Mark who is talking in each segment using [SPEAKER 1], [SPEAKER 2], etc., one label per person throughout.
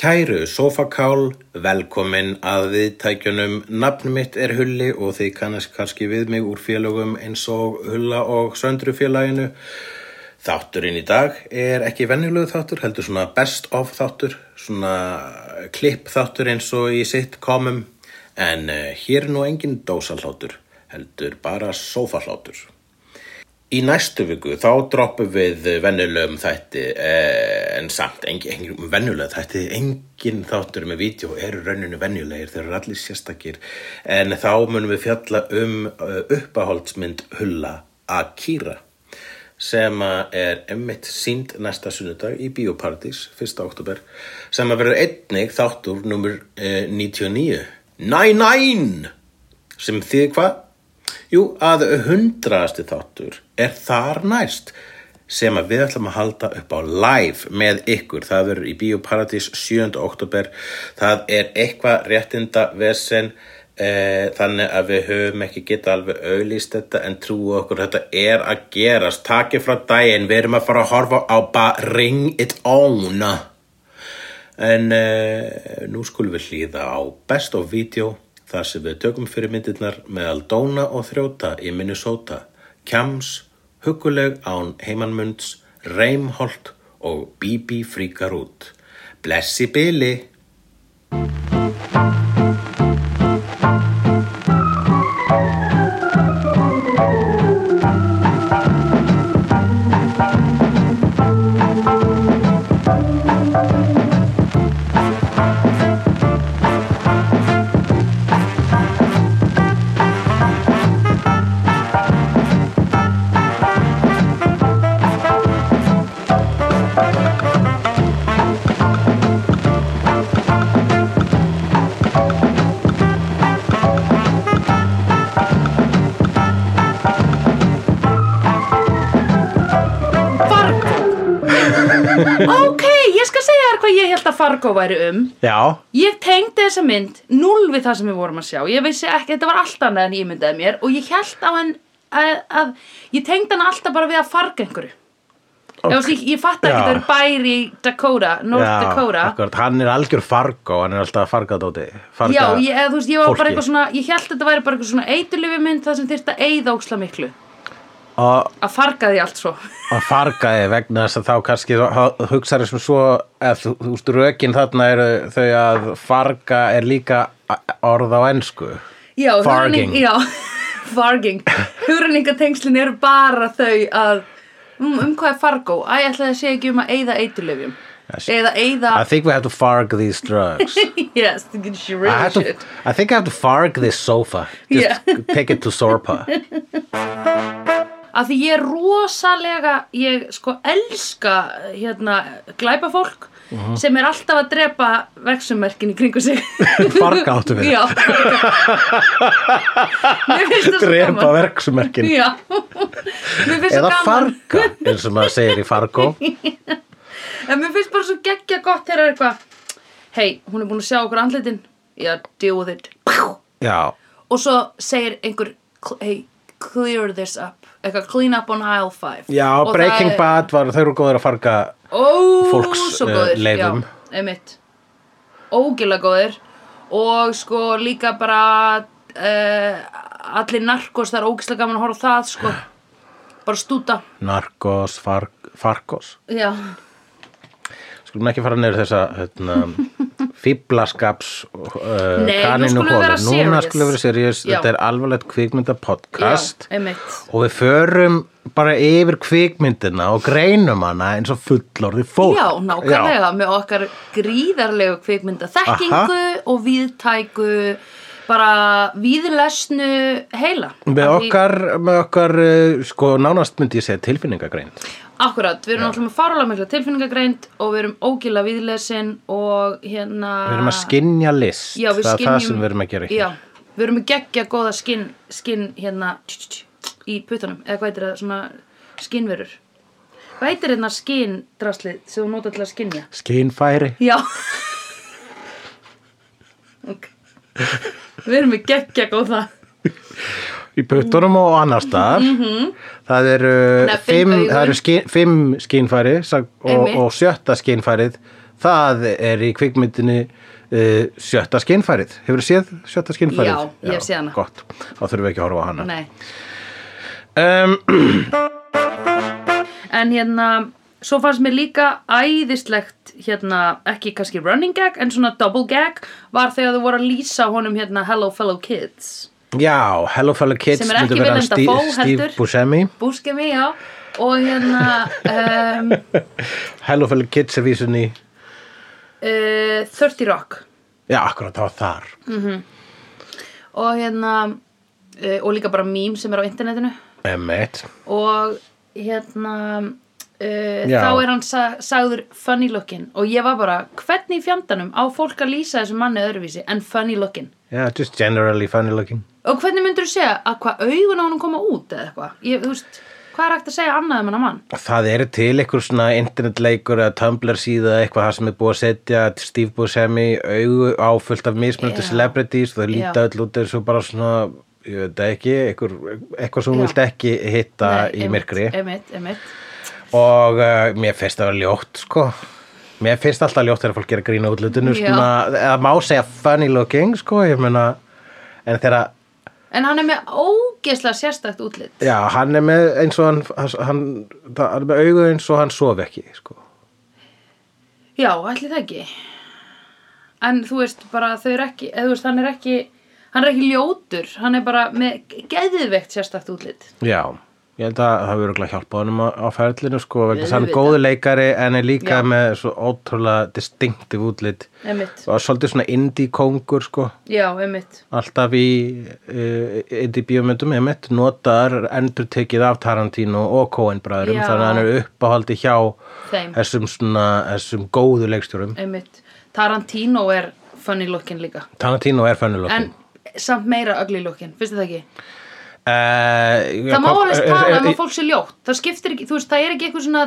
[SPEAKER 1] Kæru sofakál, velkomin að viðtækjunum. Nafn mitt er Hulli og þið kannast kannski við mig úr félögum eins og Hulla og Söndrufélaginu. Þátturinn í dag er ekki venjulegu þáttur, heldur svona best of þáttur, svona klipp þáttur eins og í sitt komum. En eh, hér er nú engin dósalhlátur, heldur bara sofahlátur. Í næstu viku þá droppum við venjulegum þætti eh, en samt engin, engin venjulega þætti, engin þáttur með vídeo eru rauninu venjulegir, þeir eru allir sérstakir en þá munum við fjalla um eh, uppahóldsmynd Hulla Akira sem að er emmitt sínd næsta sunnudag í Bíóparadís, 1. oktober sem að verður einnig þáttur numur eh, 99 99 sem þið hvað? Jú, að hundraðasti þáttur er þar næst sem að við ætlum að halda upp á live með ykkur. Það verður í Bíóparadís 7. oktober. Það er eitthvað réttinda vesen eh, þannig að við höfum ekki geta alveg auðlýst þetta en trúu okkur þetta er að gerast. Takið frá daginn, við erum að fara að horfa á bara ring it on. En uh, nú skulum við hlýða á Best of Video þar sem við tökum fyrir myndirnar meðal Dóna og Þrjóta í Minnesota, Kjams, Huguleg án Heimanmunds, Reimholt og Bibi fríkar út. Blessi Bili!
[SPEAKER 2] Fargo Ok, ég skal segja þér hvað ég held að Fargo væri um
[SPEAKER 1] Já,
[SPEAKER 2] Ég tengdi þessa mynd null við það sem við vorum að sjá Ég vissi ekki, þetta var allt annað en ég myndaði mér Og ég held að hann að, að, Ég tengdi hann alltaf bara við að farga einhverju okay. Ég, ég, ég fatt ekki
[SPEAKER 1] Já.
[SPEAKER 2] það er bæri í Dakota, North Dakota
[SPEAKER 1] akkurat, hann er algjör fargo, hann er alltaf að farga dóti.
[SPEAKER 2] Já, ég, eða þú veist, ég var bara
[SPEAKER 1] fólki.
[SPEAKER 2] eitthvað svona Ég held að þetta væri bara eitthvað svona eitulöfi mynd Það sem þyrst að eyða óksla miklu
[SPEAKER 1] Og
[SPEAKER 2] Að farga því allt svo
[SPEAKER 1] að fargaði vegna þess að þá kannski hugsaður sem svo eða þú, þú veist rökin þarna eru þau að farga er líka orð á ensku
[SPEAKER 2] Já,
[SPEAKER 1] Farging.
[SPEAKER 2] hugrenning- Já, farging Hugrenningatengslin eru bara þau að um, um hvað er fargó? Æ, ætlaði að segja ekki um að eyða eiturlöfjum Eða eyða
[SPEAKER 1] I think we have to farg these drugs
[SPEAKER 2] Yes, she
[SPEAKER 1] I,
[SPEAKER 2] really
[SPEAKER 1] have to,
[SPEAKER 2] should
[SPEAKER 1] I think I have to farg this sofa just take it to Sorpa
[SPEAKER 2] Af því ég er rosalega Ég sko elska hérna glæpa fólk
[SPEAKER 1] Mhm.
[SPEAKER 2] sem er alltaf að drepa vexummerkin í kringu sig
[SPEAKER 1] Farga áttu við.
[SPEAKER 2] Já Mér finnst það svo
[SPEAKER 1] drepa
[SPEAKER 2] gaman
[SPEAKER 1] verksmerkin
[SPEAKER 2] Já Mér finnst
[SPEAKER 1] eða
[SPEAKER 2] það gaman
[SPEAKER 1] farga eins og maður segir í fargo
[SPEAKER 2] En mér finnst bara svo geggja gott þegar er eitthvað Hei, hún er búin að sjá okkur andlitin Já, deal with it Pjú!
[SPEAKER 1] já,
[SPEAKER 2] Og svo segir einhver cl- Hey, clear this up Eitthvað clean up on aisle 5
[SPEAKER 1] já
[SPEAKER 2] Og
[SPEAKER 1] Breaking
[SPEAKER 2] það er-
[SPEAKER 1] Bad var, þau eru góður að farga
[SPEAKER 2] Ó,
[SPEAKER 1] fólks,
[SPEAKER 2] svo
[SPEAKER 1] eh,
[SPEAKER 2] góður
[SPEAKER 1] leifum.
[SPEAKER 2] Já, einmitt Ógila góður Og sko líka bara uh, Allir narkos, það er ógislega gaman að horfa á það sko Bara stúta
[SPEAKER 1] Narcos, farg, Fargos
[SPEAKER 2] Já,
[SPEAKER 1] Skulum ekki fara niður þessa hérna, fíblaskaps uh,
[SPEAKER 2] Nei, nú
[SPEAKER 1] kaninu
[SPEAKER 2] skulum við vera
[SPEAKER 1] Núna
[SPEAKER 2] serious.
[SPEAKER 1] skulum við vera serious.
[SPEAKER 2] Já.
[SPEAKER 1] Þetta er alvarlegt kvikmynda
[SPEAKER 2] já,
[SPEAKER 1] podcast
[SPEAKER 2] einmitt
[SPEAKER 1] og við förum bara yfir kvikmyndina og greinum hana eins og fullorði fólk.
[SPEAKER 2] Já, nákvæmlega, með okkar gríðarlegu kvikmynda þekkingu og viðtæku bara viðlesnu heila.
[SPEAKER 1] Með
[SPEAKER 2] Af því-
[SPEAKER 1] okkar, með okkar uh, sko, nánast myndi ég segja tilfinningagrein.
[SPEAKER 2] Akkurat, við erum alltaf með fárlega mikla tilfinningagreind og við erum ógila viðlesin og hérna...
[SPEAKER 1] Við erum að skinja list.
[SPEAKER 2] Já, við
[SPEAKER 1] það er það
[SPEAKER 2] skynjum-
[SPEAKER 1] sem við erum að gera ekki.
[SPEAKER 2] Já, við erum að gegja góða skinn, skinn hérna tj- tj- tj- í puttunum, eða hvað heitir það, svona skinnverur. Hvað heitir hérna skinndraslið sem þú notar til að skinja?
[SPEAKER 1] Skinnfæri.
[SPEAKER 2] Já Ok Við erum í geggja góða
[SPEAKER 1] í puttunum og annar staðar
[SPEAKER 2] Mhm,
[SPEAKER 1] það eru
[SPEAKER 2] Nefinn,
[SPEAKER 1] fimm,
[SPEAKER 2] augun.
[SPEAKER 1] það eru skin, fimm skinnfæri sag- og,
[SPEAKER 2] Einmitt.
[SPEAKER 1] og sjötta skinnfærið það er í kvikmyndinni uh, sjötta skinnfærið hefur séð sjötta skinnfærið?
[SPEAKER 2] Já, ég hef séð hana.
[SPEAKER 1] Gott, þá þurfum við ekki að horfa á hana
[SPEAKER 2] Nei.
[SPEAKER 1] um,
[SPEAKER 2] En hérna, svo fannst mér líka æðislegt, hérna, ekki kannski running gag, en svona double gag var þegar þau voru að lýsa honum hérna Hello Fellow Kids.
[SPEAKER 1] Já, Hello Fellow Kids
[SPEAKER 2] Sem er
[SPEAKER 1] myndi
[SPEAKER 2] ekki
[SPEAKER 1] vera
[SPEAKER 2] Willem
[SPEAKER 1] Stí-
[SPEAKER 2] Dafoe, heldur.
[SPEAKER 1] Steve Buscemi
[SPEAKER 2] Búskemi, já. Og hérna, um,
[SPEAKER 1] Hello Fellow Kids er vísunni
[SPEAKER 2] uh, 30 Rock.
[SPEAKER 1] Já, akkurat, það var þar
[SPEAKER 2] Mm. Og hérna, uh, og líka bara mím sem er á internetinu.
[SPEAKER 1] Emmett
[SPEAKER 2] og hérna uh,
[SPEAKER 1] Já.
[SPEAKER 2] þá er hann sa sagður funny looking og ég var bara hvernig í fjandanum á fólk að lýsa þessum manni öðruvísi en funny looking
[SPEAKER 1] Já, just generally funny looking
[SPEAKER 2] og hvernig myndur þú segja að hvað augun á hann koma út eða eitthvað ég, þú veist, hvað er hægt að segja annað um hann mann
[SPEAKER 1] Það eru til einhver svona internetleikur eða Tumblr síða eitthvað það sem er búið að setja Steve Buscemi augu áfullt af mismunandi
[SPEAKER 2] Já.
[SPEAKER 1] celebrities og þau líta
[SPEAKER 2] Já.
[SPEAKER 1] öll út eins og bara svona ég veit það ekki, einhver, eitthvað sem hún
[SPEAKER 2] Já.
[SPEAKER 1] vilt ekki hitta í myrkri
[SPEAKER 2] emitt, emitt.
[SPEAKER 1] og uh, mér finnst það að vera ljótt sko mér finnst alltaf ljótt þegar fólk gera grína útlutinu
[SPEAKER 2] Já.
[SPEAKER 1] svona, eða má segja funny looking sko, ég meina en þegar
[SPEAKER 2] en hann er með ógeðslega sérstakt útlit
[SPEAKER 1] Já, hann er með eins og hann, hann, það- hann er með augu eins og hann sofi ekki, sko.
[SPEAKER 2] já, ætli það ekki en þú veist bara þau eru ekki, eða þú veist hann er ekki hann er ekki ljótur, hann er bara með geðveikt sérstakt útlit
[SPEAKER 1] Já, ég held að það verður að hjálpa honum á- á ferlinu, sko, vegna þess að hann er
[SPEAKER 2] Auðvitað.
[SPEAKER 1] góðu leikari en er líka
[SPEAKER 2] Já.
[SPEAKER 1] með svo ótrúlega distinctive útlit
[SPEAKER 2] emitt
[SPEAKER 1] og svolítið svona indie kongur, sko.
[SPEAKER 2] Já, einmitt.
[SPEAKER 1] Alltaf í uh, indie bíómyndum, ég mitt, notar endurtekið af Tarantino og Coen bræðurum,
[SPEAKER 2] Já.
[SPEAKER 1] þannig að hann er uppáhaldi hjá
[SPEAKER 2] Þeim.
[SPEAKER 1] þessum svona, þessum góðu leikstjórum.
[SPEAKER 2] Einmitt. Tarantino er funny looking líka.
[SPEAKER 1] Tarantino er fönnulokin.
[SPEAKER 2] En samt meira ugly looking, finnst þið það ekki?
[SPEAKER 1] Uh,
[SPEAKER 2] það má alveg tala um að fólk sé ljótt. Það skiptir ekki, þú veist, það er ekki eitthvað svona,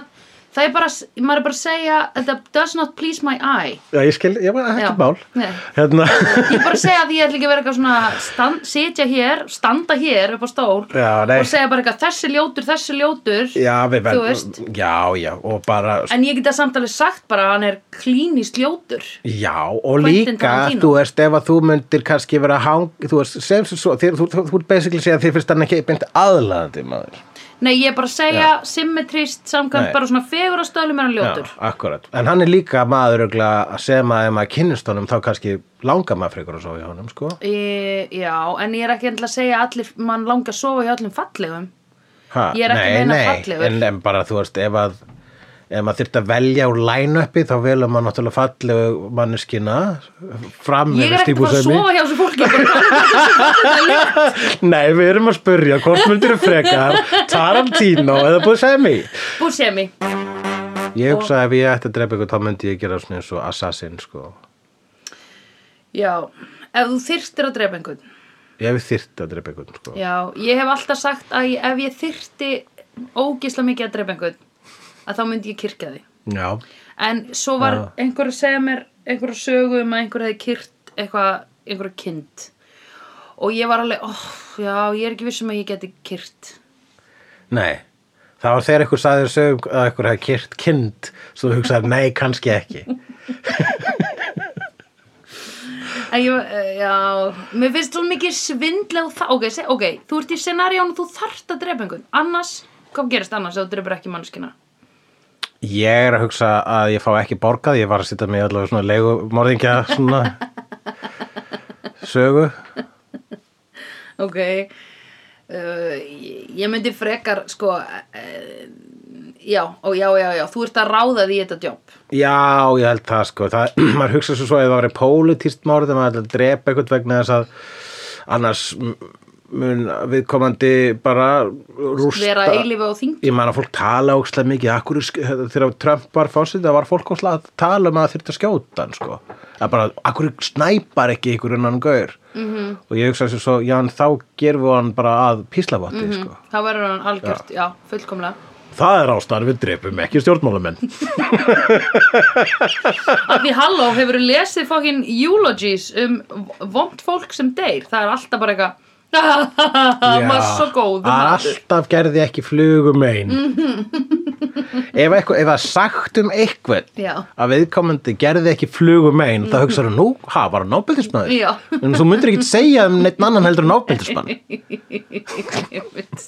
[SPEAKER 2] það er bara, maður er bara að segja, þetta does not please my eye.
[SPEAKER 1] Já, ég skil, ég var
[SPEAKER 2] Já.
[SPEAKER 1] ekki mál
[SPEAKER 2] Nei.
[SPEAKER 1] Hérna,
[SPEAKER 2] Ég er bara að segja að ég ætla ekki að vera eitthvað svona, stand, sitja hér, standa hér upp á stól
[SPEAKER 1] Já, nei.
[SPEAKER 2] og segja bara eitthvað, þessi ljótur, þessi ljótur.
[SPEAKER 1] já, við
[SPEAKER 2] Þú veist.
[SPEAKER 1] verðum Já, já, og bara
[SPEAKER 2] En ég geta samt alveg sagt bara að hann er klínist ljótur.
[SPEAKER 1] Já, og
[SPEAKER 2] Quentin
[SPEAKER 1] líka,
[SPEAKER 2] Tarantino.
[SPEAKER 1] þú veist, ef að þú myndir kannski vera hang, þú veist, sem sem svo þér, þú, þú, þú ert basically að segja að þér finnst hann ekki beint aðlaðandi maður
[SPEAKER 2] Nei, ég er bara að segja symmetrist samkvæmt
[SPEAKER 1] Nei.
[SPEAKER 2] bara svona fegurastöðlum er hann ljótur.
[SPEAKER 1] Já, akkurat, en hann er líka maður ögla sem að ef maður kynnist honum þá kannski langar maður frekar að sofa í honum, sko
[SPEAKER 2] E, já, en ég er ekki endilega að segja að allir mann langar að sofa hjá öllum fallegum.
[SPEAKER 1] ha,
[SPEAKER 2] Ég er ekki að
[SPEAKER 1] nei,
[SPEAKER 2] meina
[SPEAKER 1] nei,
[SPEAKER 2] fallegur.
[SPEAKER 1] en, en bara, þú veist, ef að ef maður þyrfti að velja úr line-upi þá velur maður náttúrulega fallegu manneskina fram
[SPEAKER 2] Ég er
[SPEAKER 1] yfir
[SPEAKER 2] ekki að fara að
[SPEAKER 1] stífusemi.
[SPEAKER 2] sofa hjá þessu fólki. bara þannig að um þessu fólki er ljótt.
[SPEAKER 1] Nei, við erum að spurja hvort myndir frekar Tarantino eða Buscemi
[SPEAKER 2] Buscemi.
[SPEAKER 1] Ég hugsa að ef ég ætti að drepa ykkur þá myndi ég gera svona eins og assassin sko.
[SPEAKER 2] Já, ef þú þyrftir að drepa einhvern.
[SPEAKER 1] Ég hef þyrft að drepa ykkur sko.
[SPEAKER 2] Já, ég hef alltaf sagt að ég, ef ég þyrfti ógisla mikið að drepa einhvern, að þá myndi ég kirkja því.
[SPEAKER 1] Já,
[SPEAKER 2] En svo var
[SPEAKER 1] Já.
[SPEAKER 2] einhver að segja mér einhver að sögu um að einhver hefði kyrt eitthvað, einhverja kind. Og ég var alveg, óh, já, ég er ekki vissum að ég geti kyrt.
[SPEAKER 1] nei Það var þegar ykkur sagði sögum að ykkur hefði kyrt kind svo þú hugsaði, nei, kannski ekki
[SPEAKER 2] En Ég, eh, já, mér finnst svo mikið svindlega og það, ok, seg, ok, þú ert í scenarión og þú þarft að drepa einhvern, annars, hvað gerist annars ef þú drefur ekki mannskina?
[SPEAKER 1] Ég er að hugsa að ég fá ekki borgað ég var að sitja með allavega svona legumorðingja svona sögu
[SPEAKER 2] Ok, uh, ég ég myndi frekar, sko, uh, já, ó, já, já, já, þú ert að ráða því í þetta jobb.
[SPEAKER 1] Já, ég held það sko það, maður hugsa svo svo að það væri pólitíst mörð þegar maður ætla að drepa eitthvað vegna þess að annars m- mun viðkomandi bara rústa
[SPEAKER 2] Vera eilífi á þingi.
[SPEAKER 1] Ég man að fólk tala ókslega mikið akkur, þegar Trump var fósið það var fólk ókslega að tala um að þyrfti að skjóta hann sko að bara, akkur snæpar ekki ykkur innan gaur -hmm. og ég hugsa svo, já, en þá gerum við hann bara að píslavotti sko
[SPEAKER 2] Þá verður hann algjört, já, fullkomlega.
[SPEAKER 1] Það er ástæðan við drepum ekki stjórnmálamenn
[SPEAKER 2] Af því, halló, hefur þú lesið fokkin eulogies um vond fólk sem deyr? Það er alltaf bara eitthvað, hahaha, maður Mhm. er svo góð.
[SPEAKER 1] alltaf gerði ekki flugum einn ef, eitthvað, ef það er sagt um eitthvað
[SPEAKER 2] Já.
[SPEAKER 1] að viðkomandi gerði ekki flugum megin þá hugsaðu, nú, ha, var hann nábildismæður
[SPEAKER 2] Mhm. Já.
[SPEAKER 1] en þú myndir ekki segja um neitt annan heldur en nábildismæður
[SPEAKER 2] Einmitt.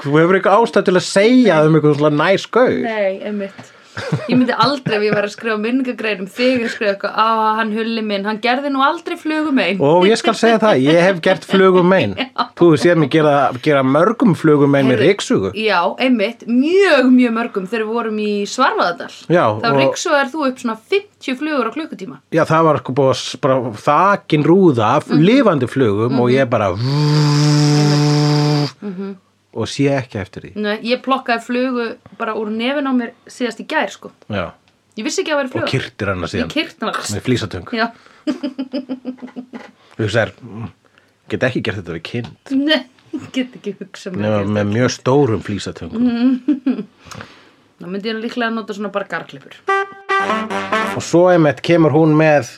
[SPEAKER 1] þú hefur eitthvað ástæð til að segja um eitthvað svona næskau
[SPEAKER 2] Nei, einmitt Ég myndi aldrei ef ég var að skrifa minningagrein um þig að skrifa eitthvað, á hann hulli minn hann gerði nú aldrei flugum einn
[SPEAKER 1] og ég skal segja það, ég hef gert flugum megin þú hefur séð mig gera, gera mörgum flugum megin með ríksugu
[SPEAKER 2] Já, einmitt, mjög, mjög mörgum þegar við vorum í Svarfaðardal
[SPEAKER 1] Já,
[SPEAKER 2] Þá
[SPEAKER 1] og-
[SPEAKER 2] og... ríksuðar þú upp svona 50 flugur á klukkutíma
[SPEAKER 1] Já, það var sko búið að s- bara þakin rúða af
[SPEAKER 2] Mhm.
[SPEAKER 1] lifandi flugum og ég bara
[SPEAKER 2] Mhm.
[SPEAKER 1] og sé ekki eftir því.
[SPEAKER 2] Nei, Ég plokkaði flugu bara úr nefin á mér síðast í gær sko
[SPEAKER 1] Já,
[SPEAKER 2] Ég vissi ekki að vera
[SPEAKER 1] og
[SPEAKER 2] fluga
[SPEAKER 1] kyrtir hana síðan
[SPEAKER 2] Ég kyrti hana
[SPEAKER 1] með flýsatöng.
[SPEAKER 2] Já,
[SPEAKER 1] Þú sér, mm, get ekki gert þetta við kind
[SPEAKER 2] Nei, get ekki hugsa mér
[SPEAKER 1] nema með mjög stórum flýsatöngum.
[SPEAKER 2] Þá myndi ég líklega að nota svona bara garklippur
[SPEAKER 1] Og svo einmitt kemur hún með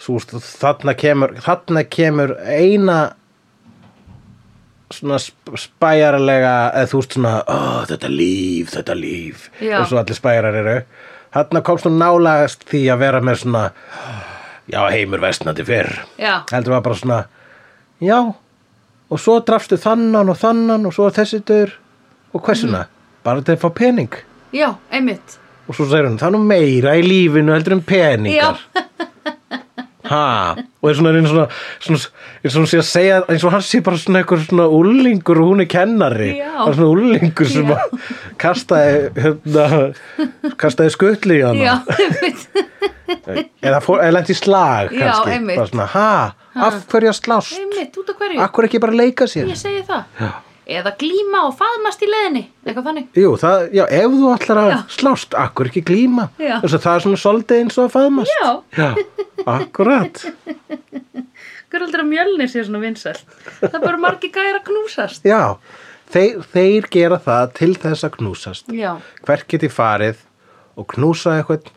[SPEAKER 1] svo, veist, þarna, kemur, þarna kemur eina svona sp- spæjaralega eða þú veist svona, ó, þetta líf þetta líf,
[SPEAKER 2] Já.
[SPEAKER 1] og svo allir spæjarar eru þarna komst hún nálagast því að vera með svona já, heimur vestnandi fyrr
[SPEAKER 2] Já.
[SPEAKER 1] heldur var bara svona já, og svo drafstu þannan og þannan og svo þessi dör og hversuna,
[SPEAKER 2] Mhm.
[SPEAKER 1] bara til að fá pening
[SPEAKER 2] Já, einmitt
[SPEAKER 1] og svo segir hún, það er nú meira í lífinu heldur en peningar
[SPEAKER 2] Já,
[SPEAKER 1] ha, og er svona eins og svona, eins og hún sé að segja eins og hann sé bara svona einhver svona úlingur og hún er kennari
[SPEAKER 2] Já.
[SPEAKER 1] Bara svona úlingur sem
[SPEAKER 2] Já.
[SPEAKER 1] að kastaði hérna, kastaði skutli í
[SPEAKER 2] já,
[SPEAKER 1] hana
[SPEAKER 2] einmitt
[SPEAKER 1] eða, fór, eða lent í slag
[SPEAKER 2] Já,
[SPEAKER 1] kannski
[SPEAKER 2] einmitt.
[SPEAKER 1] bara svona, ha, af hverju að slást
[SPEAKER 2] Einmitt, út af hverju?
[SPEAKER 1] akkur ekki bara leika sér
[SPEAKER 2] Ég segi það. Eða glíma og faðmast í leðinni, eitthvað þannig.
[SPEAKER 1] Jú, það, já, ef þú ætlar að
[SPEAKER 2] Já.
[SPEAKER 1] slást, akkur ekki glíma
[SPEAKER 2] Já.
[SPEAKER 1] Þess að það er svona soldið eins og að faðmast
[SPEAKER 2] Já.
[SPEAKER 1] já akkurat
[SPEAKER 2] Hver heldur að mjölnir sé svona vinsælt? Það er bara margir gæra að knúsast.
[SPEAKER 1] Já, þeir, þeir gera það til þess að knúsast.
[SPEAKER 2] Já,
[SPEAKER 1] Hvert geti farið og knúsa eitthvað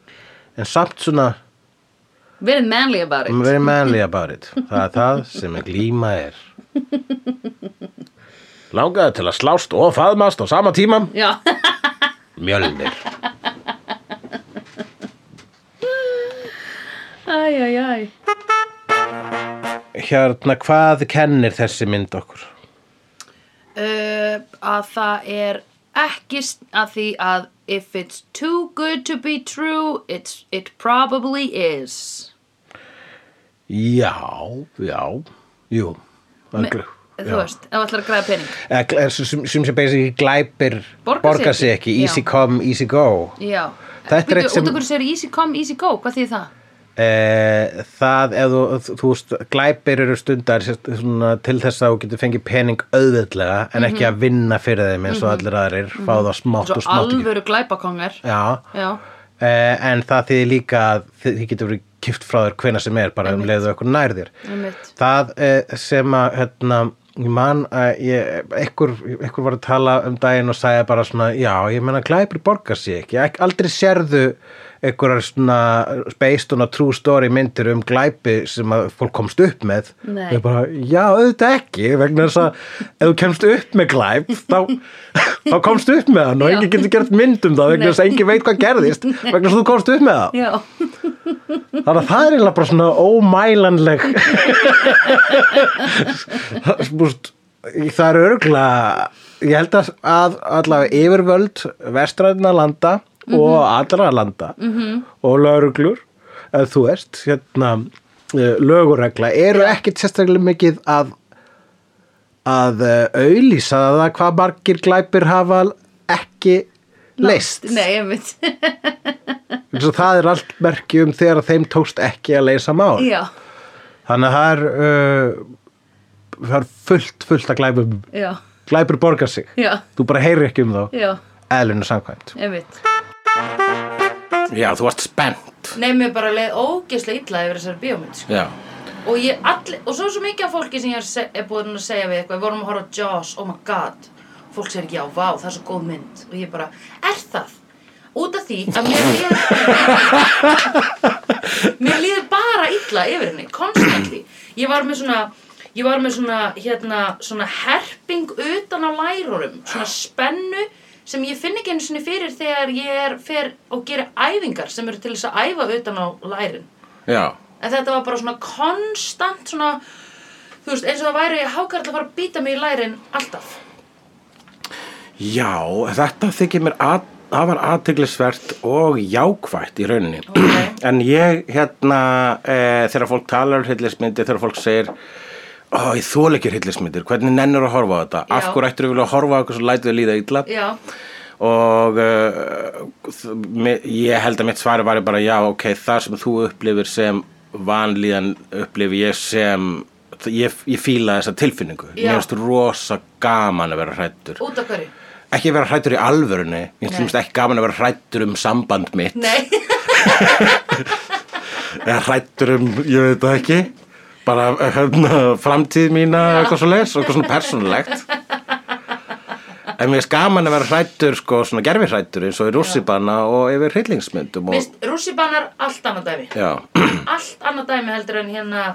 [SPEAKER 1] en samt svona
[SPEAKER 2] verið manly about it.
[SPEAKER 1] verið mennlega barið. Það er það sem er glíma er. Langaði til að slást og faðmast á sama tíma
[SPEAKER 2] Já,
[SPEAKER 1] mjölnir.
[SPEAKER 2] æj, æj, æj.
[SPEAKER 1] Hérna, hvað kennir þessi mynd okkur?
[SPEAKER 2] Uh, að það er ekki s- að því að if it's too good to be true, it's, it probably is.
[SPEAKER 1] Já, já, jú. Me,
[SPEAKER 2] Þú veist, ef þú ætlar að græða pening.
[SPEAKER 1] Eða, sem, sem sem basically glæpir
[SPEAKER 2] Borga sig
[SPEAKER 1] borga
[SPEAKER 2] ekki.
[SPEAKER 1] sig ekki,
[SPEAKER 2] Já.
[SPEAKER 1] easy come, easy go.
[SPEAKER 2] Já.
[SPEAKER 1] Þetta er
[SPEAKER 2] Bíddu,
[SPEAKER 1] eitt sem-
[SPEAKER 2] Út af hverju segir easy come, easy go, hvað þýð það?
[SPEAKER 1] Eh, það ef þú, þú, þú veist, glæpir eru stundar sérst- svona, til þess að þú getur fengið pening auðveldlega en ekki
[SPEAKER 2] Mhm.
[SPEAKER 1] að vinna fyrir þeim eins og allir aðrir fá það smátt og
[SPEAKER 2] Svo
[SPEAKER 1] smátt ekki.
[SPEAKER 2] Mhm. alvöru glæpakongar.
[SPEAKER 1] Já,
[SPEAKER 2] Já.
[SPEAKER 1] eh, en það þýðir líka að þið þið getur verið kift frá þér hvena sem er bara um leiðu okkur nær þér
[SPEAKER 2] Einmitt.
[SPEAKER 1] það eh, sem að hérna, ég man að ég, ekkur, ekkur var að tala um daginn og sagði bara svona, já, ég meina glæpir borgar sig ekki, Ek, aldrei sérðu einhverjar svona based on a true story myndir um glæpi sem að fólk komst upp með
[SPEAKER 2] Nei.
[SPEAKER 1] Ég bara, já, auðvitað ekki vegna þess að ef þú kemst upp með glæp þá, þá komst upp með hann og
[SPEAKER 2] Já.
[SPEAKER 1] enginn getur gert mynd um það vegna
[SPEAKER 2] Nei.
[SPEAKER 1] þess að enginn veit hvað gerðist vegna þess að þú komst upp með það
[SPEAKER 2] Já.
[SPEAKER 1] Þannig að það er eiginlega bara svona ómælanleg Spúst, Það er örgla ég held að, að allavega yfirvöld vestræðina landa og allra landa -hmm. og lögreglur eða þú veist, hérna eh, löguregla, eru ekkit sérstaklega mikið að að eh, auðlýsa það hvað margir glæpir hafa ekki leist
[SPEAKER 2] Nei, einmitt.
[SPEAKER 1] eins og það er allt merki um þegar að þeim tókst ekki að leysa mál
[SPEAKER 2] Já,
[SPEAKER 1] þannig að það er uh, það er fullt, fullt að glæpum
[SPEAKER 2] já,
[SPEAKER 1] glæpur borga sig,
[SPEAKER 2] já,
[SPEAKER 1] þú bara heyrir ekki um þá
[SPEAKER 2] já,
[SPEAKER 1] eðlunum samkvæmt
[SPEAKER 2] einmitt.
[SPEAKER 1] Já, þú varst spennt
[SPEAKER 2] Nei, mér bara leið ógeðslega illa yfir þessari bíómynd, sko.
[SPEAKER 1] Já,
[SPEAKER 2] Og ég allir, og svo er svo mikið af fólki sem ég er, se- er búin að segja við eitthvað, við vorum að horfa á Jaws, oh my god, fólk segir ekki, já, vá, það er svo góð mynd. Og ég bara, er það? Út af því að mér líður, mér líður bara illa yfir henni, konstantly. Ég var með svona, ég var með svona, hérna, svona herping utan á lærunum, svona spennu sem ég finn ekki einu sinni fyrir þegar ég er fer og gera æfingar sem eru til þess að æfa utan á lærin
[SPEAKER 3] já,
[SPEAKER 2] en þetta var bara svona konstant svona, þú veist, eins og það væri hákarl að fara að býta mig í lærin alltaf
[SPEAKER 3] já þetta þykir mér að það var aðteglisvert og jákvætt í rauninni
[SPEAKER 2] Ok.
[SPEAKER 3] en ég hérna e, þegar fólk talar um hryllismyndir þegar fólk segir ó, ég þól ekki hryllismyndir, hvernig nennur að horfa á þetta
[SPEAKER 2] Já.
[SPEAKER 3] af hverju ættir við vilja að horfa á okkur svo lætur við líða illa
[SPEAKER 2] já,
[SPEAKER 3] og uh, þ- mi- ég held að mitt svari var bara já, ok, það sem þú upplifir sem vanlíðan upplifi ég sem þ- ég, ég fíla þessa tilfinningu
[SPEAKER 2] Já.
[SPEAKER 3] mér finnst rosa gaman að vera hrættur
[SPEAKER 2] út af hverju
[SPEAKER 3] ekki vera hrættur í alvörunni mér
[SPEAKER 2] Nei.
[SPEAKER 3] finnst ekki gaman að vera hrættur um samband mitt
[SPEAKER 2] nei,
[SPEAKER 3] eða hrættur um, ég veit það ekki bara hérna, framtíð mína eitthvað svo leis, eitthvað svona persónulegt en mér er skaman að vera hrættur sko, svona gerfi hrættur eins og í rússibanna og yfir hryllingsmyndum og,
[SPEAKER 2] Mist, rússibanar allt annað dæmi
[SPEAKER 3] já,
[SPEAKER 2] allt annað dæmi heldur en hérna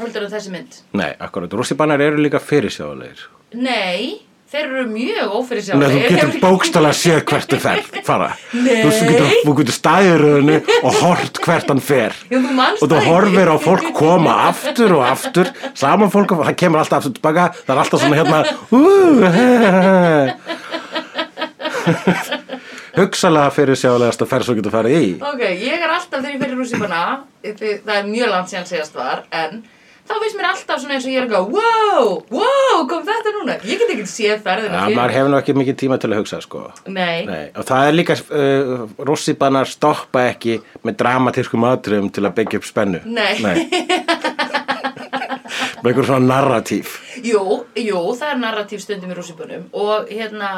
[SPEAKER 2] heldur en þessi mynd
[SPEAKER 3] nei, akkurat rússibannar eru líka fyrirsjáðulegir
[SPEAKER 2] nei, þeir eru mjög ófyrir
[SPEAKER 3] Nei, þú getur bókstala séð hvert þú fer fara,
[SPEAKER 2] Nei.
[SPEAKER 3] þú veist, þú getur, þú getur staðiröðinu og hort hvert hann fer
[SPEAKER 2] Já, þú manst
[SPEAKER 3] og þú
[SPEAKER 2] það ekki.
[SPEAKER 3] horfir á fólk koma aftur og aftur saman fólk, það kemur alltaf aftur tilbaka það er alltaf svona hérna uh, he, he, he. hugsalega fyrir sjálegast að ferð svo getur farið í
[SPEAKER 2] Ok, ég er alltaf þegar ég fyrir rússipana það er mjög langt síðan segjast var en þá finnst mér alltaf svona eins og ég er eitthvað wow, wow, kom þetta núna ég get ekki séð ferðina
[SPEAKER 3] ja, maður hefur nú ekki mikið tíma til að hugsa sko
[SPEAKER 2] Nei.
[SPEAKER 3] Nei, og það er líka uh, rossibannar stoppa ekki með dramatískum atriðum til að byggja upp spennu
[SPEAKER 2] Nei.
[SPEAKER 3] með einhver svona narratíf
[SPEAKER 2] Jú, jú, það er narratív stundum í rússipunum og hérna,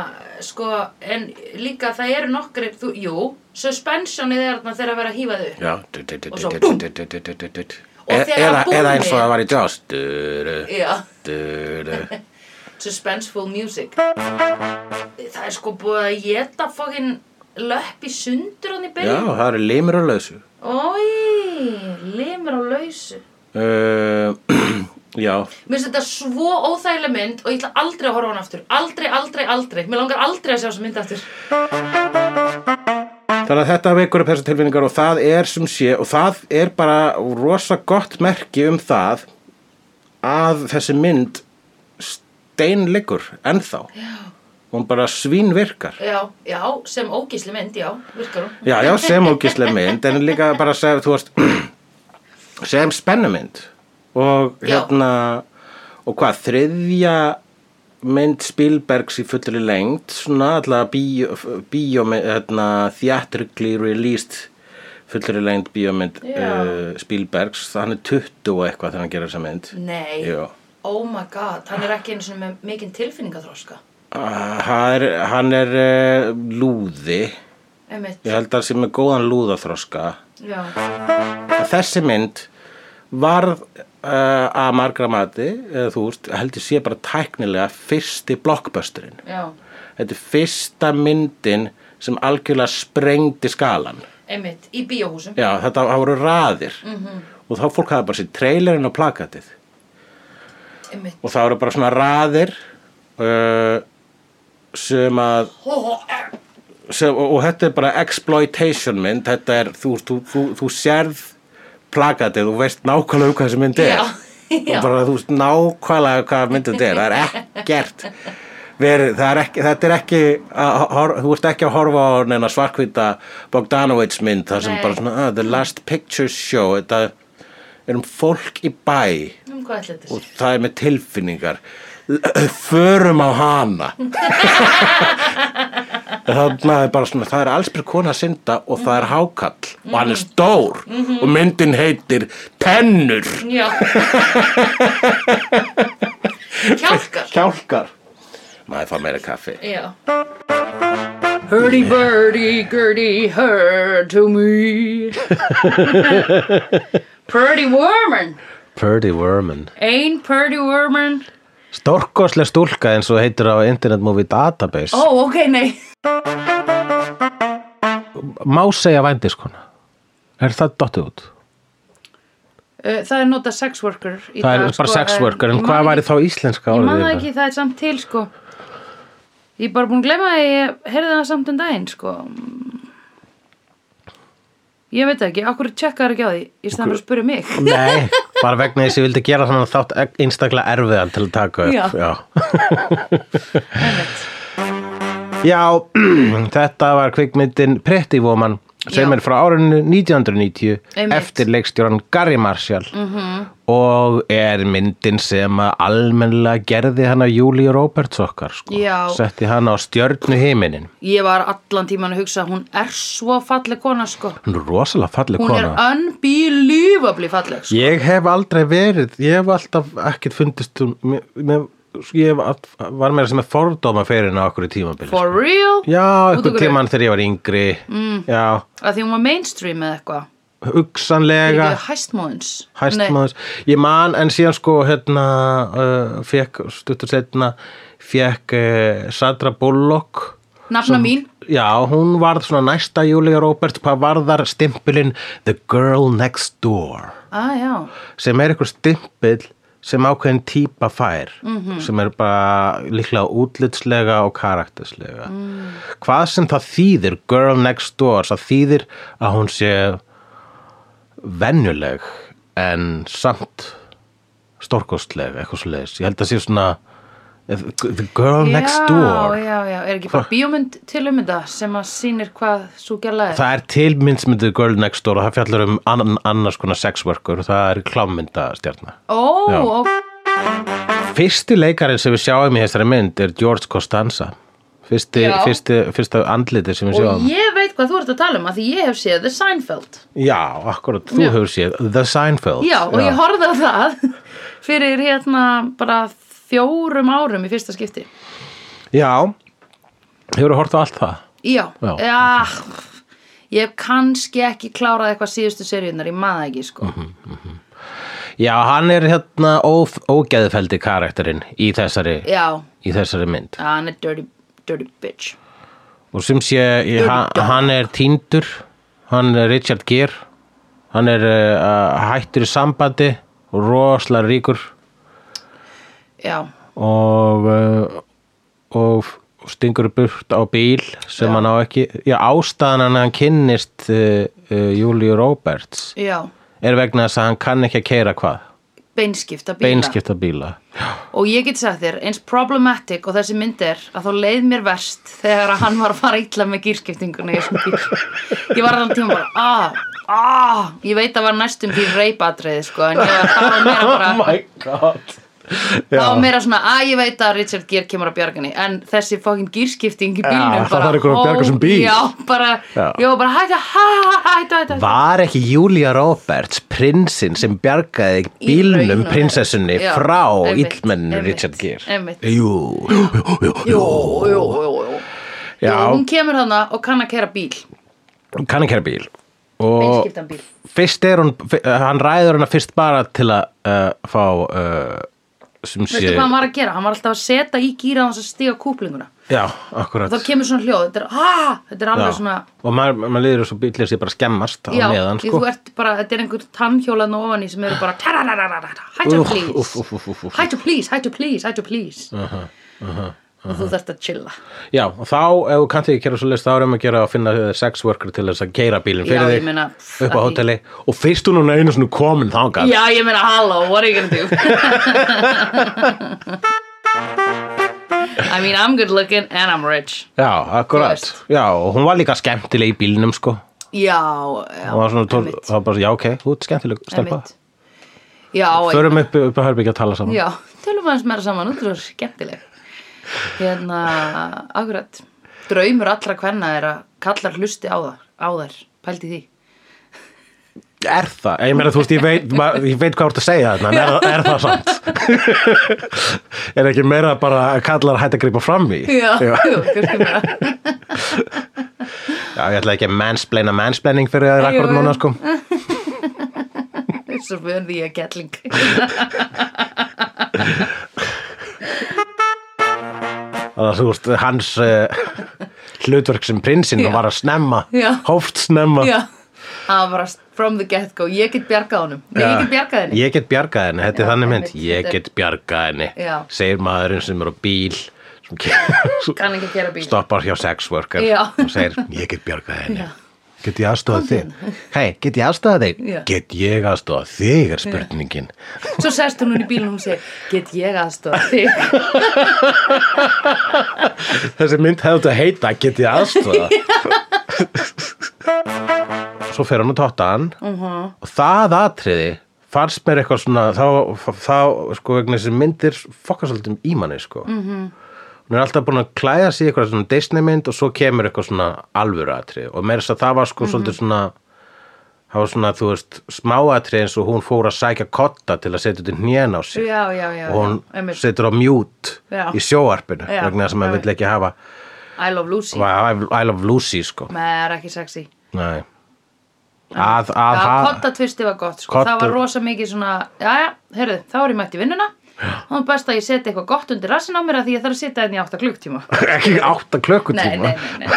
[SPEAKER 2] sko, en líka það eru nokkrir, þú, jú, suspensionið er þarna þegar að vera að hífa þau upp.
[SPEAKER 3] Já du- du- du-
[SPEAKER 2] Og svo
[SPEAKER 3] du-
[SPEAKER 2] búmm.
[SPEAKER 3] du- du- du- du- du- du- du.
[SPEAKER 2] Og
[SPEAKER 3] E-
[SPEAKER 2] þegar
[SPEAKER 3] Eða
[SPEAKER 2] búmmið-
[SPEAKER 3] eða eins og það var í Jaws Du-ru,
[SPEAKER 2] Já,
[SPEAKER 3] du-ru.
[SPEAKER 2] suspenseful music. Það er sko búið að geta fokkin löpp í sundur hann í
[SPEAKER 3] Já,
[SPEAKER 2] byrjun.
[SPEAKER 3] það eru limur og lausu
[SPEAKER 2] Ói, limur á lausu.
[SPEAKER 3] Uh, Já,
[SPEAKER 2] Mér finnst þetta svo óþægileg mynd og ég ætla aldrei að horfa á hann aftur. Aldrei, aldrei, aldrei. Mér langar aldrei að sjá þessa mynd aftur.
[SPEAKER 3] þannig að þetta veikur upp þessar tilfinningar og það er sem sé og það er bara rosa gott merki um það að þessi mynd steinleikur ennþá Já. hún bara svínvirkar
[SPEAKER 2] Já, já, sem ógísli mynd, já, virkar hún.
[SPEAKER 3] Já, já, sem ógislega mynd en líka bara sem, þú veist sem spennumynd og
[SPEAKER 2] Já.
[SPEAKER 3] hérna og hvað, þriðja mynd Spielbergs í fullri lengd svona alltaf bíó, bíó hérna, theatrically released fullri lengd bíómynd
[SPEAKER 2] Já.
[SPEAKER 3] uh, Spielbergs, hann er 20 og eitthvað þegar hann gerir þessa mynd
[SPEAKER 2] Nei.
[SPEAKER 3] Jú.
[SPEAKER 2] Oh my god, hann er ekki einu sinni með mikinn tilfinningaþróska.
[SPEAKER 3] Ah, Hann er, hann er uh, lúði
[SPEAKER 2] Einmitt.
[SPEAKER 3] ég held að hann sé með góðan lúðaþroska
[SPEAKER 2] Já.
[SPEAKER 3] að þessi mynd varð uh, að margra mati eða þú veist, heldur sé bara tæknilega fyrsti blockbusterinn
[SPEAKER 2] Já.
[SPEAKER 3] þetta er fyrsta myndin sem algjörlega sprengdi skalan
[SPEAKER 2] Einmitt. Í bíóhúsum.
[SPEAKER 3] já, þetta það voru raðir -hmm. og þá fólk hafði bara sér trailerinn og plakatið
[SPEAKER 2] Einmitt.
[SPEAKER 3] og það voru bara svona raðir uh, sem að sem, og, og þetta er bara exploitation mynd þetta er, þú, þú, þú, þú sérð plakatið, þú veist nákvæmlega um hvað þessi mynd er
[SPEAKER 2] Já, já.
[SPEAKER 3] og bara þú veist nákvæmlega hvað mynd þetta er það er ekkert verið, það er ekki, þetta er ekki að, hor, þú ert ekki að horfa á neina svarkvita Bogdanovich mynd þar sem
[SPEAKER 2] Nei.
[SPEAKER 3] bara svona, ah, the last pictures show þetta er um fólk í bæ
[SPEAKER 2] Um hvað ætla þetta
[SPEAKER 3] og
[SPEAKER 2] sér?
[SPEAKER 3] það er með tilfinningar förum á hana þannig að bara svona það er allsbyr kona að synda og það er hákall og hann er stór og myndin heitir tennur
[SPEAKER 2] Já. Kjálkar.
[SPEAKER 3] kjálkar maður fá meira kaffi
[SPEAKER 2] Já. Hurdy birdy gurdy her to me. Purdy woman.
[SPEAKER 3] Purdy Worman
[SPEAKER 2] Ein purdy woman.
[SPEAKER 3] stórkoslega stúlka eins og heitir á Internet Movie Database
[SPEAKER 2] Ó, ok, nei.
[SPEAKER 3] má segja vændiskona er það dottið út?
[SPEAKER 2] Uh, Það er nota sex worker í
[SPEAKER 3] það er
[SPEAKER 2] dag,
[SPEAKER 3] bara
[SPEAKER 2] sko,
[SPEAKER 3] sex worker en
[SPEAKER 2] ég man
[SPEAKER 3] hvað
[SPEAKER 1] hérna?
[SPEAKER 3] væri þá íslenska
[SPEAKER 2] Ég
[SPEAKER 3] orðið
[SPEAKER 2] man það
[SPEAKER 3] yfir það?
[SPEAKER 2] ekki, það er samt til sko Ég er bara búin að gleyma að ég heyrði það samt um daginn, sko. Ég veit það ekki, okkur tjekkaður ekki á því, í staðan að spyrja mig.
[SPEAKER 1] Nei, bara vegna þess að ég vildi gera þannig þátt einstaklega erfiðan til að taka upp. Já.
[SPEAKER 2] Einmitt.
[SPEAKER 1] Já, þetta var kvikmyndin Pretty Woman sem
[SPEAKER 2] Já.
[SPEAKER 1] er frá árinu 1990
[SPEAKER 2] Einmitt. Mhm.
[SPEAKER 1] eftir leikstjóran Gary Marshall -hmm. og er myndin sem að almennilega gerði hana Júlíu Roberts okkar sko.
[SPEAKER 2] Já.
[SPEAKER 1] setti hana á stjörnu heiminin
[SPEAKER 2] Ég var allan tíman að hugsa að hún er svo falleg kona, sko.
[SPEAKER 1] hún er rosalega falleg
[SPEAKER 2] Hún
[SPEAKER 1] kona
[SPEAKER 2] er unbelievably falleg, sko.
[SPEAKER 1] Ég hef aldrei verið, ég hef alltaf ekkert fundist um, mér- mér- ég hef, all- var meira sem er fordóma fyrir henni á okkur tímabili.
[SPEAKER 2] For real?
[SPEAKER 1] já,
[SPEAKER 2] Út af
[SPEAKER 1] einhver
[SPEAKER 2] hverju?
[SPEAKER 1] tíman þegar ég var yngri, mm. já,
[SPEAKER 2] Að því hún var mainstream eða eitthvað.
[SPEAKER 1] hugsanlega,
[SPEAKER 2] Fyrir hæstmóðins.
[SPEAKER 1] hæstmaður, ég man en síðan sko hérna, uh, fekk, stuttur setna, fekk uh, Sandra Bullock,
[SPEAKER 2] Nei, Nafna mín.
[SPEAKER 1] já, hún varð svona næsta Júlia Roberts, hvað varðar stimpulinn The Girl Next Door.
[SPEAKER 2] Ah, já.
[SPEAKER 1] sem er einhver stimpill sem ákveðin típa fær
[SPEAKER 2] Mhm.
[SPEAKER 1] sem er bara líklega útlitslega og karakterslega
[SPEAKER 2] Mm.
[SPEAKER 1] hvað sem það þýðir girl next door, það þýðir að hún sé venjuleg en samt stórkostleg, eitthvað svo leiðis ég held að sé svona eh, the girl next door
[SPEAKER 2] Já, já, já. Er ekki bara bíómynd til um þetta sem að sýnir hvað svo gæla er?
[SPEAKER 1] Það er tilmynd sem heitir Girl Next Door og það fjallar um annan, annars konar sexworkur, það er klámyndastjarnar.
[SPEAKER 2] Ó,
[SPEAKER 1] Já.
[SPEAKER 2] ó,
[SPEAKER 1] Fyrsti leikarinn sem við sjáum í þessari mynd er George Costanza Fyrsti,
[SPEAKER 2] Já.
[SPEAKER 1] fyrsti, fyrsta andliti sem við
[SPEAKER 2] og
[SPEAKER 1] sjáum
[SPEAKER 2] ég veit hvað þú ert að tala um að því ég hef séð The Seinfeld.
[SPEAKER 1] Já, akkurat, þú
[SPEAKER 2] Já.
[SPEAKER 1] hefur séð The Seinfeld
[SPEAKER 2] Já, og ég horfði á það fyrir hérna bara fjórum árum í fyrsta skipti.
[SPEAKER 1] Já, hefur hort á allt það
[SPEAKER 2] Já,
[SPEAKER 1] Já.
[SPEAKER 2] já ég hef kannski ekki klárað eitthvað síðustu seríunar, ég maða ekki sko.
[SPEAKER 1] Já, hann er hérna óf, ógeðfeldi karakterinn í þessari,
[SPEAKER 2] Já,
[SPEAKER 1] í þessari mynd
[SPEAKER 2] já, hann er dirty, dirty bitch.
[SPEAKER 1] Og sem sé, ég, hann, hann er týndur Hann er Richard Gere Hann er uh, hættur í sambandi og Roslar ríkur
[SPEAKER 2] Já,
[SPEAKER 1] og, uh, og stingur burt á bíl sem hann á ekki já, ástæðan hann að hann kynnist uh, uh, Júlíu Roberts
[SPEAKER 2] já,
[SPEAKER 1] er vegna þess að hann kann ekki að keira hvað
[SPEAKER 2] beinskipta bíla.
[SPEAKER 1] beinskipta bíla
[SPEAKER 2] Og ég get sagt þér, eins problematic og þessi mynd er að þá leið mér verst þegar að hann var að fara illa með gýrskiptinguna í þessum bíl. Ég var allan tíma bara, ah, ah, ég veit að var næstum því reypatriði sko, en ég var, það var meira bara...
[SPEAKER 1] my god
[SPEAKER 2] Já. Það var meira svona að ég veit að Richard Gere kemur að bjarga henni en þessi fokkin gýrskipting í bílnum
[SPEAKER 1] Já, það þarf einhver að
[SPEAKER 2] ó,
[SPEAKER 1] bjarga þessum bíl.
[SPEAKER 2] Já, bara,
[SPEAKER 1] Já.
[SPEAKER 2] já, bara hætta, hætta, hætta, hætta
[SPEAKER 1] Var ekki Júlia Roberts prinsinn sem bjargaði bílnum
[SPEAKER 2] rauninni.
[SPEAKER 1] prinsessunni
[SPEAKER 2] Já,
[SPEAKER 1] frá
[SPEAKER 2] einmitt,
[SPEAKER 1] illmenninu
[SPEAKER 2] einmitt,
[SPEAKER 1] Richard Gere?
[SPEAKER 2] einmitt.
[SPEAKER 1] Jú, jú, jú, jú.
[SPEAKER 2] Jú, jú, jú, jú
[SPEAKER 1] Já.
[SPEAKER 2] Jú, Hún kemur hana og kann að kera bíl
[SPEAKER 1] Kann ekki að bíl. Og
[SPEAKER 2] Beinskiptan bíl
[SPEAKER 1] fyrst er hún f- eh, hann ræður hana fyrst bara til að uh, fá uh, sem
[SPEAKER 2] Veistu
[SPEAKER 1] sé
[SPEAKER 2] hvað hann var að gera? Hann var alltaf að setja í gíra hans að stíga kúplinguna
[SPEAKER 1] já,
[SPEAKER 2] og
[SPEAKER 1] akkurat
[SPEAKER 2] þá kemur svona hljóð, þetta er, ah, þetta er
[SPEAKER 1] já.
[SPEAKER 2] alveg svona
[SPEAKER 1] og maður, maður liður svo bílir sér bara skemmast á
[SPEAKER 2] Já,
[SPEAKER 1] meðan
[SPEAKER 2] því
[SPEAKER 1] sko
[SPEAKER 2] þú ert bara, þetta er einhver tannhjólan ofan í sem eru bara tararararara, hættu
[SPEAKER 1] Úff,
[SPEAKER 2] please
[SPEAKER 1] úff, úff, úff, úff, úff.
[SPEAKER 2] hættu please, hættu please, hættu please og þú þarft að chilla
[SPEAKER 1] já, og þá ef þú kannt ekki gera svo leist þá erum að gera að finna eh, sex worker til þess að keira bílinn
[SPEAKER 2] Já,
[SPEAKER 1] fyrir
[SPEAKER 2] ég
[SPEAKER 1] þig
[SPEAKER 2] meina,
[SPEAKER 1] upp á
[SPEAKER 2] pff, að því-
[SPEAKER 1] hóteli og fyrst hún hún einu svona komin þangað
[SPEAKER 2] Já, ég meina, hello, what are you gonna do? I mean, I'm good looking and I'm rich
[SPEAKER 1] já,
[SPEAKER 2] Þú
[SPEAKER 1] akkurat
[SPEAKER 2] veist.
[SPEAKER 1] já, og hún var líka skemmtileg í bílnum sko
[SPEAKER 2] Já, já,
[SPEAKER 1] hún var svona, tól,
[SPEAKER 2] einmitt,
[SPEAKER 1] það var bara, já, ok, þú ert skemmtileg stelpa,
[SPEAKER 2] einmitt. Já, einmitt.
[SPEAKER 1] förum upp, upp að herbyggja að tala saman
[SPEAKER 2] já, tölum aðeins meira saman, þú er skemmtileg Hérna, akkurat Draumur allra kvenna er að kallar hlusti á þær, á þær, pældi því
[SPEAKER 1] Er það? Ég meina, þú veist, ég veit, ma- ég veit hvað þú ert að segja þarna, en er, það- er það samt? er ekki meira bara að kallar hætt að grípa fram í?
[SPEAKER 2] Já,
[SPEAKER 1] Já,
[SPEAKER 2] jú, kannski meira
[SPEAKER 1] Já, ég ætla ekki að mansplaina mansplaining fyrir þér akkurat
[SPEAKER 2] Jú, Eh. jú.
[SPEAKER 1] núna, sko.
[SPEAKER 2] It's a worthy a Gatling
[SPEAKER 1] Það, þú veist, hans uh, hlutverk sem prinsinn
[SPEAKER 2] Já.
[SPEAKER 1] var að snemma,
[SPEAKER 2] Já.
[SPEAKER 1] hóft snemma.
[SPEAKER 2] Já, það var bara from the get go Ég get bjargað honum, nei, ég get bjargað henni
[SPEAKER 1] Ég get bjargað henni, þetta
[SPEAKER 2] Já,
[SPEAKER 1] er þannig mynd.
[SPEAKER 2] einmitt,
[SPEAKER 1] Ég
[SPEAKER 2] þetta er-
[SPEAKER 1] get bjargað henni,
[SPEAKER 2] Já.
[SPEAKER 1] segir maðurinn sem er á bíl, sem kemur
[SPEAKER 2] kann ekki að gera bíl
[SPEAKER 1] stoppar hjá sex worker
[SPEAKER 2] Já.
[SPEAKER 1] og segir, ég get bjargað henni get ég aðstofað þig hei, get ég aðstofað þig
[SPEAKER 2] Já.
[SPEAKER 1] get ég aðstofað þig er spurningin
[SPEAKER 2] svo sest hún hún í bílunum og hún segir get ég aðstofa þig
[SPEAKER 1] þessi mynd hefði þetta heita, get ég aðstofað svo fer hann og tóta hann -huh. og það atriði fannst mér eitthvað svona þá, þá sko vegna þessi myndir fokkast svolítið um ímanni sko mm -hmm. hún er alltaf búin að klæða sig í eitthvað svona Disney mynd og svo kemur eitthvað svona alvöru atrið og meira þess að það var sko svolítið svona það var svona þú veist smáatrið eins og hún fór að sækja kotta til að setja út í hnjén á sig
[SPEAKER 2] Já, já, já,
[SPEAKER 1] og hún
[SPEAKER 2] já, einmitt.
[SPEAKER 1] setur á mjút
[SPEAKER 2] Já.
[SPEAKER 1] í sjóarpinu
[SPEAKER 2] Já,
[SPEAKER 1] vegna þess að maður
[SPEAKER 2] einmitt.
[SPEAKER 1] vill ekki hafa
[SPEAKER 2] I love Lucy
[SPEAKER 1] Var I Love Lucy sko
[SPEAKER 2] með er ekki sexy
[SPEAKER 1] Nei Að, að
[SPEAKER 2] það
[SPEAKER 1] ha-
[SPEAKER 2] kotta tvisti var gott sko.
[SPEAKER 1] Kodda-
[SPEAKER 2] það var rosa mikið svona jæja, heyrðu, þá er ég mætt í vinnuna og hún best að ég seti eitthvað gott undir rassin á mér að því ég þarf að sitja þenni í 8 klukktíma
[SPEAKER 1] Ekki átta
[SPEAKER 2] nei,
[SPEAKER 1] klökkutíma
[SPEAKER 2] nei, nei, nei.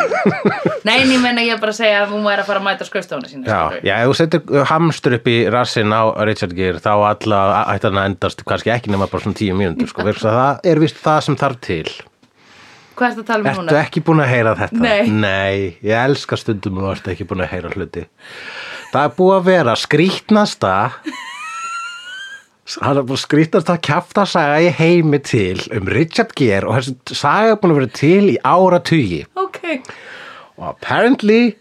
[SPEAKER 2] nei, en ég menna ég er bara að segja að hún væri að fara að mæta skröfstofuna
[SPEAKER 1] Já,
[SPEAKER 2] sína skilurðu.
[SPEAKER 1] já, ef þú setur hamstur upp í rassin á Richard Gere þá alla ætti hann að endast kannski ekki nema bara svona tíu mínútur sko, vegna þess að það er vist það sem þarf til
[SPEAKER 2] hvað ertu að tala um
[SPEAKER 1] Ertu
[SPEAKER 2] núna?
[SPEAKER 1] ekki búin að heyra þetta?
[SPEAKER 2] Nei.
[SPEAKER 1] ég elska stundum og ertu ekki búin að heyra hluti Það er búið að vera skrýtnasta Það er búið að skrýtnasta kjafta saga ég heimi til um Richard Gere og þessi saga er búin að vera til í áratugi
[SPEAKER 2] ok,
[SPEAKER 1] og apparently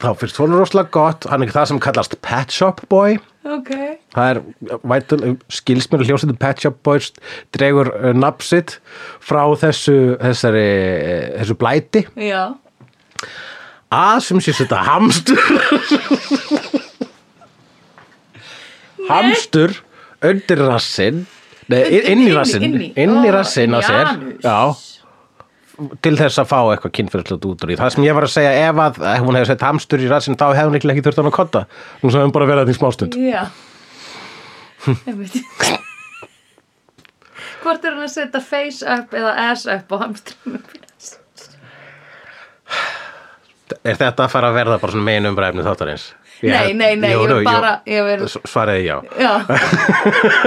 [SPEAKER 1] þá finnst honum rosalega gott hann er það sem kallast Pet Shop Boy
[SPEAKER 2] ok
[SPEAKER 1] Það er vætul, skilsmjör hljósetum Pet Shop Boys dregur uh, napsitt frá þessu, þessari, eh, þessu blæti
[SPEAKER 2] já,
[SPEAKER 1] að sem sé þetta hamstur hamstur undir rassinn nei,
[SPEAKER 2] Undir-
[SPEAKER 1] inn í
[SPEAKER 2] inn í-
[SPEAKER 1] rassinn
[SPEAKER 2] inn í.
[SPEAKER 1] inn
[SPEAKER 2] Ó,
[SPEAKER 1] í rassinn á sér
[SPEAKER 2] Janus.
[SPEAKER 1] já, til þess að fá eitthvað kynfyrirlega út úr því það sem ég var að segja ef að ef hún hefði sett hamstur í rassinn þá hefði hún líklega ekki þurft hann að kotta hún sagði hún bara verið að því smástund
[SPEAKER 2] já einmitt hvort er hann að setja face up eða ass up á hamstrumum
[SPEAKER 1] er þetta að fara að verða bara svona megin umræfni þáttarins Ég-
[SPEAKER 2] Nei, nei, nei,
[SPEAKER 1] jú,
[SPEAKER 2] ég
[SPEAKER 1] nú,
[SPEAKER 2] vil
[SPEAKER 1] jú.
[SPEAKER 2] bara- ég vil-
[SPEAKER 1] S- svaraði já
[SPEAKER 2] já,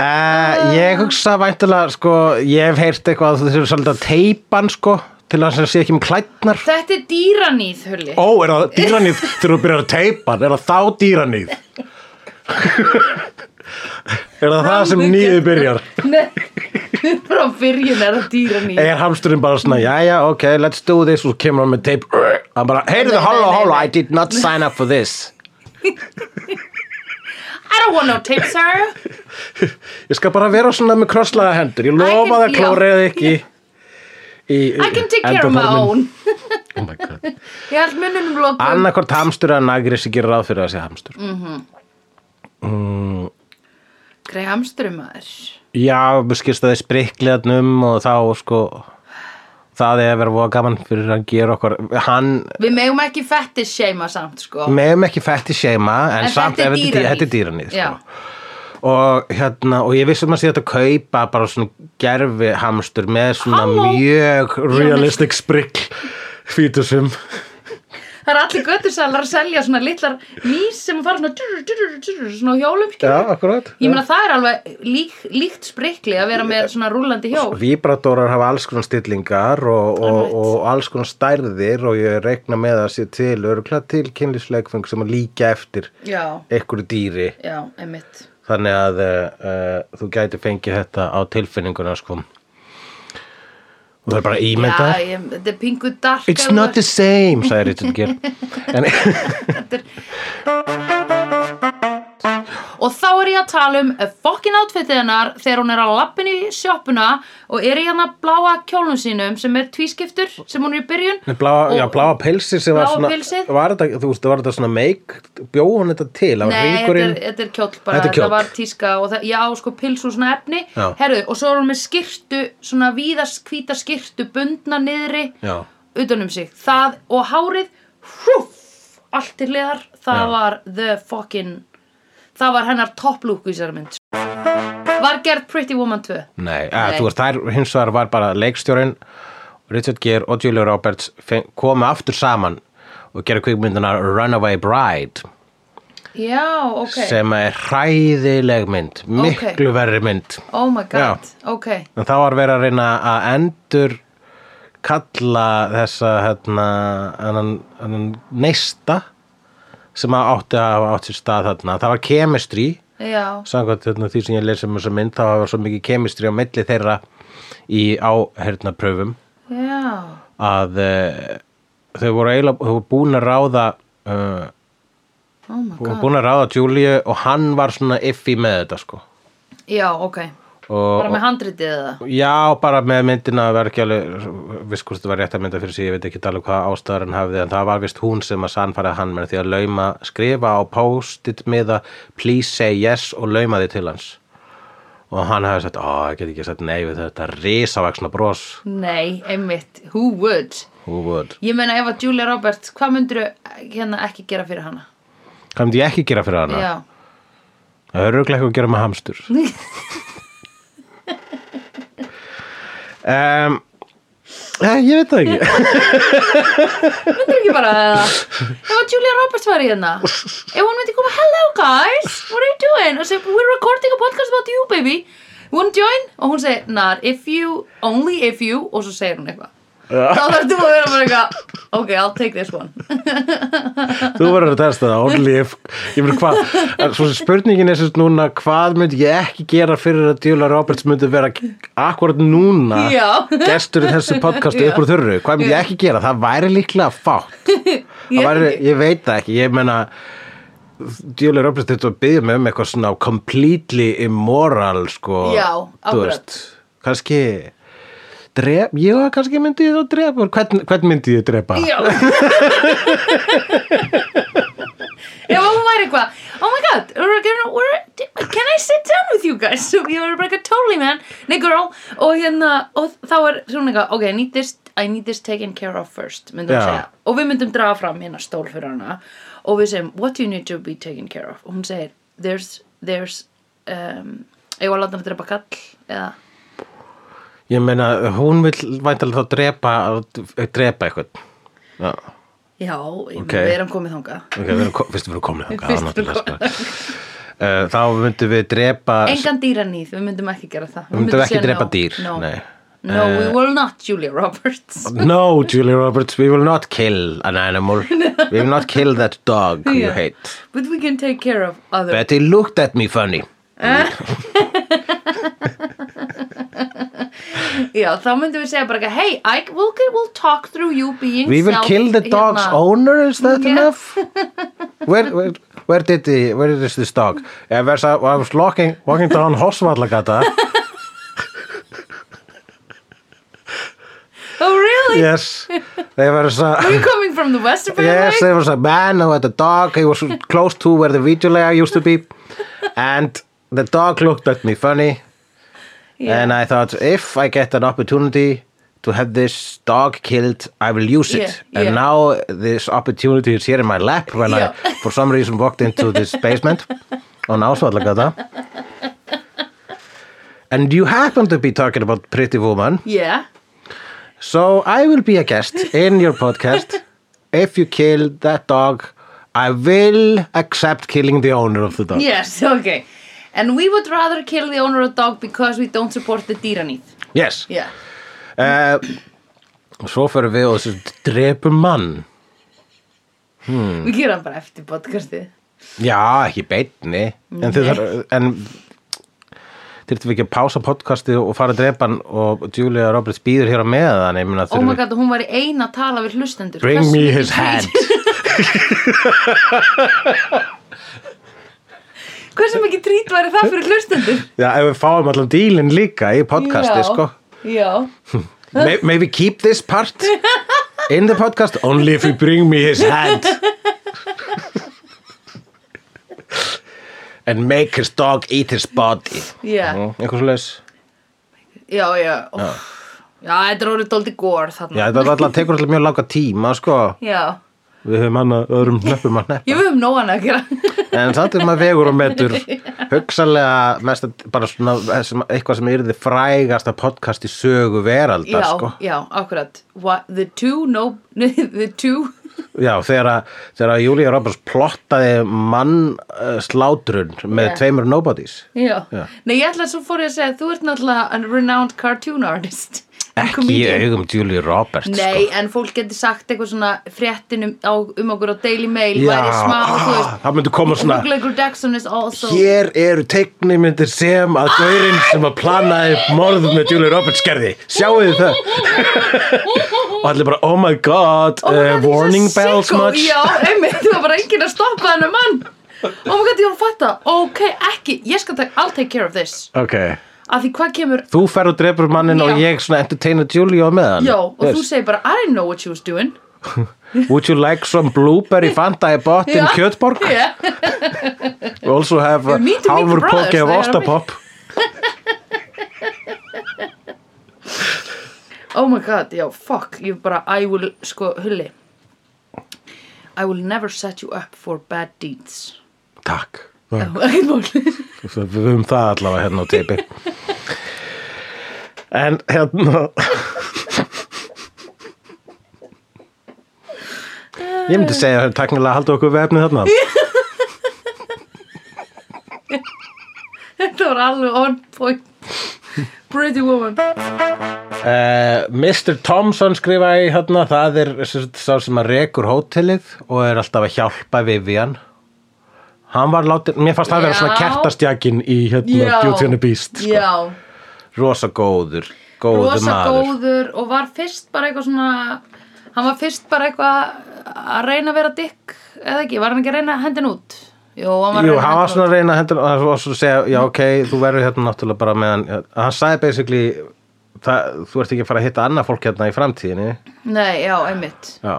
[SPEAKER 2] Ah.
[SPEAKER 1] Uh, ég hugsa væntulega, sko, ég hef heyrt eitthvað að þú þurfir svolítið að teipa hann, sko, til að það sé ekki um klætnar.
[SPEAKER 2] þetta er dýranýð hulli
[SPEAKER 1] Ó, er það dýranýð þegar þú byrjar að teipa hann? Er það þá dýranýð? er það það sem nýðið byrjar?
[SPEAKER 2] Nei, frá byrjun er það dýra ný
[SPEAKER 1] Er hamsturinn bara svona, jæja, ok, let's do this, og svo kemur hann með teip. Hann bara, heyrðu,
[SPEAKER 2] Nei, nei,
[SPEAKER 1] holla,
[SPEAKER 2] nei,
[SPEAKER 1] holla,
[SPEAKER 2] nei.
[SPEAKER 1] I did not sign up for this.
[SPEAKER 2] I don't want no tape, sir
[SPEAKER 1] Ég skal bara vera svona með krosslaða hendur. Ég lofa
[SPEAKER 2] can-
[SPEAKER 1] það
[SPEAKER 2] já.
[SPEAKER 1] klóraði ekki. Í,
[SPEAKER 2] I can take care of my
[SPEAKER 1] endaþarmin.
[SPEAKER 2] own
[SPEAKER 1] Oh my god.
[SPEAKER 2] Ég held munnunum lokum
[SPEAKER 1] annarkvort hamstur eða nagri sem gerir ráð fyrir að sé hamstur
[SPEAKER 2] Mm. Grei hamsturum maður
[SPEAKER 1] já, mér skilst að þið sprikliðanum og þá sko það er að vera voða gaman fyrir að gera okkur hann,
[SPEAKER 2] Við megum ekki fettis seima samt, sko
[SPEAKER 1] meðum ekki fætti seima en,
[SPEAKER 2] En
[SPEAKER 1] samt,
[SPEAKER 2] þetta er
[SPEAKER 1] ef þetta er dý-
[SPEAKER 2] dýraníð.
[SPEAKER 1] þetta er dýranýð
[SPEAKER 2] Já.
[SPEAKER 1] sko. og hérna, og ég vissum að sé þetta kaupa bara svona gerfi hamstur með svona
[SPEAKER 2] Halló.
[SPEAKER 1] mjög realistic sprikl fítusum
[SPEAKER 2] Það er allir göttusalar að selja svona litlar mís sem fara svona durr, durr, durr, svona á hjólum, skilur
[SPEAKER 1] já, akkurat
[SPEAKER 2] Ég meina það er alveg lík, líkt sprikli að vera með svona rúlandi hjól
[SPEAKER 1] Víbratórar hafa alls konar stillingar og, og, og alls konar stærðir og ég reikna með að sé til örgla til kynlífsleikfeng sem að líka eftir
[SPEAKER 2] Já,
[SPEAKER 1] einhverju dýri
[SPEAKER 2] já, einmitt
[SPEAKER 1] þannig að uh, uh, þú gæti fengið þetta á tilfinninguna sko og það er bara ímynda
[SPEAKER 2] Já, ég, þetta er pingu dark
[SPEAKER 1] It's not the same, sagði Richard Gere en,
[SPEAKER 2] Og þá er ég að tala um fokkin átfitið hennar þegar hún er að lappin í sjoppuna og er í hérna bláa kjólnum sínum sem er tvískiptur sem hún er í byrjun.
[SPEAKER 1] en bláa, já,
[SPEAKER 2] Og-
[SPEAKER 1] bláa pilsi sem var
[SPEAKER 2] Bláa
[SPEAKER 1] svona
[SPEAKER 2] pilsið?
[SPEAKER 1] var þetta, þú veist, var þetta svona meik bjó hún þetta til, það var
[SPEAKER 2] Nei, þetta er,
[SPEAKER 1] ringurinn
[SPEAKER 2] þetta er kjóll bara,
[SPEAKER 1] Þetta er kjóll.
[SPEAKER 2] var tíska og það, já, sko, pils úr svona efni.
[SPEAKER 1] Já.
[SPEAKER 2] Herðu, og svo er hún með skirtu, svona víðas hvíta skirtu bundna niðri
[SPEAKER 1] Já.
[SPEAKER 2] utan um sig. Það og hárið, húf, allt til liðar, það
[SPEAKER 1] Já.
[SPEAKER 2] var the fucking, það var hennar topplúk í sér mynd. Var gerð Pretty Woman 2.
[SPEAKER 1] Nei, að,
[SPEAKER 2] Nei.
[SPEAKER 1] Ah, þú veist, þær hins vegar var bara leikstjórinn, Richard Gere og Julia Roberts feng- komu aftur saman og gera kvikmyndina Runaway Bride
[SPEAKER 2] já, ok
[SPEAKER 1] sem að er hræðileg mynd miklu verri mynd
[SPEAKER 2] oh my god, ok
[SPEAKER 1] en þá var verið að reyna að endur kalla þessa hérna, hennan, hennan neista sem að átti að hafa átt sér stað þarna það var chemistry
[SPEAKER 2] já,
[SPEAKER 1] samkvæmt hérna, því sem ég lesa um þessa mynd þá var svo mikið chemistry á milli þeirra í áherna pröfum
[SPEAKER 2] já
[SPEAKER 1] að uh, þau voru eiginlega þau voru búin að ráða uh,
[SPEAKER 2] oh my
[SPEAKER 1] Hún var
[SPEAKER 2] god,
[SPEAKER 1] búin að ráða Júlíu og hann var svona iffi með þetta sko.
[SPEAKER 2] já, ok
[SPEAKER 1] Og,
[SPEAKER 2] bara með handritið eða
[SPEAKER 1] Já, bara með myndina það var ekki alveg, viss hvort það var rétt að mynda fyrir sig, ég veit ekki alveg hvað ástæðar hann hafði en það var vist hún sem að sannfæra hann með því að lauma, skrifa á post-it með að please say yes og lauma því til hans. Og hann hafði sagt, ó, ég get ekki sagt nei við þetta risavaksna bros.
[SPEAKER 2] nei, einmitt, who would
[SPEAKER 1] Who would?
[SPEAKER 2] ég meina ef að Julia Roberts hvað myndir hérna ekki gera fyrir hana
[SPEAKER 1] Hvað myndi ég ekki gera fyrir hana?
[SPEAKER 2] já,
[SPEAKER 1] Það er auðvitað eitthvað að gera með hamstur. um, eh, ég veit það ekki.
[SPEAKER 2] myndir ekki bara eða ef að Julia Roberts væri hérna ef hún myndi koma, hello guys what are you doing, og segi we're recording a podcast about you baby, you wanna join og hún segi, not if you, only if you og svo segir hún eitthvað þá þarf þú að vera bara eitthvað ok, I'll take this one
[SPEAKER 1] Þú verður að testa það, only if, ég meina hvað, svo sem spurningin er sérst núna, hvað myndi ég ekki gera fyrir að Djúla Roberts myndi vera akkurat núna
[SPEAKER 2] Já.
[SPEAKER 1] gestur í þessu podcastu
[SPEAKER 2] Já.
[SPEAKER 1] upp úr þurru, hvað myndi ég ekki gera? Það væri líklega fátt.
[SPEAKER 2] Ég
[SPEAKER 1] Ég,
[SPEAKER 2] veit
[SPEAKER 1] væri,
[SPEAKER 2] ekki.
[SPEAKER 1] ég veit það ekki, ég meina, Djúla Roberts þetta að byggja mig um eitthvað svona completely immoral, sko.
[SPEAKER 2] Já,
[SPEAKER 1] þú
[SPEAKER 2] akkurat.
[SPEAKER 1] veist, kannski... Drep, já, kannski myndi ég þá drepa hvern, hvern myndi ég drepa?
[SPEAKER 2] Já Ef hún væri eitthvað Oh my god, we're gonna, we're, can I sit down with you guys? So ég var bara eitthvað totally man Nei girl Og hérna, og þá er svona eitthvað Ok, I need this, I need this taken care of first Myndum
[SPEAKER 1] Já.
[SPEAKER 2] við segja Og við myndum draga fram hérna stól fyrir hana Og við segjum, what do you need to be taken care of? Og hún segir, there's, there's um, Ég var að láta hann drepa kall Eða
[SPEAKER 1] Ég meina, hún vil væntalega þá drepa, drepa eitthvað. Já,
[SPEAKER 2] Já, ég
[SPEAKER 1] Ok.
[SPEAKER 2] okay. við erum komið þangað
[SPEAKER 1] ok, við erum, ko- fyrst við erum komin þangað. það
[SPEAKER 2] Fyrst við erum
[SPEAKER 1] náttúrulega, sko. Eh, Þá myndum við drepa,
[SPEAKER 2] Engan dýranýð, við myndum ekki gera það
[SPEAKER 1] Við myndum ekki
[SPEAKER 2] segja
[SPEAKER 1] drepa
[SPEAKER 2] no,
[SPEAKER 1] dýr,
[SPEAKER 2] No,
[SPEAKER 1] nei. Eh.
[SPEAKER 2] no we will not Julia Roberts
[SPEAKER 1] no, Julia Roberts, we will not kill an animal. We will not kill that dog you
[SPEAKER 2] Yeah.
[SPEAKER 1] hate.
[SPEAKER 2] But we can take care of other
[SPEAKER 1] Betty looked at me funny.
[SPEAKER 2] Já, þá myndum við segja bara eitthvað, Hey, I, we'll, we'll talk through you being
[SPEAKER 1] We will
[SPEAKER 2] self-
[SPEAKER 1] kill the dog's Oh.
[SPEAKER 2] hérna,
[SPEAKER 1] owner, is that
[SPEAKER 2] Yeah.
[SPEAKER 1] enough? Where, where, where did he, where is this dog? I was, I was walking, walking down Hosvallagata.
[SPEAKER 2] Oh really?
[SPEAKER 1] Yes, they were so...
[SPEAKER 2] Are you coming from the western
[SPEAKER 1] Yes,
[SPEAKER 2] family?
[SPEAKER 1] there was a man who had a dog. He was close to where the video layer used to be. And the dog looked at me funny.
[SPEAKER 2] Yeah.
[SPEAKER 1] And I thought, if I get an opportunity to have this dog killed, I will use it.
[SPEAKER 2] Yeah,
[SPEAKER 1] and
[SPEAKER 2] yeah.
[SPEAKER 1] now this opportunity is here in my lap when I,
[SPEAKER 2] Yeah.
[SPEAKER 1] for some reason, walked into this basement on Ásvallagata. And you happen to be talking about Pretty Woman.
[SPEAKER 2] Yeah
[SPEAKER 1] So I will be a guest in your podcast. if you kill that dog, I will accept killing the owner of the dog.
[SPEAKER 2] Yes, okay And we would rather kill the owner of dog because we don't support the dýranýð
[SPEAKER 1] Yes.
[SPEAKER 2] Yeah
[SPEAKER 1] Uh, svo fyrir við og þessu drepum mann. Hmm.
[SPEAKER 2] Við gerum bara eftir podcastið
[SPEAKER 1] Já, ekki beinni. En þið þarf, en þyrftum við ekki að pása podcastið og fara að drepa hann og Julia Roberts býður hér á meðan. ég meina,
[SPEAKER 2] Oh
[SPEAKER 1] þurfum
[SPEAKER 2] my
[SPEAKER 1] við-
[SPEAKER 2] god, hún var í eina að tala við hlustendur
[SPEAKER 1] Bring
[SPEAKER 2] Hversu
[SPEAKER 1] me
[SPEAKER 2] mikið
[SPEAKER 1] his
[SPEAKER 2] tweet-
[SPEAKER 1] hand.
[SPEAKER 2] Hversu mikið trýt væri það fyrir hlustendur?
[SPEAKER 1] Já, ef við fáum allan dílinn líka í podcastið,
[SPEAKER 2] Já,
[SPEAKER 1] sko.
[SPEAKER 2] Já
[SPEAKER 1] May, may we keep this part in the podcast only if you bring me his hand and make his dog eat his body
[SPEAKER 2] Já,
[SPEAKER 1] mm, eitthvað svo leis
[SPEAKER 2] já, já Ó, Já, þetta er orðið dóldi gór þarna
[SPEAKER 1] já þetta var alltaf tekur alltaf mjög langa tíma sko
[SPEAKER 2] Já,
[SPEAKER 1] við höfum hann að öðrum hlöpum að
[SPEAKER 2] ég
[SPEAKER 1] nefna
[SPEAKER 2] við um nóan að gera
[SPEAKER 1] en samt er maður vegur og metur hugsalega mest að- bara svona eh, sem, eitthvað sem yrði frægasta podcast í sögu veraldar
[SPEAKER 2] Já,
[SPEAKER 1] sko
[SPEAKER 2] já, akkurat What, The two, no, the two
[SPEAKER 1] já, þegar að, þegar að Julia Roberts plottaði mann uh, slátrun með
[SPEAKER 2] Já.
[SPEAKER 1] tveimur nobodies
[SPEAKER 2] Já.
[SPEAKER 1] Já.
[SPEAKER 2] Nei, ég ætla að svo fór ég að segja þú ert náttúrulega a renowned cartoon artist.
[SPEAKER 1] ekki sko. í
[SPEAKER 2] Comedian.
[SPEAKER 1] augum Julia Roberts sko.
[SPEAKER 2] Nei, en fólk getur sagt eitthvað svona fréttin um, á, um okkur á Daily Mail,
[SPEAKER 1] Já,
[SPEAKER 2] væri smá,
[SPEAKER 1] ah,
[SPEAKER 2] þú veist.
[SPEAKER 1] það myndi koma svona-
[SPEAKER 2] Hugleikur Jackson is also...
[SPEAKER 1] sko. hér eru teiknimyndir sem að gaurinn sem að planaði morð með Julia Roberts gerði sjáu þið það og allir bara oh my god
[SPEAKER 2] Oh
[SPEAKER 1] uh,
[SPEAKER 2] my God, he's a
[SPEAKER 1] warning
[SPEAKER 2] sicko.
[SPEAKER 1] bells much
[SPEAKER 2] Já, einmitt, það var enginn að stoppa hennar mann. Oh my god, ég var að fatta. Ok, ekki, ég skal taka, I'll take care of this.
[SPEAKER 1] ok,
[SPEAKER 2] Af því hvað kemur
[SPEAKER 1] þú fer og drefur mannin og
[SPEAKER 2] Já.
[SPEAKER 1] ég svona entertaina Julia á meðan
[SPEAKER 2] Já, og þú
[SPEAKER 1] Yes.
[SPEAKER 2] segir bara, I didn't know what she was doing
[SPEAKER 1] would you like some blueberry fanta í bottin
[SPEAKER 2] Já.
[SPEAKER 1] kjötborg
[SPEAKER 2] yeah.
[SPEAKER 1] We also have a
[SPEAKER 2] You need to meet
[SPEAKER 1] hálfur
[SPEAKER 2] the
[SPEAKER 1] poki
[SPEAKER 2] brothers,
[SPEAKER 1] af
[SPEAKER 2] they are
[SPEAKER 1] ostapopp
[SPEAKER 2] Oh my god, já, fuck Ég bara, I will, sko, hulli I will never set you up for bad deeds
[SPEAKER 1] takk
[SPEAKER 2] Já, Ekkert mál
[SPEAKER 1] Svo við höfum það allavega hérna á teipi en hérna ég myndi segja að taknilega halda okkur við efnið þarna
[SPEAKER 2] Þetta var alveg on point Pretty woman
[SPEAKER 1] uh, Mr. Thompson skrifaði hérna, það er sem sagt sá sem að rekur hótelið og er alltaf að hjálpa Vivian hann var látið, mér fannst það að vera svona
[SPEAKER 2] Já.
[SPEAKER 1] kertastjakin í hérna Beauty and the Beast sko.
[SPEAKER 2] Já,
[SPEAKER 1] rosa góður, góður
[SPEAKER 2] rosa
[SPEAKER 1] maður
[SPEAKER 2] góður Og var fyrst bara eitthvað svona Hann var fyrst bara eitthvað að reyna að vera dikk Eða ekki, var hann ekki að reyna hendin út Jó, hann var að
[SPEAKER 1] Jú,
[SPEAKER 2] reyna að
[SPEAKER 1] hann
[SPEAKER 2] henda
[SPEAKER 1] var svona að
[SPEAKER 2] henni út.
[SPEAKER 1] reyna að hendur og svo segja, já ok, þú verður hérna náttúrulega bara meðan, hann sagði basically það, þú ert ekki að fara að hitta annað fólk hérna í framtíðinni
[SPEAKER 2] Nei, já, einmitt
[SPEAKER 1] já.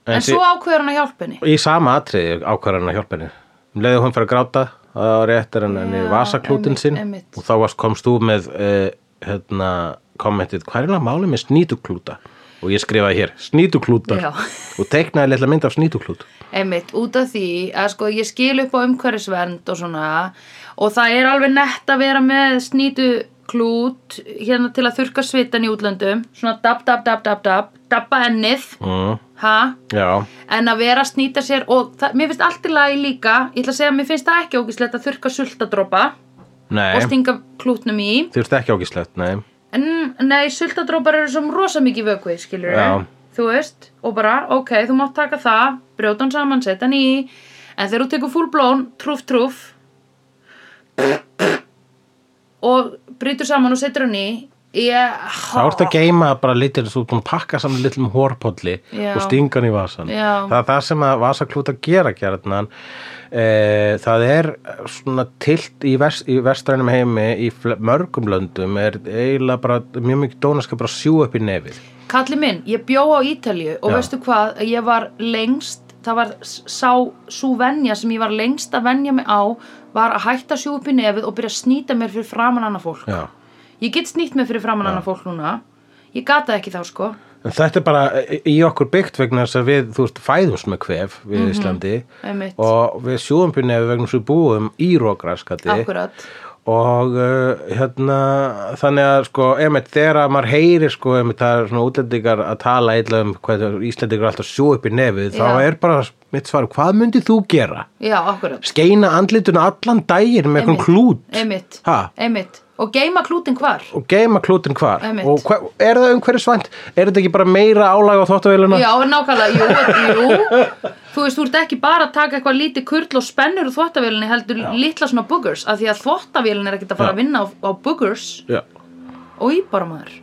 [SPEAKER 2] En,
[SPEAKER 1] en
[SPEAKER 2] svo ákveður hann að hjálpa henni
[SPEAKER 1] í sama atriði ákvarðan að hjálpa henni um leiðu hún fyrir að gráta það var réttar en henni
[SPEAKER 2] Já,
[SPEAKER 1] vasaklútin
[SPEAKER 2] einmitt,
[SPEAKER 1] sinn
[SPEAKER 2] einmitt.
[SPEAKER 1] og þá varst, komst þú með uh, hérna, kommentið, hvað er það málið með snýtuklúta og ég skrifaði hér, snýtuklútar
[SPEAKER 2] Já.
[SPEAKER 1] og teiknaði litla mynd af snýtuklút
[SPEAKER 2] einmitt, út af því að sko ég skil upp á umhverfisvernd og svona og það er alveg nett að vera með snýtu klút hérna til að þurka svitan í útlöndum svona dab, dab, dab, dab, dab dabba ennið,
[SPEAKER 1] mm,
[SPEAKER 2] ha
[SPEAKER 1] já, en
[SPEAKER 2] en að vera að snýta sér og það, mér finnst allt í lagi líka, ég ætla að segja að mér finnst það ekki ógislegt að þurka sultadropa og
[SPEAKER 1] nei,
[SPEAKER 2] stinga klútnum í
[SPEAKER 1] þurfti ekki ágislegt, nei
[SPEAKER 2] en nei, sultadrópar eru sem rosa mikið vökvi, skilur
[SPEAKER 1] Já.
[SPEAKER 2] þú veist, og bara, ok, þú mátt taka það brjóta hann saman, setja hann í en þegar þú tekur full blown, trúf, trúf og brýtur saman og setur hann í ég,
[SPEAKER 1] Þá ertu að geima bara litil, þú ert búin að pakka saman litlum hórpolli
[SPEAKER 2] Já.
[SPEAKER 1] og stinga hann í vasan.
[SPEAKER 2] Já.
[SPEAKER 1] Það er það sem að vasaklúta gera gerðnan. E, það er svona tilt í, vest, í vestrænum heimi í fle- mörgum löndum er eiginlega bara mjög mikið dónaska bara sjú upp í nefið.
[SPEAKER 2] Kalli minn, ég bjó á Ítalju og
[SPEAKER 1] Já.
[SPEAKER 2] veistu hvað, ég var lengst það var s- sá sú venja sem ég var lengst að venja mig á var að hætta að sjú upp í nefið og byrja að snýta mér fyrir framan annað fólk
[SPEAKER 1] Já.
[SPEAKER 2] ég get snýtt mér fyrir framan annað fólk núna ég gata ekki þá sko
[SPEAKER 1] En þetta er bara í- í okkur byggt vegna þess að við, þú veist, fæðumst með kvef við Íslandi
[SPEAKER 2] Mhm. Einmitt.
[SPEAKER 1] og við sjúum upp í nefið vegna þess að við búum í rókraskati.
[SPEAKER 2] akkurat
[SPEAKER 1] og uh, hérna þannig að sko, einmitt þegar að maður heyrir sko, einmitt það er svona útlendingar að tala eitthvað um hvað það- Íslendingar er alltaf að sjú upp í nefið, þá
[SPEAKER 2] Já.
[SPEAKER 1] er bara mitt svar, hvað myndið þú gera?
[SPEAKER 2] já, akkurat
[SPEAKER 1] Skeina andlituna allan dægin með eitthvað
[SPEAKER 2] Einmitt.
[SPEAKER 1] klút
[SPEAKER 2] einmitt,
[SPEAKER 1] Ha?
[SPEAKER 2] einmitt og geima klútin hvar
[SPEAKER 1] og geima klútin hvar
[SPEAKER 2] Einmitt.
[SPEAKER 1] og hva, er það umhverju svænt? Er þetta ekki bara meira álag á þóttavéluna?
[SPEAKER 2] já, nákvæmlega, jú, jú þú veist, þú ert ekki bara að taka eitthvað lítið kurl og spennur úr þvottavélinni heldur litla svona boogers, af því að þvottavélin er ekkert að fara
[SPEAKER 1] Já.
[SPEAKER 2] að vinna á, á boogers
[SPEAKER 1] Já.
[SPEAKER 2] og í bara maður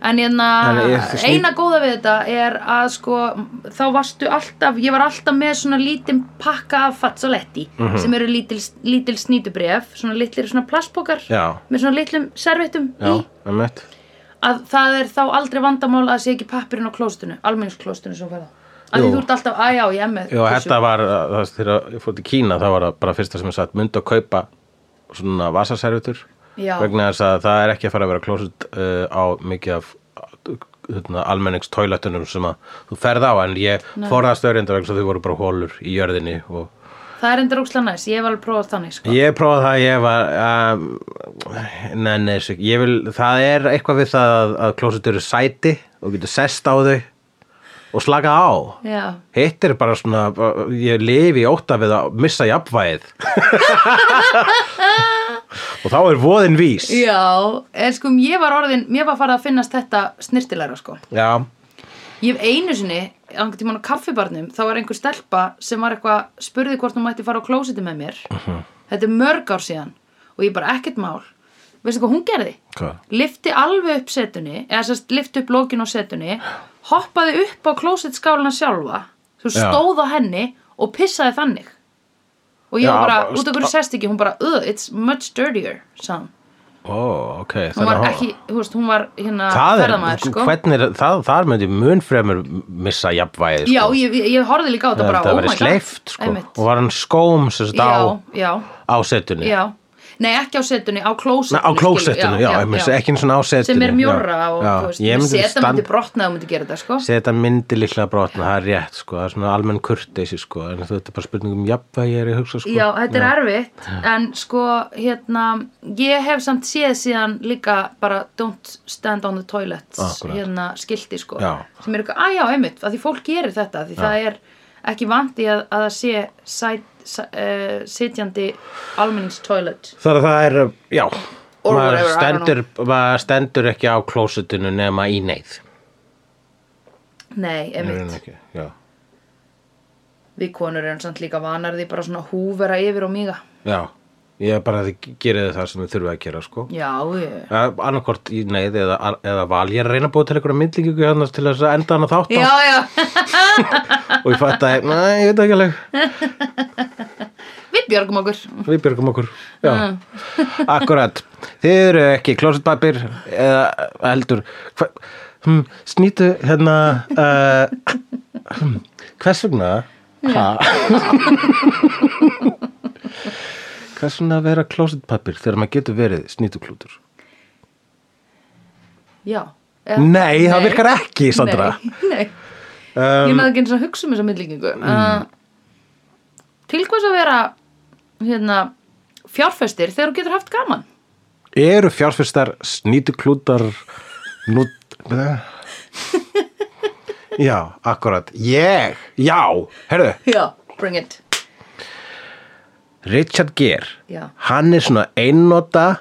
[SPEAKER 2] en hérna,
[SPEAKER 1] En ég- þú snýr-
[SPEAKER 2] eina góða við þetta er að sko þá varstu alltaf, ég var alltaf með svona lítinn pakka af fazzaletti
[SPEAKER 1] Mhm.
[SPEAKER 2] sem eru lítil, lítil snýtubref svona litlir svona plastbókar
[SPEAKER 1] Já.
[SPEAKER 2] með svona litlum servettum
[SPEAKER 1] Já,
[SPEAKER 2] í
[SPEAKER 1] einmitt.
[SPEAKER 2] að það er þá aldrei vandamál að sé ekki pappirinn á klóstinu, almenningsklóstinu svo verða. Að því
[SPEAKER 1] Jú.
[SPEAKER 2] þú ert alltaf, að já, ég er með
[SPEAKER 1] Já,
[SPEAKER 2] tussu."
[SPEAKER 1] þetta var, uh, það, þegar ég fór til Kína þá var það bara fyrsta sem ég satt mynd að kaupa svona vasaservitur
[SPEAKER 2] Já.
[SPEAKER 1] vegna þess að það er ekki að fara að vera klósit uh, á mikið af hérna, almenningstóilettunum sem að þú ferð á en ég forðast öryndar vegna þess að þau voru bara hólur í jörðinni og
[SPEAKER 2] Það er endur ókslega næst, ég hef alveg prófað þannig, sko.
[SPEAKER 1] ég prófaði það ég var um, nei, nei, þessu ekki. ég vil, það er eitthvað við það að, að klósit eru sæti og getur sest á þau og slaka á
[SPEAKER 2] Já.
[SPEAKER 1] hitt er bara svona bara- ég lifi í ótta við að missa jafnvægið og þá er voðin vís
[SPEAKER 2] Já, en sko ég var orðin, mér var farið að finnast þetta snirtilegra sko.
[SPEAKER 1] já,
[SPEAKER 2] Ég hef einu sinni, angur tímann á kaffibarnum, þá var einhver stelpa sem var eitthvað, spurði hvort hún mætti fara á klósiti með mér.
[SPEAKER 1] Mhm.
[SPEAKER 2] Þetta er mörg ár síðan og ég bara ekkert mál. Veistu hvað hún gerði?
[SPEAKER 1] Hvað?
[SPEAKER 2] Lifti alveg upp setunni, eða sérst lifti upp lókin á setunni, hoppaði upp á klósitskálina sjálfa, svo
[SPEAKER 1] Já.
[SPEAKER 2] stóð á henni og pissaði þannig. Og ég
[SPEAKER 1] Já,
[SPEAKER 2] var
[SPEAKER 1] bara-
[SPEAKER 2] bara, út af hverju sest ekki, hún bara, "Ugh, it's much dirtier, sann.
[SPEAKER 1] ó, ok
[SPEAKER 2] Hún
[SPEAKER 1] þannig
[SPEAKER 2] var
[SPEAKER 1] að hún-
[SPEAKER 2] ekki, þú veist, hún var hérna
[SPEAKER 1] það er,
[SPEAKER 2] ferðamaður, sko.
[SPEAKER 1] hvernig er, það, þar myndi mun fremur missa jafnvægið sko.
[SPEAKER 2] Já, ég, ég- ég horfði líka á þetta bara,
[SPEAKER 1] það
[SPEAKER 2] oh my
[SPEAKER 1] væri
[SPEAKER 2] god.
[SPEAKER 1] sleift sko.
[SPEAKER 2] Einmitt.
[SPEAKER 1] og var hann skóm sem sagt á,
[SPEAKER 2] Já, já,
[SPEAKER 1] á setunni
[SPEAKER 2] já. Nei, ekki á setunni, á klósettinu.
[SPEAKER 1] Na, á klósettinu, já, já, já. ekki eins og á setunni
[SPEAKER 2] Sem er mjórra
[SPEAKER 1] já,
[SPEAKER 2] og,
[SPEAKER 1] já.
[SPEAKER 2] þú veist,
[SPEAKER 1] Ég myndi
[SPEAKER 2] seta
[SPEAKER 1] stand-
[SPEAKER 2] myndi brotna og myndi gera þetta, sko.
[SPEAKER 1] Seta myndi líklega brotna, það er rétt sko, það er svona almenn kurteisi sko, en þetta er bara spurning um jafnvægi er ég að hugsa sko.
[SPEAKER 2] Já, þetta er erfitt, en sko, hérna, ég hef samt séð síðan líka bara don't stand on the toilet,
[SPEAKER 1] Akkurat.
[SPEAKER 2] hérna, skilti, sko.
[SPEAKER 1] Já.
[SPEAKER 2] Sem er eitthvað, að já, einmitt, að því fólk gerir þetta, því það er ekki vant í að, að það sé sæt, sæ, uh, sitjandi almenningstoilet.
[SPEAKER 1] Þar að það er, já,
[SPEAKER 2] Or
[SPEAKER 1] maður
[SPEAKER 2] whatever, I don't
[SPEAKER 1] stendur, maður stendur ekki á klósetinu nema í neyð.
[SPEAKER 2] Nei,
[SPEAKER 1] Í
[SPEAKER 2] einmitt.
[SPEAKER 1] raun ekki, Já,
[SPEAKER 2] Við konur erum samt líka vanar því bara svona húvera yfir og míga.
[SPEAKER 1] já, ég er bara að þið gerið það sem þið þurfið að gera sko.
[SPEAKER 2] Já, ég...
[SPEAKER 1] Annarkort í neyð eða, eða val, ég er að reyna að búa til einhverja myndlíkingu annars til þess að enda hana þátt
[SPEAKER 2] Já, já,
[SPEAKER 1] og ég fætt að, næ, ég veit ekki alveg,
[SPEAKER 2] við björgum okkur.
[SPEAKER 1] við björgum okkur, já, akkurat, þið eru ekki klósetpapir eða heldur, hva, hm, snýtu hérna, uh, hm, hvers vegna, ha, hvers vegna að vera klósetpapir þegar maður getur verið snýtuklútur?
[SPEAKER 2] Já. Eh,
[SPEAKER 1] Nei, það virkar ekki, Sandra.
[SPEAKER 2] Nei, nei. ég náðu ekki eins og að hugsa um þessa myndlíkingu
[SPEAKER 1] Mm.
[SPEAKER 2] uh, til hvers að vera hérna fjárfestir þegar þú getur haft gaman
[SPEAKER 1] Eru fjárfyrstar snýtuklútar nú... Já, akkurat. Ég, já, herðu,
[SPEAKER 2] já, bring it
[SPEAKER 1] Richard Gere,
[SPEAKER 2] Já.
[SPEAKER 1] hann er svona einnota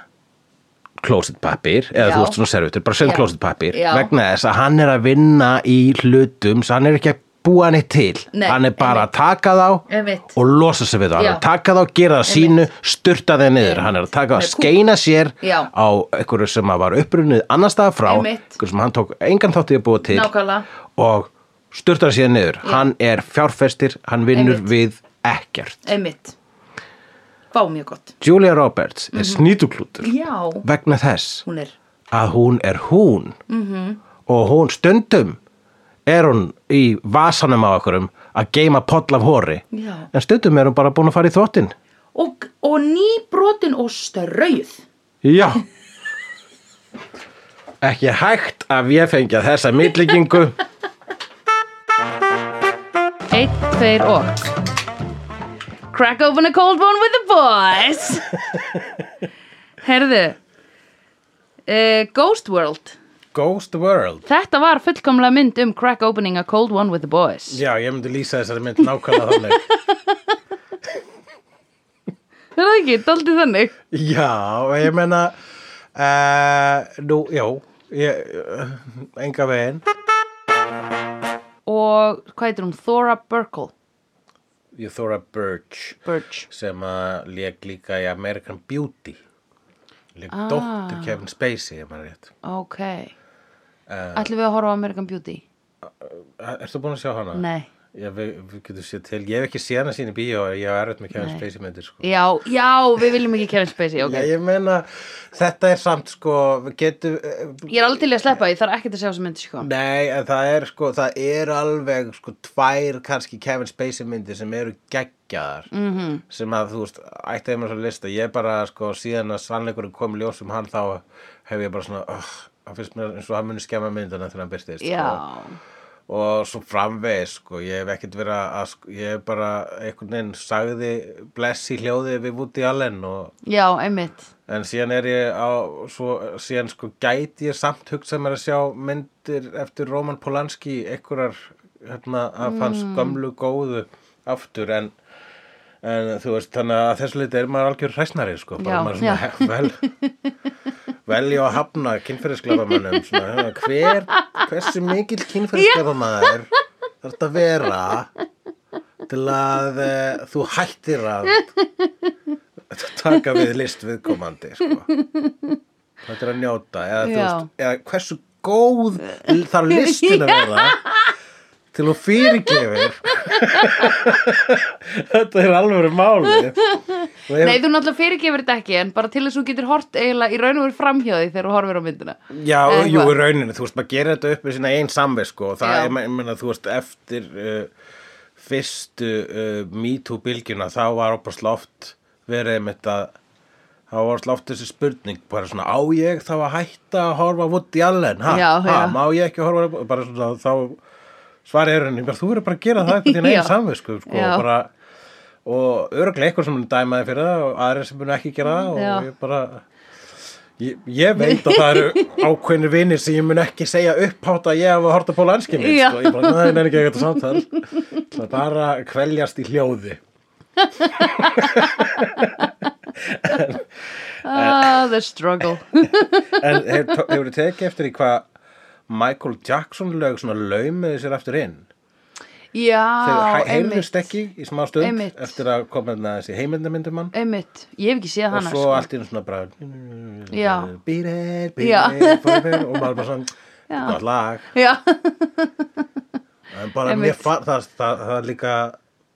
[SPEAKER 1] klósitpappir, eða
[SPEAKER 2] Já.
[SPEAKER 1] þú veist svona servitur, bara sem
[SPEAKER 2] Já.
[SPEAKER 1] klósitpappir,
[SPEAKER 2] Já.
[SPEAKER 1] vegna þess að hann er að vinna í hlutum, svo hann er ekki að búa hann eitt til,
[SPEAKER 2] Nei,
[SPEAKER 1] hann er bara að taka þá
[SPEAKER 2] Einmitt.
[SPEAKER 1] og losa sig við þá, hann er
[SPEAKER 2] Já.
[SPEAKER 1] að taka þá, gera það sínu, sturta þeir niður, hann er að taka þá,
[SPEAKER 2] Með kú-
[SPEAKER 1] skeina sér
[SPEAKER 2] Já.
[SPEAKER 1] á einhverju sem að var upprunnið annar staðar frá,
[SPEAKER 2] Einmitt.
[SPEAKER 1] einhverju sem hann tók engan þátt í að búa til
[SPEAKER 2] Nákvæmlega.
[SPEAKER 1] og sturta sér niður, hann er fjárfestir, hann vinnur við
[SPEAKER 2] Einmitt.
[SPEAKER 1] ekkert.
[SPEAKER 2] einmitt, fá mjög gott
[SPEAKER 1] Julia Roberts er snýtuklútur
[SPEAKER 2] já,
[SPEAKER 1] vegna þess
[SPEAKER 2] hún er
[SPEAKER 1] að hún er hún -hmm. og hún stundum er hún í vasanum á okkurum að geima poll af hóri
[SPEAKER 2] Já.
[SPEAKER 1] en stundum er hún bara búin að fara í þvottin
[SPEAKER 2] og, og nýbrotin og strauð
[SPEAKER 1] Já Ekki hægt að ég fengja þessa mittlíkingu
[SPEAKER 2] Eitt, tveir og Crack open a cold one with the boys Herðu uh, Ghost World
[SPEAKER 1] Ghost World
[SPEAKER 2] Þetta var fullkomlega mynd um crack opening a cold one with the boys.
[SPEAKER 1] Já, ég myndi lýsa þessari mynd nákvæmlega þannig
[SPEAKER 2] Það er það ekki, daldið þannig.
[SPEAKER 1] Já, og ég meina uh, Nú, já ég, uh, Enga veginn
[SPEAKER 2] Og hvað heitir hún? Thora Burkle.
[SPEAKER 1] Ég Thora Birch
[SPEAKER 2] Birch.
[SPEAKER 1] sem að leik líka í American Beauty leik ah. dóttur Kevin Spacey ef maður er rétt.
[SPEAKER 2] Ah, Ok.
[SPEAKER 1] Eh.
[SPEAKER 2] Ætlum við að horfa á American Beauty?
[SPEAKER 1] Eh, Ertu búin að sjá hana?
[SPEAKER 2] Nei.
[SPEAKER 1] Já, við, við getum séð til, ég hef ekki séð hana sín í bíó ég hef erfitt með Kevin Spacey myndir sko.
[SPEAKER 2] Já, já, við viljum ekki Kevin Spacey, ok.
[SPEAKER 1] Já, ég meina, þetta er samt sko, við getum eh,
[SPEAKER 2] Ég er alveg til í að sleppa, ég þarf ekkert að sjá þessa myndi, sko.
[SPEAKER 1] Nei, en það er sko, það er alveg sko tvær kannski Kevin Spacey myndir sem eru geggjaðar -hmm. sem að þú veist, ætti einhvern svo lista ég bara sko síðan að sannleikurinn kom í ljós um hann þá hef ég bara svona "Ugh, það finnst mér eins og hann muni skemma myndina þegar hann byrstist sko.
[SPEAKER 2] Já.
[SPEAKER 1] og svo framvegis sko, ég hef ekkert verið að sko, ég hef bara einhvern veginn sagði blessi hljóði við Woody Allen og
[SPEAKER 2] Já, einmitt.
[SPEAKER 1] En síðan er ég á, svo, síðan sko gæti ég samt hugsað mér að sjá myndir eftir Roman Polanski, einhverjar hérna, af hans
[SPEAKER 2] Mm.
[SPEAKER 1] gömlu góðu aftur en, en þú veist, þannig að þessu liti er maður algjör hræsnari, sko, bara
[SPEAKER 2] Já,
[SPEAKER 1] maður svona
[SPEAKER 2] já.
[SPEAKER 1] he- vel velja að hafna kynferðisglæfamönnum svona, hver, hversu mikill kynferðisglæfamæður þarf þetta að vera til að e, þú hættir að taka við list viðkomandi sko. þetta er að njóta eða, þú
[SPEAKER 2] Já.
[SPEAKER 1] veist, eða hversu góð þarf listin að vera til þú fyrirgefir þetta er alveg máli
[SPEAKER 2] Nei, þú náttúrulega fyrirgefur þetta ekki en bara til þess að þú getur hort eiginlega í raun og verið framhjóði þegar þú horfir á myndina
[SPEAKER 1] Já,
[SPEAKER 2] Eða
[SPEAKER 1] jú,
[SPEAKER 2] eitthvað.
[SPEAKER 1] í rauninu, þú veist, maður gerir þetta upp með sína einn samveg, sko, og það
[SPEAKER 2] Já.
[SPEAKER 1] er, ég meina, þú veist, eftir uh, fyrstu uh, MeToo-bylgjuna, þá var opaslega oft verið með þetta, þá var opaslega oft þessi spurning, bara svona, á ég þá að hætta að horfa á Woody Allen, ha,
[SPEAKER 2] Já,
[SPEAKER 1] ha,
[SPEAKER 2] já.
[SPEAKER 1] má ég ekki horfa, á- bara svona, þá svarið er henni, bara, þú verður bara að gera það eftir þín
[SPEAKER 2] Já.
[SPEAKER 1] einn samveg, sko, sko,
[SPEAKER 2] Já.
[SPEAKER 1] og bara, og öruglega eitthvað sem mun dæmaði fyrir það og aðrir sem mun ekki gera það og
[SPEAKER 2] Já.
[SPEAKER 1] ég bara ég, ég veit að það eru ákveðnir vinir sem ég mun ekki segja upphátt að ég hafa horta pól anskjum
[SPEAKER 2] Já.
[SPEAKER 1] og sko. ég bara, nei, nei, ekki eitthvað samtal Það er bara að kveljast í hljóði
[SPEAKER 2] Ah,
[SPEAKER 1] Eh.
[SPEAKER 2] the struggle
[SPEAKER 1] en hefur hefur tekið eftir í hvað Michael Jackson lög svona laumiði sér aftur inn
[SPEAKER 2] Já,
[SPEAKER 1] þegar heyrðust
[SPEAKER 2] einmitt,
[SPEAKER 1] ekki í smá stund
[SPEAKER 2] Einmitt.
[SPEAKER 1] eftir að koma þarna þessi heimendamyndum hann
[SPEAKER 2] einmitt Ég hef ekki séð
[SPEAKER 1] og
[SPEAKER 2] hana
[SPEAKER 1] svo
[SPEAKER 2] sko.
[SPEAKER 1] allt í einu svona bara
[SPEAKER 2] Já.
[SPEAKER 1] beat it, beat
[SPEAKER 2] Já.
[SPEAKER 1] it, forever og maður bara svona gott lag
[SPEAKER 2] Já,
[SPEAKER 1] en bara
[SPEAKER 2] Einmitt.
[SPEAKER 1] mér fann það, það, það líka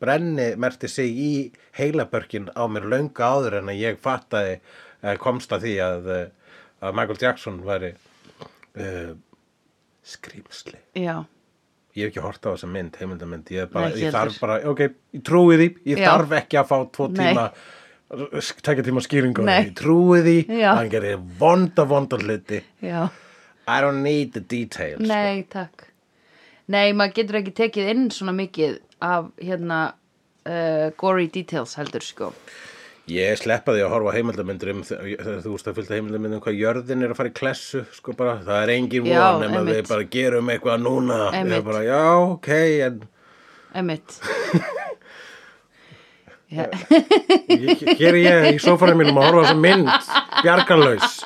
[SPEAKER 1] brenni merti sig í heilabörkin á mér löngu áður en að ég fattaði eh, komst að því að, eh, að Michael Jackson væri uh, skrýmsli
[SPEAKER 2] já,
[SPEAKER 1] ég hef ekki hort á þessa mynd, heimildamynd ég, er bara,
[SPEAKER 2] Nei, ekki
[SPEAKER 1] ég þarf
[SPEAKER 2] heldur.
[SPEAKER 1] bara, ok, ég trúi því ég
[SPEAKER 2] Já.
[SPEAKER 1] þarf ekki að fá tvo
[SPEAKER 2] Nei.
[SPEAKER 1] tíma sk- tækja tíma skýringu á
[SPEAKER 2] Nei.
[SPEAKER 1] því. ég trúi því,
[SPEAKER 2] Já.
[SPEAKER 1] að hann gerir vonda vonda hluti
[SPEAKER 2] já
[SPEAKER 1] I don't need the details
[SPEAKER 2] Nei, takk Nei, maður getur ekki tekið inn svona mikið af hérna uh, gory details heldur sko
[SPEAKER 1] Ég sleppa því að horfa á heimildarmyndir um þegar þú veist að fylgta heimildarmyndir um hvað jörðin er að fara í klessu, sko bara, það er engin
[SPEAKER 2] Já,
[SPEAKER 1] von nema
[SPEAKER 2] einmitt.
[SPEAKER 1] við bara gerum eitthvað núna. Ég
[SPEAKER 2] Einmitt.
[SPEAKER 1] er bara, já, ok, en
[SPEAKER 2] Einmitt Já,
[SPEAKER 1] ég, hér er ég í sófæri mínum að horfa á þessa mynd, bjargarlaus.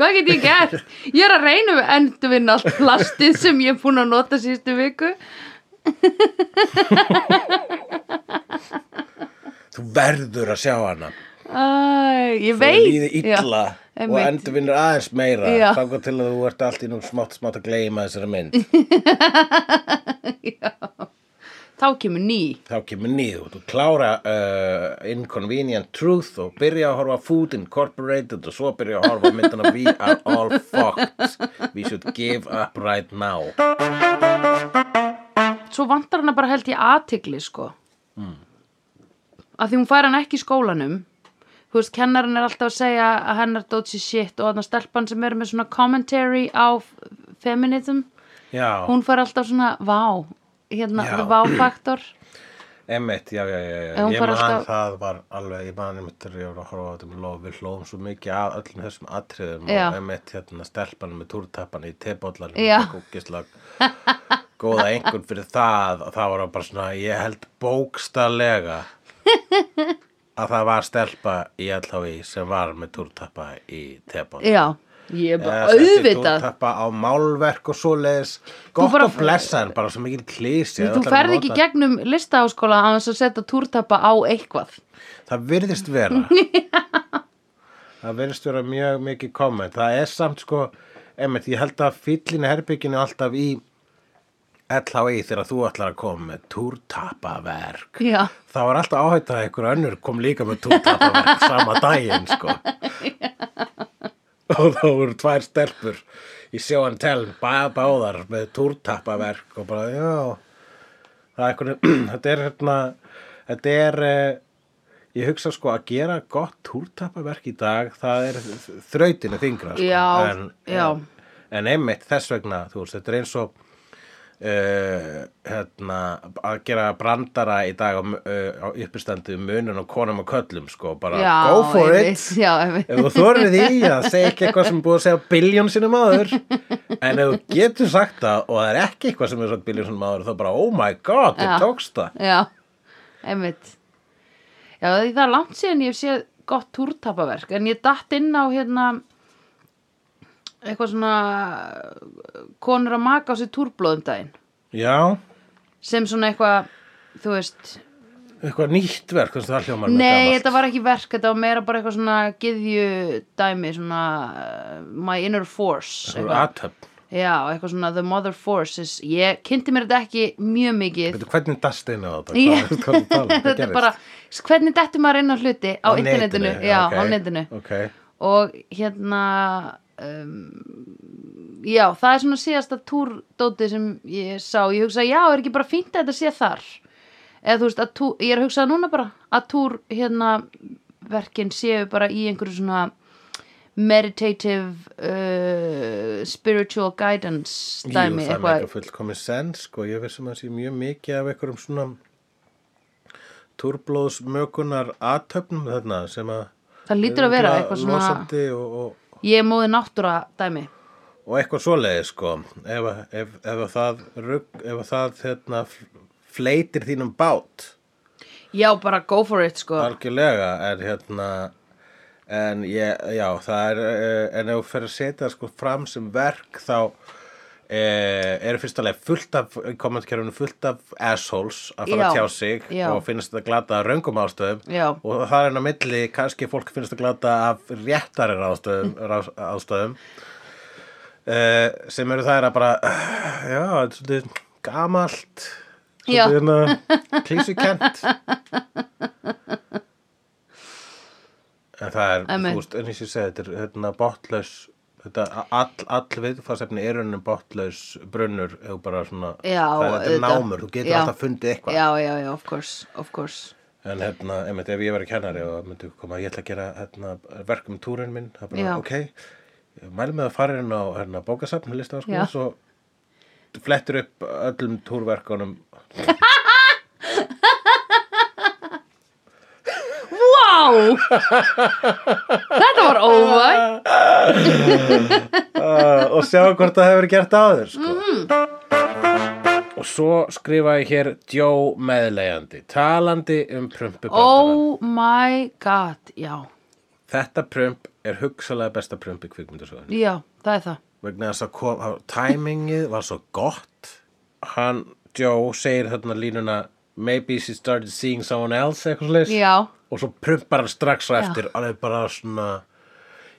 [SPEAKER 2] Hvað get ég gert? Ég er að reyna við endurvinna allt plastið sem ég er búin að nota síðustu viku.
[SPEAKER 1] Þú verður að sjá hana.
[SPEAKER 2] Æ, ég
[SPEAKER 1] Þú
[SPEAKER 2] veit.
[SPEAKER 1] líði illa
[SPEAKER 2] Já,
[SPEAKER 1] og
[SPEAKER 2] einmitt.
[SPEAKER 1] endur vinnur aðeins meira.
[SPEAKER 2] Já.
[SPEAKER 1] Þangar til að þú ert allt í nú smátt smátt að gleyma þessari mynd.
[SPEAKER 2] Þá kemur ný.
[SPEAKER 1] Þá kemur nýð og klára uh, Inconvenient Truth og byrja að horfa á Food Incorporated og svo byrja að horfa á myndina We are all fucked We should give up right now
[SPEAKER 2] Svo vantar hana bara held ég aðtigli, sko. Mm.
[SPEAKER 1] Hmm.
[SPEAKER 2] Að því hún fær hana ekki í skólanum. Þú veist, kennarinn er alltaf að segja að hennar dótsi shit og að stelpan sem er með svona commentary á f- feminism,
[SPEAKER 1] Já,
[SPEAKER 2] hún fær alltaf svona vá, hérna,
[SPEAKER 1] Já.
[SPEAKER 2] the vá-faktor.
[SPEAKER 1] emmitt, já, já, já,
[SPEAKER 2] Já,
[SPEAKER 1] já.
[SPEAKER 2] hún
[SPEAKER 1] Ég
[SPEAKER 2] fór
[SPEAKER 1] man
[SPEAKER 2] alltaf-
[SPEAKER 1] það var alveg, ég man einmitt þegar ég var að horfa á þetta með lof Við hlóðum svo mikið að öllum þessum atriðum
[SPEAKER 2] Já.
[SPEAKER 1] og emmitt hérna stelpanum með túrtappan í tebóllanum
[SPEAKER 2] Já.
[SPEAKER 1] Kúkislag Góða einhvern fyrir það og það var bara svona, ég held bókstarlega að það var stelpa í LHV sem var með túrtappa í tebóllanum
[SPEAKER 2] Já, ég er bara
[SPEAKER 1] Þú
[SPEAKER 2] auðvitað.
[SPEAKER 1] tappa á málverk og svoleiðis Gott
[SPEAKER 2] bara-
[SPEAKER 1] og blessa en bara svo mikil klísi
[SPEAKER 2] Þú ferð ekki gegnum listaháskóla að þess að setja túrtappa á eitthvað.
[SPEAKER 1] Það virðist vera Það virðist vera mjög mikið komment Það er samt sko einmitt, Ég held að fýllinu herbygginu alltaf í LHI þegar þú ætlar að koma með túrtapaverk
[SPEAKER 2] Já,
[SPEAKER 1] þá er alltaf áhætt að einhver önnur kom líka með túrtapaverk sama daginn sko og þá voru tvær stelpur í sjóan teln báðar með túrtapaverk og bara já það er einhvern þetta er hérna þetta er eh, ég hugsa sko að gera gott túrtapaverk í dag það er þrautinu fingra sko.
[SPEAKER 2] Já,
[SPEAKER 1] en,
[SPEAKER 2] já.
[SPEAKER 1] en, en einmitt þess vegna þú veist þetta er eins og uh, hérna, að gera brandara í dag á, uh, á uppistandu munun og konum og köllum sko, bara
[SPEAKER 2] já,
[SPEAKER 1] go for it
[SPEAKER 2] einmitt, Já, einmitt.
[SPEAKER 1] ef þú þorir því að segja ekki eitthvað sem er búið að segja biljón sinum aður en ef þú getur sagt það og það er ekki eitthvað sem er sagt biljón sinum aður þá bara oh my god,
[SPEAKER 2] Já.
[SPEAKER 1] þið tókst það
[SPEAKER 2] Já, einmitt. Já, því það er langt síðan ég hef séð gott túrtapaverk, en ég datt inn á hérna eitthvað svona uh, konur að maka á sér túrblóðum daginn
[SPEAKER 1] já,
[SPEAKER 2] sem svona eitthvað, þú veist
[SPEAKER 1] eitthvað nýtt verk þannig að það hljómar mjög
[SPEAKER 2] Nei,
[SPEAKER 1] gamalt.
[SPEAKER 2] þetta var ekki verk, þetta var meira bara eitthvað svona gyðju dæmi, svona uh, my inner force
[SPEAKER 1] Þetta var
[SPEAKER 2] eitthvað.
[SPEAKER 1] athöfn
[SPEAKER 2] Já, eitthvað svona the mother forces ég kynnti mér þetta ekki mjög mikið
[SPEAKER 1] Veitu, hvernig dast inn á þetta?
[SPEAKER 2] Já.
[SPEAKER 1] Hvað- hvað er að tala um? Hvað
[SPEAKER 2] þetta er
[SPEAKER 1] gerðist?
[SPEAKER 2] bara, hvernig dettur maður inn á hluti á, internetinu, já,
[SPEAKER 1] ok,
[SPEAKER 2] á netinu
[SPEAKER 1] ok.
[SPEAKER 2] og hérna um, já, það er svona síðasta túrdóti sem ég sá, ég hugsa já, er ekki bara fínt að þetta sé þar eða þú veist, að túr, ég er að hugsa núna bara að túr, hérna verkin séu bara í einhverju svona meditative uh, spiritual guidance
[SPEAKER 1] Jú, það er
[SPEAKER 2] dæmi,
[SPEAKER 1] með eitthvað fullkomis sens sko, ég vissum að sé mjög mikið af einhverjum svona turblóðsmökunar aðtöfnum þarna sem að
[SPEAKER 2] það lítur að vera eitthvað svona
[SPEAKER 1] losandi og, og,
[SPEAKER 2] ég er móði náttúra dæmi
[SPEAKER 1] og eitthvað svoleiði sko ef, að- ef, ef að það, rugg, ef að það hérna, fleitir þínum bát
[SPEAKER 2] Já, bara go for it, sko.
[SPEAKER 1] algjörlega en hérna en ég, já, það er eh, en ef þú fer að setja það sko fram sem verk þá e, eru fyrst alveg fullt af kommentkerfinu fullt af assholes að fara
[SPEAKER 2] Já,
[SPEAKER 1] að tjá sig
[SPEAKER 2] já.
[SPEAKER 1] og finnst þetta glata af raungum ástöðum
[SPEAKER 2] Já.
[SPEAKER 1] og það er enn á milli kannski fólk finnst þetta glata af réttarir ástöðum, rás, ástöðum Uh, sem eru þær að bara uh, já, þetta er svolítið gamalt
[SPEAKER 2] Já.
[SPEAKER 1] svolítið hérna klísukent en það er,
[SPEAKER 2] Amen.
[SPEAKER 1] þú veist, en eins og ég segi þetta er hérna botlaus þetta, all, all viðfarsefni er raunin botlaus brunnur ef þú bara svona
[SPEAKER 2] Já,
[SPEAKER 1] það er, þetta er
[SPEAKER 2] auðvitað.
[SPEAKER 1] námur, þú getur
[SPEAKER 2] Já.
[SPEAKER 1] alltaf fundið eitthvað
[SPEAKER 2] Já, já, já, of course, of course.
[SPEAKER 1] en hérna, einmitt, ef ég verið kennari og myndi koma, ég ætla að gera hérna, verk um túrin minn, það er bara,
[SPEAKER 2] Já.
[SPEAKER 1] ok ég mæli með að fara inn á hérna, bókasafn
[SPEAKER 2] Já.
[SPEAKER 1] listafaskóla, svo flettur upp öllum túrverkunum
[SPEAKER 2] Vá! Þetta var óvæg.
[SPEAKER 1] uh, og sjá hvort það hefur verið gert áður sko. og svo skrifa ég hér djó meðlegjandi talandi um prumpubandarann
[SPEAKER 2] Oh my god, já.
[SPEAKER 1] þetta prump er hugsalega besta prump í kvikmyndasöðunni
[SPEAKER 2] Já, það er það.
[SPEAKER 1] vegna þess að kom, að timingið var svo gott hann, Joe, segir þarna línuna maybe she started seeing someone else eitthvað slags
[SPEAKER 2] Já.
[SPEAKER 1] og svo prumpar hann strax á eftir alveg bara svona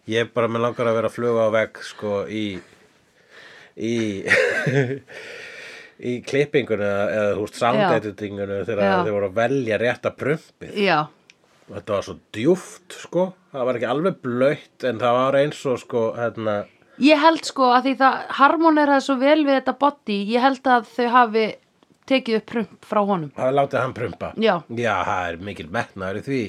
[SPEAKER 1] ég er bara með langar að vera að fluga á vegg sko í í í klippingunni eða, eða þú veist sound
[SPEAKER 2] Já.
[SPEAKER 1] editingunni
[SPEAKER 2] Já.
[SPEAKER 1] þegar þeir voru að velja rétta prumpið
[SPEAKER 2] Já,
[SPEAKER 1] þetta var svo djúft sko það var ekki alveg blöytt en það var eins og sko hérna
[SPEAKER 2] ég held sko að því það harmoneraði svo vel við þetta body, ég held að þau hafi tekið upp prump frá honum.
[SPEAKER 1] hafi látið hann prumpa
[SPEAKER 2] Já.
[SPEAKER 1] það er mikil metnaður í því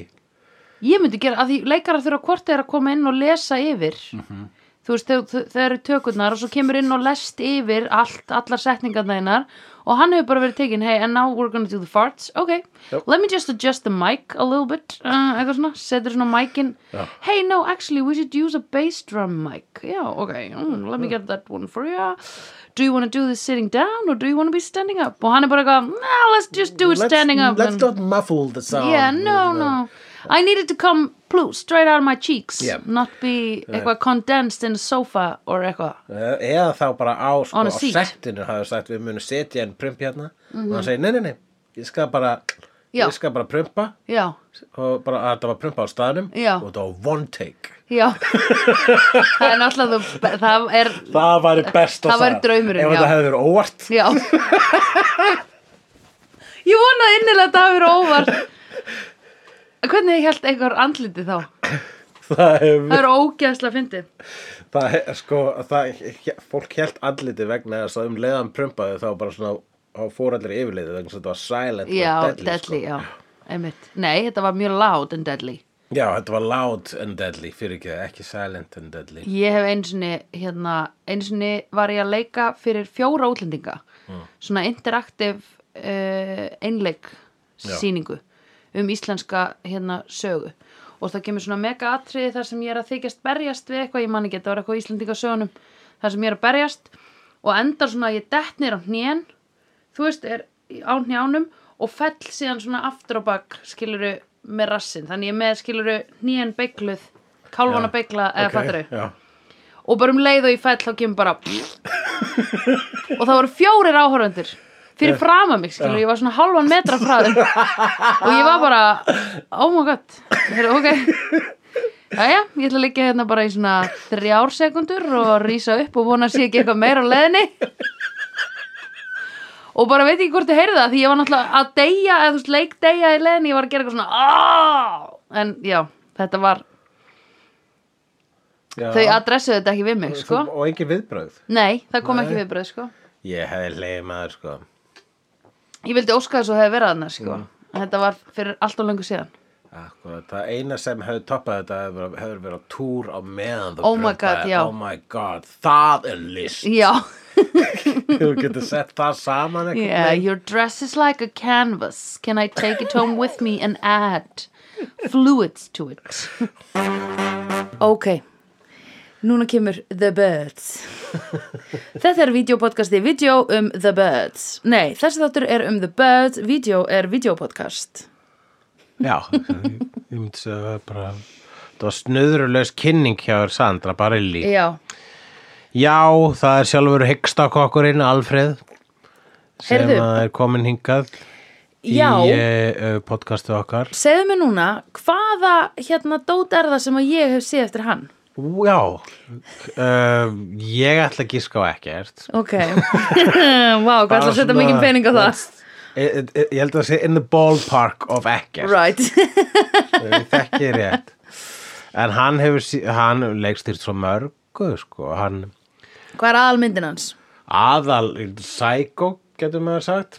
[SPEAKER 2] Ég myndi gera, að því leikarar þurfa hvort er að koma inn og lesa yfir
[SPEAKER 1] Mhm.
[SPEAKER 2] þú veist, þau, þau, þau eru tökurnar og svo kemur inn og lest yfir allt, allar setningarna einar og hann hefur bara verið tekin, hey, and now we're gonna do the farts ok,
[SPEAKER 1] Yep.
[SPEAKER 2] let me just adjust the mic a little bit, uh, eitthvað svona setur svona micin, hey, no, actually we should use a bass drum mic já, ok, mm, let me get that one for you do you want to do this sitting down or do you want to be standing up, og hann er bara eitthvað, nah, let's just do it standing up
[SPEAKER 1] let's
[SPEAKER 2] and-
[SPEAKER 1] not muffle the sound
[SPEAKER 2] yeah, no, no. I needed to come blue straight out of my cheeks,
[SPEAKER 1] Yeah.
[SPEAKER 2] not be eitthvað condensed in a sofa or eitthvað.
[SPEAKER 1] Eh, eða þá bara á, sko,
[SPEAKER 2] On a
[SPEAKER 1] á
[SPEAKER 2] seat. Mhm.
[SPEAKER 1] settinu hafði sagt við munum setja en prump hérna og hann segir nei, nei, nei, ég skal bara
[SPEAKER 2] Já.
[SPEAKER 1] ég skal bara prumpa
[SPEAKER 2] Já,
[SPEAKER 1] og bara að þetta var prumpa á staðnum
[SPEAKER 2] Já.
[SPEAKER 1] og þetta var one take
[SPEAKER 2] já. það er náttúrulega, þú- það er,
[SPEAKER 1] það væri best
[SPEAKER 2] Það væri draumurinn,
[SPEAKER 1] ef
[SPEAKER 2] já.
[SPEAKER 1] þetta hefði verið óvart
[SPEAKER 2] já. Ég vonaði innilega að það hafi verið óvart. Hvernig held einhver andliti þá?
[SPEAKER 1] það hefur
[SPEAKER 2] Það er ógeðslega fyndið.
[SPEAKER 1] það, er- sko, það, fólk held andliti vegna þess að um leiðan prumpaði þá bara svona á fórallir
[SPEAKER 3] sko.
[SPEAKER 1] yfirleiði vegna þess að þetta var silent og
[SPEAKER 2] Já,
[SPEAKER 1] deadly,
[SPEAKER 2] deadly, já. Einmitt. Nei, þetta var mjög loud and deadly.
[SPEAKER 1] Sko. Já, þetta var loud and deadly, fyrir ekki það, ekki silent and deadly.
[SPEAKER 2] Ég hef einsinni, hérna, einsinni var ég að leika fyrir fjóra útlendinga, svona interaktiv uh, einleik
[SPEAKER 1] Já.
[SPEAKER 2] sýningu um íslenska hérna, sögu og það kemur svona mega atriði þar sem ég er að þykjast berjast við eitthvað, ég man ekki, þetta var eitthvað í íslendinga sögunum, þar sem ég er að berjast og endar svona að ég detnir á hnén, þú veist, er á hnjánum og fell síðan svona aftur á bak, skiluru, með rassin, þannig ég er með skiluru hnén beigluð, kálfana
[SPEAKER 1] Já.
[SPEAKER 2] beigla eða okay. fattari
[SPEAKER 1] Já,
[SPEAKER 2] og bara um leið og ég fell þá kemur bara og það voru fjórir áhörfundir fyrir frama mig, skilur, ég var svona halvan metra frá þeim og ég var bara oh my god, Heru, ok Jæja, ég ætla að liggja hérna bara í svona þrjár sekundur og rísa upp og vona að sé ekki eitthvað meira á leiðinni og bara veit ekki hvort þið heyrðu það því ég var náttúrulega að deyja, eða þú veist leik deyja í leiðinni, ég var að gera eitthvað svona "Ah!" en já, þetta var
[SPEAKER 1] já.
[SPEAKER 2] þau adressuðu þetta ekki við mig, sko
[SPEAKER 1] Og engin viðbrögð.
[SPEAKER 2] Nei, það kom
[SPEAKER 1] Nei.
[SPEAKER 2] ekki viðbröð, sko.
[SPEAKER 1] Ég hefði leiði maður, sko.
[SPEAKER 2] Ég vildi óska þess að hefði verið annars, sko. En Þetta var fyrir allt og lengur síðan.
[SPEAKER 1] Akkurat, það eina sem hefði toppað þetta hefur, hefur verið á túr á meðan þú
[SPEAKER 2] Oh my
[SPEAKER 1] prumbaðir.
[SPEAKER 2] God, já.
[SPEAKER 1] Oh my god, það er list.
[SPEAKER 2] Já,
[SPEAKER 1] Þú getur sett það saman eitthvað.
[SPEAKER 2] yeah, your dress is like a canvas. Can I take it home with me and add fluids to it? ok, núna kemur The Birds. Þetta er videopodcasti, video um The Birds. Nei, þessi þáttur er um The Birds, video er videopodcast.
[SPEAKER 1] Já, ég myndi segja það bara... Það var snuðurlaus kynning hjá þér Sandra Barilli.
[SPEAKER 2] Já,
[SPEAKER 1] Já, það er sjálfur hyggstakokkurinn Alfreð sem
[SPEAKER 2] Heyrðu.
[SPEAKER 1] að er komin hingað
[SPEAKER 2] já.
[SPEAKER 1] í uh, podcastu okkar.
[SPEAKER 2] Segðu mér núna, hvaða hérna dót er það sem að ég hef séð eftir hann?
[SPEAKER 1] Já, uh, ég ætla að gíska á ekkert.
[SPEAKER 2] Ok, wow, hvað ætla að setja
[SPEAKER 1] svona-
[SPEAKER 2] mikið pening á það?
[SPEAKER 1] Ég ég- Eh, ég held að það sé in the ballpark of ekkert.
[SPEAKER 2] Right,
[SPEAKER 1] Ég þekki rétt. En hann hefur, sí- hann leikstýrt svo mörgu, sko. Hann
[SPEAKER 2] hvað er aðalmyndin hans?
[SPEAKER 1] aðal, psycho, getur maður sagt.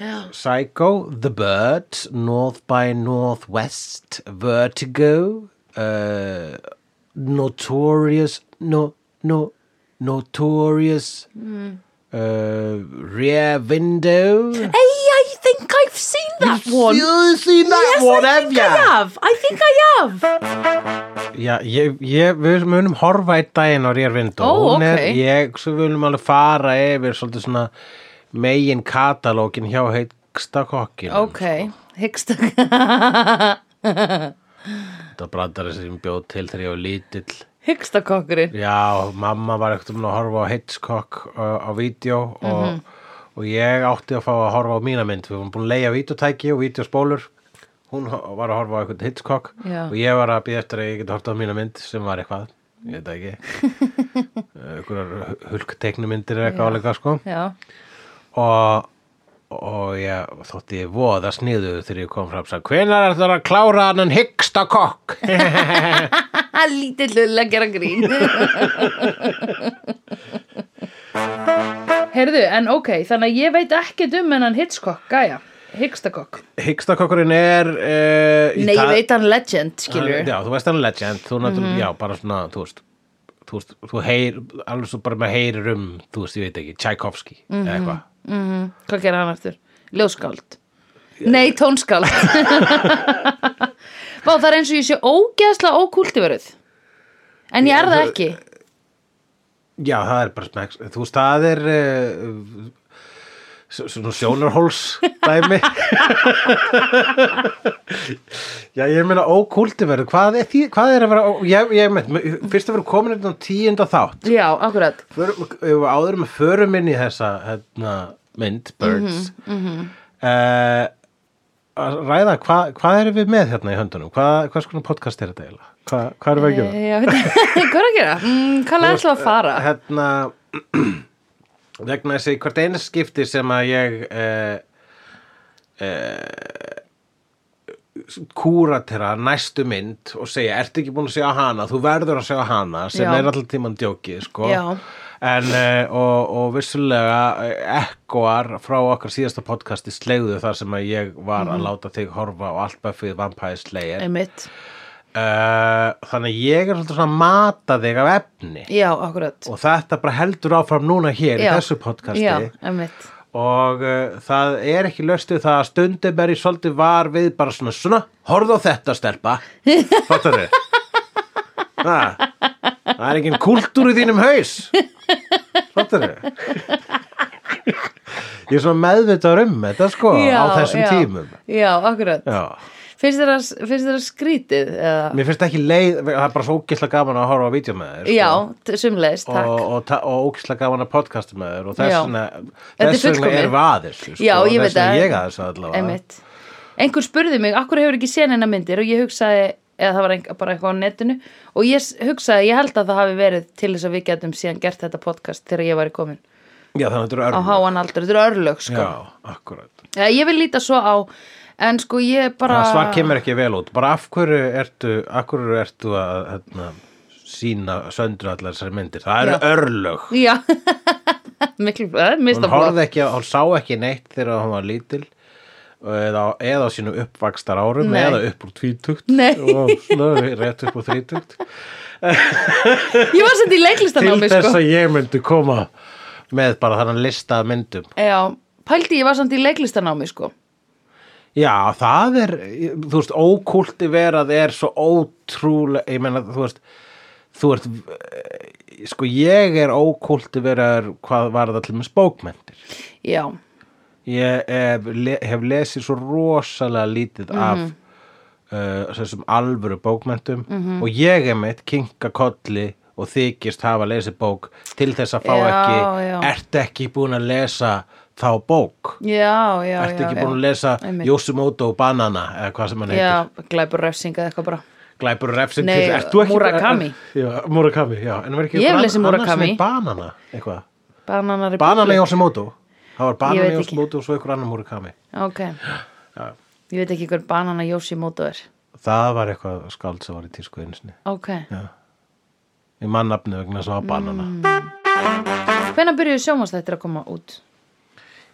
[SPEAKER 2] Já.
[SPEAKER 1] Psycho, The Bird, North by Northwest, Vertigo, uh, Notorious, no, no, Notorious, uh, Rear Window.
[SPEAKER 2] Hey, I think I've seen that one
[SPEAKER 1] You've seen that
[SPEAKER 2] Yes,
[SPEAKER 1] one,
[SPEAKER 2] I
[SPEAKER 1] have
[SPEAKER 2] think I
[SPEAKER 1] ya?
[SPEAKER 2] have, I think I have
[SPEAKER 1] Já, ég, ég, við munum horfa einn daginn á Rear Window.
[SPEAKER 2] Ó,
[SPEAKER 1] Hún er,
[SPEAKER 2] ok.
[SPEAKER 1] Ég, svo við munum alveg fara yfir svolítið svona megin katalógin hjá heikstakokkin.
[SPEAKER 2] Ok, hyggst
[SPEAKER 1] Þetta brandari sem ég bjóð til þegar ég var lítill.
[SPEAKER 2] Hyggstakokkurinn
[SPEAKER 1] Já, mamma var ekkert um að horfa á Hitchcock uh, á vídeo og,
[SPEAKER 2] Mhm.
[SPEAKER 1] og ég átti að fá að horfa á mína mynd. Við vorum búin að leiða vídeotæki og vídeospólur. Hún ho- var að horfa á eitthvað Hitchcock
[SPEAKER 2] Já.
[SPEAKER 1] og ég var að býða eftir að ég geti horfa á mína mynd sem var eitthvað, ég veit það ekki, Eh, einhverjar hulkteknumyndir eða eitthvað álega sko.
[SPEAKER 2] Já,
[SPEAKER 1] Og, og ég þótti ég voða sniðu þegar ég kom fram og sagði, hvenær er það að klára hann en hyggsta kokk?
[SPEAKER 2] lítið lull að gera grín Heyrðu, en ok, þannig að ég veit ekkert um hennan Hitchcock, gæja Hyggstakokk
[SPEAKER 1] Hyggstakokurinn er... Uh,
[SPEAKER 2] Nei, ég veit hann legend, skilur
[SPEAKER 1] Hann- Já, þú veist hann er legend, þú náttúrulega, já, bara svona, þú veist, þú veist, þú heyr, alveg svo bara með heyrir um, þú veist, ég veit ekki, Tchaikovsky, eða eitthvað.
[SPEAKER 2] Hvað gerir hann aftur? Ljóskáld Nei, tónskáld Vá, það er eins og ég sé ógeðslega ókultiverið En ég er það ekki
[SPEAKER 1] Já, það er bara smæks, þú veist, það er, uh, s- svona sjónarhóls dæmi. já, ég meina ókultiverð, hvað er, því, hvað er að vera, ó- ég, ég meint, fyrst að vera komin þetta á tíunda þátt,
[SPEAKER 2] Já, akkurat
[SPEAKER 1] förum, ef við áður með förum inn í þessa hérna, mynd, Birds mm að ræða, hva, hvað erum við með hérna í höndunum? Hva, hvað skona podcast er þetta eiginlega? Hva, hvað erum við að gera?
[SPEAKER 2] Eh, Já, veit ekki, Hvað er að gera? Mm, Hvað er alltaf að fara?
[SPEAKER 1] Hérna, vegna þessi hvert einu skipti sem að ég uh, kúratera næstu mynd og segja, ertu ekki búin að segja hana þú verður að segja hana sem
[SPEAKER 2] Já.
[SPEAKER 1] er alltaf tíman djókið sko.
[SPEAKER 2] Já.
[SPEAKER 1] en, eh, og, og vissulega eh, ekkoar frá okkar síðasta podcasti
[SPEAKER 2] Mhm.
[SPEAKER 1] slegðu þar sem að ég var að láta þig horfa á allt Buffy Vampire Slayer
[SPEAKER 2] Einmitt
[SPEAKER 1] uh, þannig að ég er svolítið svona að mata þig af efni
[SPEAKER 2] Já, akkurat.
[SPEAKER 1] og þetta bara heldur áfram núna hér í
[SPEAKER 2] Já.
[SPEAKER 1] þessu podcasti
[SPEAKER 2] Já, emmitt.
[SPEAKER 1] og uh, það er ekki löstu það að stundum er ég svolítið var við bara svona svona, horfðu á þetta stelpa fattar þau það er engin kúltúr í þínum haus fattar þau ég er svona meðvitaður um þetta sko
[SPEAKER 2] já,
[SPEAKER 1] á þessum
[SPEAKER 2] já.
[SPEAKER 1] tímum
[SPEAKER 2] Já, akkurat.
[SPEAKER 1] já
[SPEAKER 2] Finnst þér að- finnst þér að skrítið? Eða?
[SPEAKER 1] Mér finnst ekki leið, það er bara svo ógislega gaman að horfa á vídeo með þér sko.
[SPEAKER 2] Já, t- sömulegis, takk.
[SPEAKER 1] og, og, ta- og ógislega gaman að podcasta með þér og þess
[SPEAKER 2] Já.
[SPEAKER 1] vegna
[SPEAKER 2] Þetta er
[SPEAKER 1] þess vegna
[SPEAKER 2] fullkomið.
[SPEAKER 1] er vaðis sko,
[SPEAKER 2] Já, ég veit
[SPEAKER 1] þess vegna
[SPEAKER 2] að-
[SPEAKER 1] ég að þessu allavega
[SPEAKER 2] Einmitt. Einhver spurði mig, akkur hefur ekki séð neina myndir og ég hugsaði, eða það var ein, bara eitthvað á netinu og ég s- hugsaði, ég held að það hafi verið til þess að við getum síðan gert þetta podcast þegar ég var í komin
[SPEAKER 1] Já, þannig að þetta eru
[SPEAKER 2] á
[SPEAKER 1] örlög.
[SPEAKER 2] háan aldur, þetta eru örlög sko.
[SPEAKER 1] Já, akkurat.
[SPEAKER 2] Já, ég vil líta svo á, en sko ég bara
[SPEAKER 1] Það svar kemur ekki vel út. Bara af hverju ertu, af hverju ertu að hérna, sína söndru allar þessari myndir? Það eru
[SPEAKER 2] Já.
[SPEAKER 1] örlög.
[SPEAKER 2] Já, miklu, eh, það er
[SPEAKER 1] Hún
[SPEAKER 2] mista
[SPEAKER 1] horfði ekki, á- hún sá ekki neitt þegar hún var lítil eða, eða á sínum uppvakstar árum
[SPEAKER 2] Nei.
[SPEAKER 1] eða upp úr tvítugt
[SPEAKER 2] Nei.
[SPEAKER 1] og svona rétt upp úr þrítugt
[SPEAKER 2] Ég var sendið í
[SPEAKER 1] til
[SPEAKER 2] leiklistanámi
[SPEAKER 1] þess
[SPEAKER 2] sko.
[SPEAKER 1] að ég myndi koma með bara þannig lista af myndum
[SPEAKER 2] Já, pældi ég var sendið í leiklistanámi sko.
[SPEAKER 1] Já, það er, þú veist, ókultiverað er svo ótrúlega, ég meina, þú veist, þú ert, eh, sko, ég er ókultiveraður hvað var það til með spókmentir.
[SPEAKER 2] Já,
[SPEAKER 1] Ég hef, le- hef lesið svo rosalega lítið
[SPEAKER 2] Mhm.
[SPEAKER 1] af uh, þessum alvöru bókmentum
[SPEAKER 2] Mhm.
[SPEAKER 1] og ég er meitt kinka kolli og þykist hafa lesið bók til þess að fá
[SPEAKER 2] Já,
[SPEAKER 1] ekki,
[SPEAKER 2] já.
[SPEAKER 1] ertu ekki búin að lesa þá bók?
[SPEAKER 2] já, já
[SPEAKER 1] Ertu
[SPEAKER 2] já,
[SPEAKER 1] ekki
[SPEAKER 2] já.
[SPEAKER 1] búin að lesa
[SPEAKER 2] Einmitt.
[SPEAKER 1] Yosemoto og Banana eða hvað sem hann heitir,
[SPEAKER 2] Já, glæpur refsing eða eitthvað bara
[SPEAKER 1] glæpur og refsing
[SPEAKER 2] Nei,
[SPEAKER 1] til- Ert þú ekki-
[SPEAKER 2] Murakami.
[SPEAKER 1] Já, Murakami, já En var ekki
[SPEAKER 2] Ég hef
[SPEAKER 1] einhver
[SPEAKER 2] lesið
[SPEAKER 1] annar
[SPEAKER 2] Murakami.
[SPEAKER 1] sem er Banana, eitthvað
[SPEAKER 2] Bananar í
[SPEAKER 1] Banana
[SPEAKER 2] búblu.
[SPEAKER 1] Yosemoto Það var Banana
[SPEAKER 2] veit ekki.
[SPEAKER 1] Yosemoto og svo einhver annar Murakami
[SPEAKER 2] Ok. Ég veit ekki hver banana Yoshimoto er.
[SPEAKER 1] Það var eitthvað skáld sem var í tísku einsinni
[SPEAKER 2] Ok.
[SPEAKER 1] Í mannafni vegna sem var Banana
[SPEAKER 2] Hvenær byrjuðu sjómanstættir að koma út?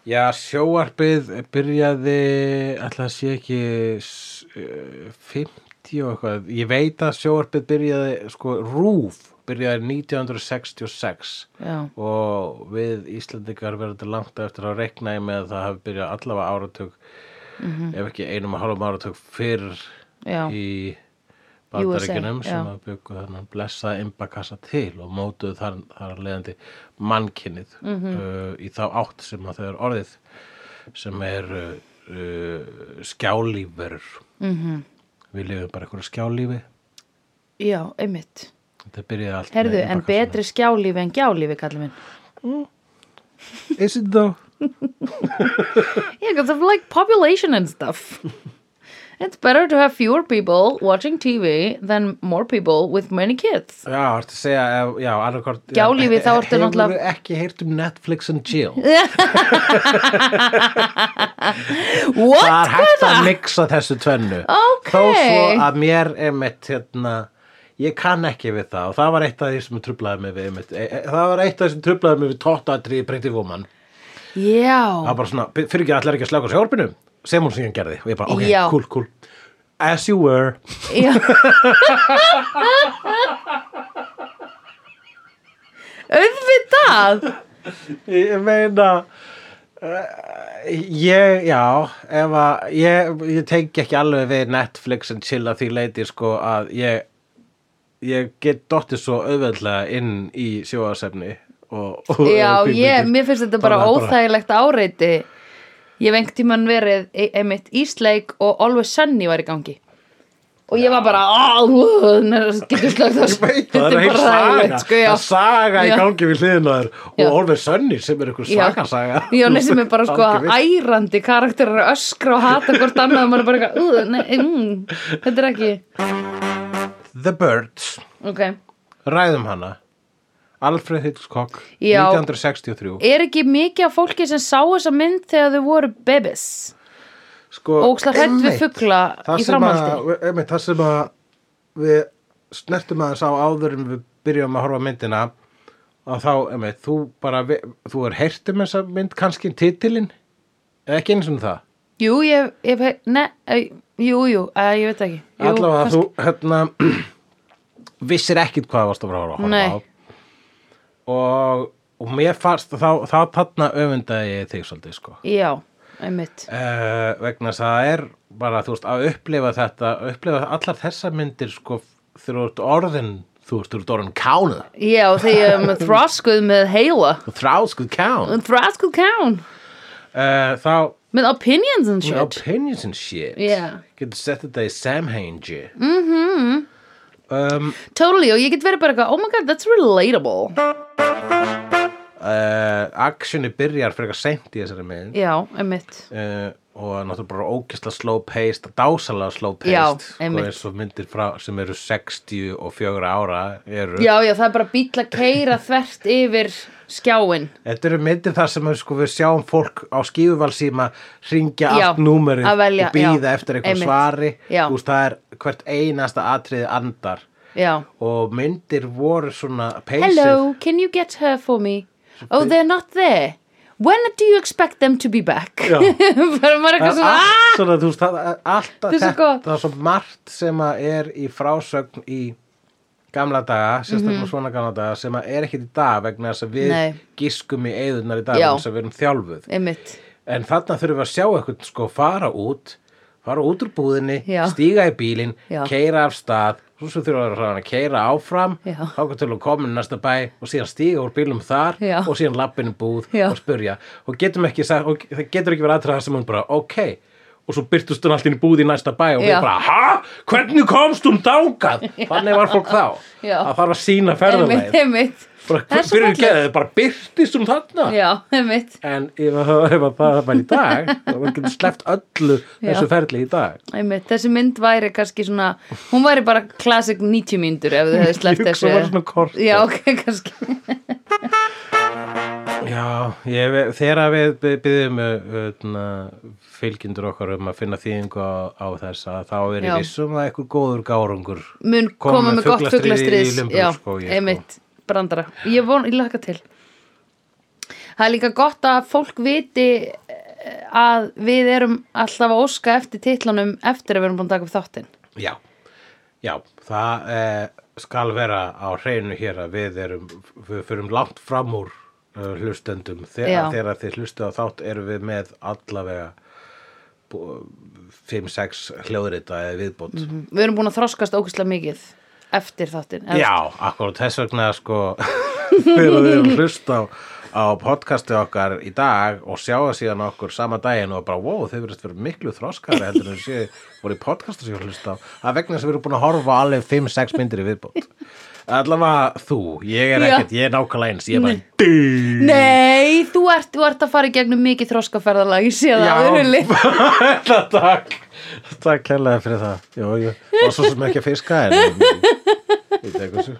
[SPEAKER 1] Já, sjóarpið byrjaði ætla að sé ekki s- eh, 50 og eitthvað Ég veit að sjóarpið byrjaði sko, Rúf byrjaði 1966
[SPEAKER 2] Já.
[SPEAKER 1] og við Íslandingar verðum þetta langt á eftir að rekna í með að það hafi byrjað allavega áratug ef ekki einum og hálfum áratug fyrr
[SPEAKER 2] Já.
[SPEAKER 1] í bandaríkjunum
[SPEAKER 2] USA,
[SPEAKER 1] sem að
[SPEAKER 2] já.
[SPEAKER 1] byggu þennan blessa imbakassa til og mótuðu þar, þar af leiðandi mannkinnið
[SPEAKER 2] Mhm.
[SPEAKER 1] uh, í þá átt sem að þau er orðið sem er uh, uh, skjálífur
[SPEAKER 2] Mhm.
[SPEAKER 1] við lifum bara einhverju skjálífi
[SPEAKER 2] Já, einmitt.
[SPEAKER 1] þetta byrjaði allt
[SPEAKER 2] Herðu,
[SPEAKER 1] með
[SPEAKER 2] en
[SPEAKER 1] imbakassanum.
[SPEAKER 2] betri skjálífi en gjálífi, kallum minn.
[SPEAKER 1] Is it though?
[SPEAKER 2] Yeah, because of like population and stuff. It's better to have fewer people watching TV than more people with many kids.
[SPEAKER 1] Já, ertu að segja, ef- já, annarkort
[SPEAKER 2] Gjálífi, þá ertu náttúrulega-
[SPEAKER 1] Hefur ekki heyrt um Netflix and chill Það
[SPEAKER 2] What?
[SPEAKER 1] er hægt að mixa þessu tvennu
[SPEAKER 2] Ok.
[SPEAKER 1] Þó svo að mér einmitt, hérna Ég kann ekki við það og það var eitt af því sem trublaði mig við einmitt, e, e, það var eitt af því sem trublaði mig við tóttatriði breytið vóman það
[SPEAKER 2] Já.
[SPEAKER 1] var bara svona, fyrir ekki allir ekki að slaka á sjórpinu sem hún síðan gerði og ég bara, ok,
[SPEAKER 2] Já.
[SPEAKER 1] cool, cool as you were
[SPEAKER 2] Já. Auðvitað.
[SPEAKER 1] Ég meina eh, Ég, já ef að, ég, ég tengi ekki alveg við Netflix en chill að því leiti sko að ég ég get dottið svo auðveldlega inn í sjóðasefni og, og
[SPEAKER 2] Já,
[SPEAKER 1] og kvikmyndir.
[SPEAKER 2] ég, mér finnst þetta bara
[SPEAKER 1] Þannig að
[SPEAKER 2] óþægilegt áreiti Ég hef einhvern tímann verið e- einmitt Ísleik og Always Sunny var í gangi og ég var bara "Ah, uh, neður, getur slögt það
[SPEAKER 1] Það er heil saga,
[SPEAKER 2] sko, já.
[SPEAKER 1] það er saga í
[SPEAKER 2] Já.
[SPEAKER 1] gangi við hliðin á þér
[SPEAKER 2] Já.
[SPEAKER 1] og Olveg Sönni sem er einhver
[SPEAKER 2] Já.
[SPEAKER 1] svakasaga
[SPEAKER 2] Já, nei, sem er bara sko
[SPEAKER 1] Algjör vill.
[SPEAKER 2] ærandi karakterar að öskra og hata hvort annað og maður er bara eitthvað, "Ugh, nei, mm, þetta er ekki
[SPEAKER 1] The Birds,
[SPEAKER 2] ok,
[SPEAKER 1] ræðum hana Alfred Hitchcock
[SPEAKER 2] Já.
[SPEAKER 1] 1963
[SPEAKER 2] er ekki mikið af fólki sem sá þessa mynd þegar þau voru bebis
[SPEAKER 1] sko,
[SPEAKER 2] og ókslega hrædd við
[SPEAKER 1] einmitt,
[SPEAKER 2] fugla
[SPEAKER 1] það
[SPEAKER 2] í
[SPEAKER 1] sem
[SPEAKER 2] framhaldi.
[SPEAKER 1] að- við- einmitt, það sem að við snertum aðeins á áður en við byrjum að horfa á myndina að þá, einmitt, þú bara vi- þú er heyrt um þessa mynd kannski titilin, ekki eins og það
[SPEAKER 2] Jú, ég, ég, ne, eh, Jú, jú, uh, ég veit ekki jú,
[SPEAKER 1] Allavega
[SPEAKER 2] kannski-
[SPEAKER 1] þú, hérna, vissir ekkit hvað varst að fara að horfa
[SPEAKER 2] Nei.
[SPEAKER 1] á. Og, og mér fannst, þá, þá þarna öfundaði ég þig svolítið, sko.
[SPEAKER 2] Já, einmitt
[SPEAKER 1] Uh, vegna þess að það er bara, þú veist, að upplifa þetta, upplifa allar þessar myndir, sko, þegar þú ert orðin, þú veist, þú ert orðin kán,
[SPEAKER 2] Já, þegar ég er með þroskuð með heila
[SPEAKER 1] þú
[SPEAKER 2] sko
[SPEAKER 1] þráskuð kán.
[SPEAKER 2] Þroskuð kán
[SPEAKER 1] Uh, þá,
[SPEAKER 2] Með opinions and shit
[SPEAKER 1] opinions and shit.
[SPEAKER 2] Yeah. Mm-hmm.
[SPEAKER 1] Getur sett þetta í Samhainji. Um,
[SPEAKER 2] Totally, og ég get verið bara eitthvað Oh my god, that's relatable
[SPEAKER 1] uh, actioni byrjar frekar seint í þessari mynd
[SPEAKER 2] Já, einmitt
[SPEAKER 1] uh, og náttúrulega bara ógisla slow paced dásalega slow
[SPEAKER 2] Já,
[SPEAKER 1] paced sko,
[SPEAKER 2] einmitt.
[SPEAKER 1] eins og myndir frá, sem eru 60 og 4 ára eru.
[SPEAKER 2] Já, já, það er bara bíll að keira þvert yfir skjáin
[SPEAKER 1] þetta eru myndir þar sem sko, við sjáum fólk á skífuvalsíma ringja
[SPEAKER 2] Já,
[SPEAKER 1] allt númerið
[SPEAKER 2] að velja,
[SPEAKER 1] og býða
[SPEAKER 2] já,
[SPEAKER 1] eftir
[SPEAKER 2] einmitt.
[SPEAKER 1] eitthvað svari
[SPEAKER 2] Já.
[SPEAKER 1] Þú veist, það er hvert einasta atriði andar
[SPEAKER 2] Já
[SPEAKER 1] og myndir voru svona paced
[SPEAKER 2] Hello, can you get her for me? Oh, they're not there When do you expect them to be back?
[SPEAKER 1] Já.
[SPEAKER 2] bara maður
[SPEAKER 1] Það er
[SPEAKER 2] eitthvað svona "Ah!"
[SPEAKER 1] allt svona, þú veist, það er allt
[SPEAKER 2] er svo
[SPEAKER 1] þetta,
[SPEAKER 2] gott.
[SPEAKER 1] það er svo margt sem að er í frásögn í gamla daga, sérstaklega svona gamla daga sem að er ekkit í dag vegna þess að við
[SPEAKER 2] Mhm. Nei.
[SPEAKER 1] giskum í eigðunar í dag
[SPEAKER 2] Já.
[SPEAKER 1] vegna þess að við erum þjálfuð
[SPEAKER 2] "Ah!" Einmitt
[SPEAKER 1] en þarna þurfum við að sjá eitthvað sko fara út fara út úr búðinni,
[SPEAKER 2] Já.
[SPEAKER 1] stíga í bílinn
[SPEAKER 2] Já.
[SPEAKER 1] keira af stað, svo svo þurfum við að keira áfram,
[SPEAKER 2] Já.
[SPEAKER 1] þá til að koma í næsta bæ og síðan stíga úr bílum þar
[SPEAKER 2] Já.
[SPEAKER 1] og síðan lappin í búð
[SPEAKER 2] Já.
[SPEAKER 1] og spurja og getum ekki, sagt- og það getur ekki verið aðtræða sem hún bara, ok og svo byrtust hún allt inn í búð í næsta bæ og
[SPEAKER 2] Já.
[SPEAKER 1] við bara, ha? Hvernig komst hún dangað? Þannig var fólk þá
[SPEAKER 2] Já.
[SPEAKER 1] að þarf að sína
[SPEAKER 2] Einmitt,
[SPEAKER 1] ferðarleið
[SPEAKER 2] einmitt Það er svo
[SPEAKER 1] fyrir
[SPEAKER 2] fallegt.
[SPEAKER 1] geðið, bara byrtist hún þarna
[SPEAKER 2] Já, einmitt,
[SPEAKER 1] En ef, að- ef að það væri í dag, þá var ekki sleppt öllu þessu
[SPEAKER 2] Já.
[SPEAKER 1] ferli í dag.
[SPEAKER 2] einmitt Þessi mynd væri kannski svona Hún væri bara classic 90 mínútur ef þau hefði sleppt
[SPEAKER 1] Ég hugsa
[SPEAKER 2] þessu
[SPEAKER 1] bara svona kort.
[SPEAKER 2] Já, ok, kannski
[SPEAKER 1] Já, ég, ve- þegar við byggjum uh, fylgjendur okkar um að finna þýðingu á, á þess að þá er
[SPEAKER 2] Já.
[SPEAKER 1] ég vissum að eitthvað góður gárungur.
[SPEAKER 2] Mun
[SPEAKER 1] Koma
[SPEAKER 2] koma
[SPEAKER 1] með
[SPEAKER 2] með gott
[SPEAKER 1] fuglastrið í- í
[SPEAKER 2] fuglastrís Já,
[SPEAKER 1] Lumburgskógi, sko.
[SPEAKER 2] einmitt, brandara Ég von, ég laka til Það er líka gott að fólk viti eh, að við erum alltaf að óska eftir titlanum eftir að við erum búin að taka upp þáttinn
[SPEAKER 1] Já, já, það eh, skal vera á hreinu hér að við erum, við fyrum langt fram úr uh, hlustendum.
[SPEAKER 2] Já.
[SPEAKER 1] Þegar, þegar þið hlustu á þátt erum við með allavega 5-6 hljóðrita eða viðbót.
[SPEAKER 2] Við erum búin að þroskast ókvæslega mikið eftir þáttinn. eða
[SPEAKER 1] Já, akkurat þess vegna sko þegar við erum hlusta á, á podcasti okkar í dag og sjáða síðan okkur sama daginn og bara wow, þau verðist verið miklu þroskari heldur en séu voru í podcastu sem ég hlusta á að vegna þess að við erum búin að horfa á alveg 5-6 myndir í viðbót allavega þú, ég er
[SPEAKER 2] Já.
[SPEAKER 1] ekkert, ég er nákvæmlega eins ég er bara, dý
[SPEAKER 2] Nei, þú ert, þú ert að fara í gegnum mikið þroskaferðalag, ég sé það á þér, Hulli.
[SPEAKER 1] þetta takk takk kærlega fyrir það Jú, jú, og svo sem ekki að fiska en ég, ég tek þessu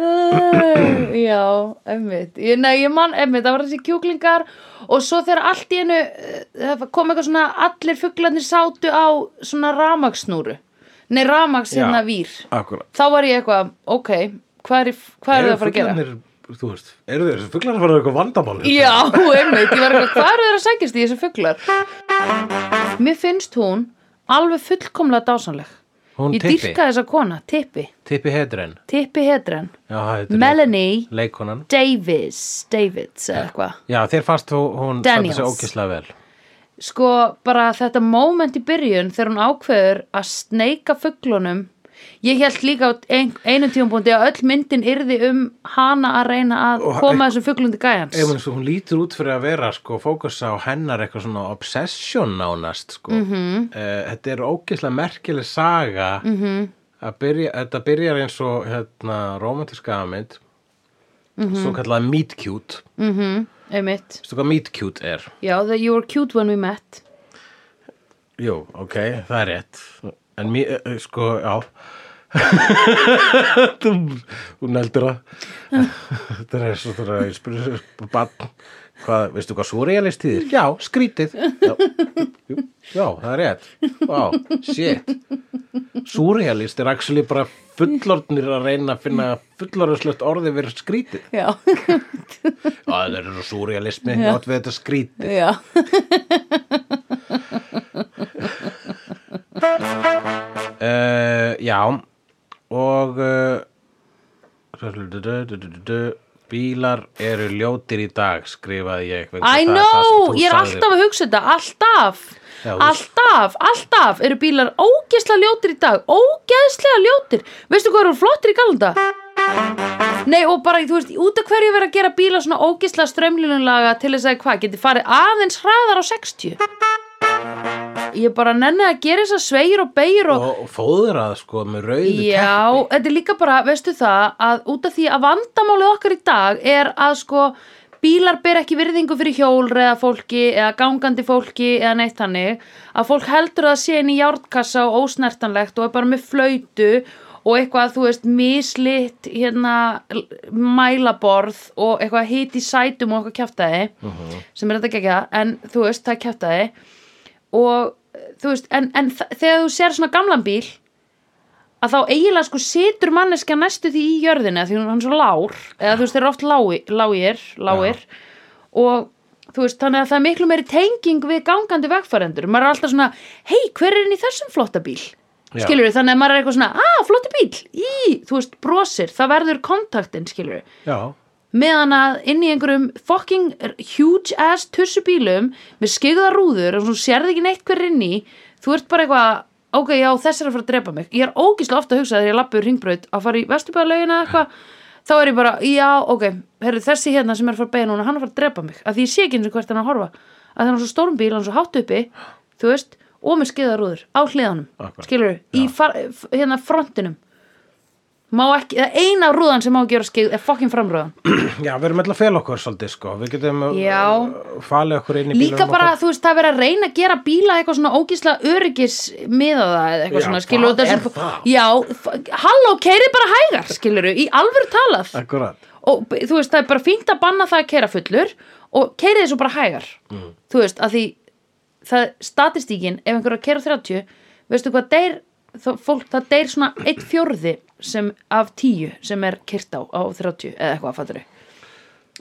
[SPEAKER 2] Æ, Já, emmitt. Ég, nei, ég man, emmitt, það var þessi kjúklingar og svo þegar allt í einu eh, það kom eitthvað svona, allir fuglarnir sátu á svona ramagsnúru. Nei, ramaks
[SPEAKER 1] Já.
[SPEAKER 2] hérna vír.
[SPEAKER 1] akkurat
[SPEAKER 2] Þá var ég eitthvað, ok, hvað er, í- hvað er það að fara að gera?
[SPEAKER 1] fuglarnir, þú veist, eru þeir fuglarnir að fara eitthvað vandamál?
[SPEAKER 2] Já, einmitt, ég var eitthvað, hvað eru þeir að sækjast í þessu fuglar? Mér finnst hún alveg fullkomlega dásanleg.
[SPEAKER 1] Hún
[SPEAKER 2] ég
[SPEAKER 1] Tippi.
[SPEAKER 2] dýrka þessa kona, Tippi,
[SPEAKER 1] Tippi Hedren.
[SPEAKER 2] Tippi Hedren,
[SPEAKER 1] Já, þetta er
[SPEAKER 2] Melanie
[SPEAKER 1] Leikonan.
[SPEAKER 2] Davis, Davids eða eitthvað.
[SPEAKER 1] Já, þér fannst þú, hún standa
[SPEAKER 2] Daniels.
[SPEAKER 1] sig ókislega vel.
[SPEAKER 2] Sko, bara þetta moment í byrjun þegar hún ákveður að sneika fuglunum, ég held líka á ein, einum tíumbúndi að öll myndin yrði um hana að reyna að
[SPEAKER 1] Og-
[SPEAKER 2] koma þessu fuglum til gæjans.
[SPEAKER 1] Ef hún, svo, hún lítur út fyrir að vera, sko, fókusa á hennar eitthvað svona obsession nánast, sko. Mm -hmm. þetta er ókislega merkileg saga. Mm -hmm. Byrja, þetta byrjar eins og, hérna, romantíska aðmynd. Mm -hmm. Svo kallaða meet cute.
[SPEAKER 2] Mhm, Einmitt,
[SPEAKER 1] Veistu hvað meet cute er?
[SPEAKER 2] já, that you were cute when we met.
[SPEAKER 1] Jú, ok, það er rétt. En mér, eh, eh, sko, já. þú, hún heldur það. þetta er svo það að ég spyrir bann. Hvað, veistu hvað surrealist þýðir? Já, skrítið. Já, jú, já það er rétt. Vá, shit. Surrealist er actually bara fullorðnir að reyna að finna fullorðslegt orðið verið skrítið.
[SPEAKER 2] Já,
[SPEAKER 1] Já, það er svo surrealismi, átt við þetta skrítið.
[SPEAKER 2] já.
[SPEAKER 1] uh, Já og eh, uh, bílar eru ljótir í dag skrifaði ég vegna það- það
[SPEAKER 2] I
[SPEAKER 1] sem
[SPEAKER 2] know,
[SPEAKER 1] þú
[SPEAKER 2] ég er
[SPEAKER 1] sagðir.
[SPEAKER 2] alltaf að hugsa þetta, alltaf
[SPEAKER 1] Já, þú-
[SPEAKER 2] Alltaf, alltaf eru bílar ógeðslega ljótir í dag Ógeðslega ljótir Veistu hvað eru flottir í galanda? Nei og bara, þú veist, út af hverju verið að gera bíla svona ógeðslega strömlunulaga til þess að hvað, geti farið aðeins hraðar á 60 Ég bara nenni að gera þess að sveigir og beigir og,
[SPEAKER 1] og, og fóðrað sko með rauðu
[SPEAKER 2] Já, þetta er líka bara, veistu það, að út af því að vandamálið okkar í dag er að sko bílar ber ekki virðingu fyrir hjólreða fólki eða gangandi fólki eða neitt þannig að fólk heldur að það sé inn í járnkassa og ósnertanlegt og er bara með flöytu og eitthvað, þú veist, mislitt hérna, l- mælaborð og eitthvað hit í sætum og eitthvað kjaftaði sem er þetta ekki en þú veist, það er kjaftaði og þú veist, en, en þ- þegar þú sér svona gamlan bíl að þá eiginlega sko situr manneskja næstu því í jörðina því hún hann er svo lár eða þú veist þeir eru oft lái- lágir lágir og þú veist þannig að það er miklu meiri tenging við gangandi vegfærendur maður er alltaf svona hei hver er inn í þessum flotta bíl
[SPEAKER 1] Já.
[SPEAKER 2] skilur við þannig að maður er eitthvað svona að flotta bíl í þú veist brosir það verður kontaktin skilur við
[SPEAKER 1] Já,
[SPEAKER 2] meðan að inn í einhverjum fucking huge ass tussubílum með skigða rúður og svona sérði ekki neitt hver er inn í þú ert bara eitthvað, ok, já, þess er að fara að drepa mig ég er ógislega ofta að hugsa þegar ég lappi úr ringbraut að fara í vesturbæðalaugina eitthvað þá er ég bara, já, ok, herri, þessi hérna sem er að fara að beina núna, hann er að fara að drepa mig af því ég sé ekki eins og hvert hann er að horfa að það er hann er svo stórum bíl, hann er svo hátt uppi þú veist, og með skigða rúður á hliðanum,
[SPEAKER 1] Akkurat.
[SPEAKER 2] skilur í far, f- hérna frontinum má ekki, það er eina rúðan sem má gera skigð er fucking framrúðan
[SPEAKER 1] já við erum alltaf að fela okkur svolítið sko Við getum uh,
[SPEAKER 2] Já.
[SPEAKER 1] falið okkur inn í bílunum
[SPEAKER 2] Líka bara,
[SPEAKER 1] okkar.
[SPEAKER 2] þú veist, það er verið að reyna að gera bíla eitthvað svona ógísla öryggis miða það eða eitthvað
[SPEAKER 1] Já,
[SPEAKER 2] svona, skilur
[SPEAKER 1] hvað er
[SPEAKER 2] svona-
[SPEAKER 1] það?
[SPEAKER 2] Já, f- halló, keirið bara hægar, skilur í alvöru talað
[SPEAKER 1] Akkurat
[SPEAKER 2] og b- þú veist, það er bara fínt að banna það að keira fullur og keirið þessu bara hægar þú veist, að því það, statistíkin, ef einhver er að keira 30 veistu hvað, deyr þá, fólk, það deyr svona eitt fjórði sem, af 10 sem er kyrt á á 30 eða eitthvað, fattur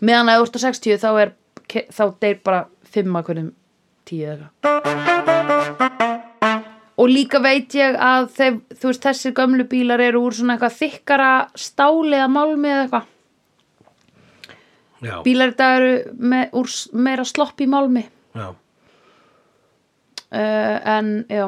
[SPEAKER 2] meðan að þú ert á 60 þá er ke- þá deyr bara 5 að hverjum 10 eða eitthvað og líka veit ég að þeim, þú veist, þessir gömlu bílar eru úr svona eitthvað þykkara stáli eða málmi eða eitthvað
[SPEAKER 1] Já,
[SPEAKER 2] bílar í dag eru með, úr s- meira slopp í málmi
[SPEAKER 1] já
[SPEAKER 2] uh, en já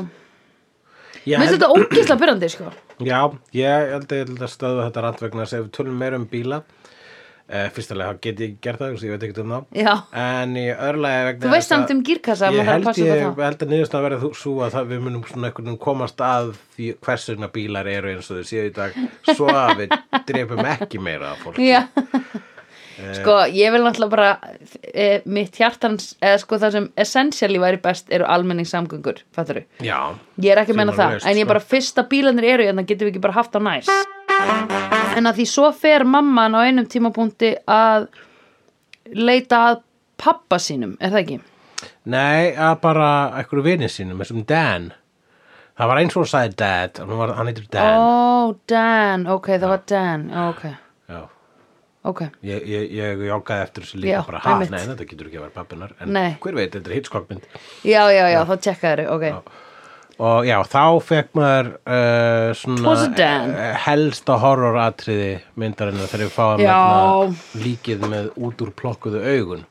[SPEAKER 1] Ég
[SPEAKER 2] mér
[SPEAKER 1] held-
[SPEAKER 2] finnst þetta ógisla byrjandi sko
[SPEAKER 1] Já, ég held að ég held að stöðu þetta rand vegna þess að ef við tölum meira um bíla uh, fyrstulega þá get ég ekki gert það þess að ég veit ekkert um það
[SPEAKER 2] já,
[SPEAKER 1] en í örlega vegna
[SPEAKER 2] þú veist
[SPEAKER 1] þess að-
[SPEAKER 2] samt um gírkassa maður
[SPEAKER 1] ég
[SPEAKER 2] þarf að
[SPEAKER 1] held,
[SPEAKER 2] passa
[SPEAKER 1] ég,
[SPEAKER 2] upp á það.
[SPEAKER 1] ég held að niðurstaðan verða þú- sú að það, við munum svona einhvern veginn komast að því hvers vegna bílar eru eins og þau séu í dag svo að við drefum ekki meira af fólki
[SPEAKER 2] Já.
[SPEAKER 1] Eh.
[SPEAKER 2] sko, ég vil náttúrulega bara e, mitt hjartans, eða sko það sem essentially væri best eru almenningssamgöngur fattaru,
[SPEAKER 1] Já,
[SPEAKER 2] ég er ekki að
[SPEAKER 1] Sem
[SPEAKER 2] menna
[SPEAKER 1] er
[SPEAKER 2] það
[SPEAKER 1] laust,
[SPEAKER 2] en ég
[SPEAKER 1] sko.
[SPEAKER 2] bara fyrsta bílanir eru en það getum við ekki bara haft á næs en að því svo fer mamman á einum tímapunkti að leita að pappa sínum, er það ekki?
[SPEAKER 1] nei, að bara einhverju vini sínum, þessum Dan það var eins og hún sagði Dad hann, var, hann heitir Dan
[SPEAKER 2] Ó, Dan, ok, það var Dan, já, ok,
[SPEAKER 1] Já,
[SPEAKER 2] ok.
[SPEAKER 1] ég, ég, ég joggaði eftir þessu
[SPEAKER 2] Já,
[SPEAKER 1] líka bara, ha,
[SPEAKER 2] einmitt.
[SPEAKER 1] nei, þetta getur ekki að vera pappinar en
[SPEAKER 2] Nei.
[SPEAKER 1] hver veit, þetta er hitskokkmynd
[SPEAKER 2] Já, já, já, þá tjekkaður, ok.
[SPEAKER 1] og já, þá fekk maður uh,
[SPEAKER 2] Was it
[SPEAKER 1] svona
[SPEAKER 2] Dan?
[SPEAKER 1] eh, helsta horroratriði myndarinnar þegar við fáum
[SPEAKER 2] Já.
[SPEAKER 1] hérna líkið með út úr plokkuðu augun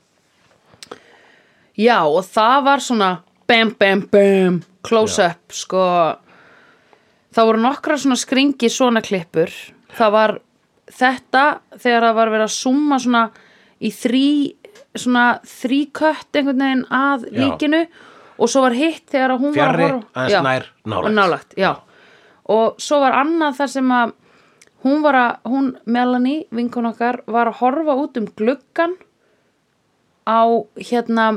[SPEAKER 2] Já, og það var svona, bam, bam, bam, close up, sko. Það voru nokkra svona skringi svona klippur. Það var þetta, þegar það var verið að summa svona í þrí, svona þríkött einhvern veginn að
[SPEAKER 1] Já.
[SPEAKER 2] líkinu og svo var hitt þegar að hún
[SPEAKER 1] Fjarri,
[SPEAKER 2] var að horfa.
[SPEAKER 1] aðeins
[SPEAKER 2] Já.
[SPEAKER 1] nær, nálægt.
[SPEAKER 2] Nálægt, já. Og svo var annað þar sem að hún var að, hún Melanie, vinkun okkar, var að horfa út um gluggan á hérna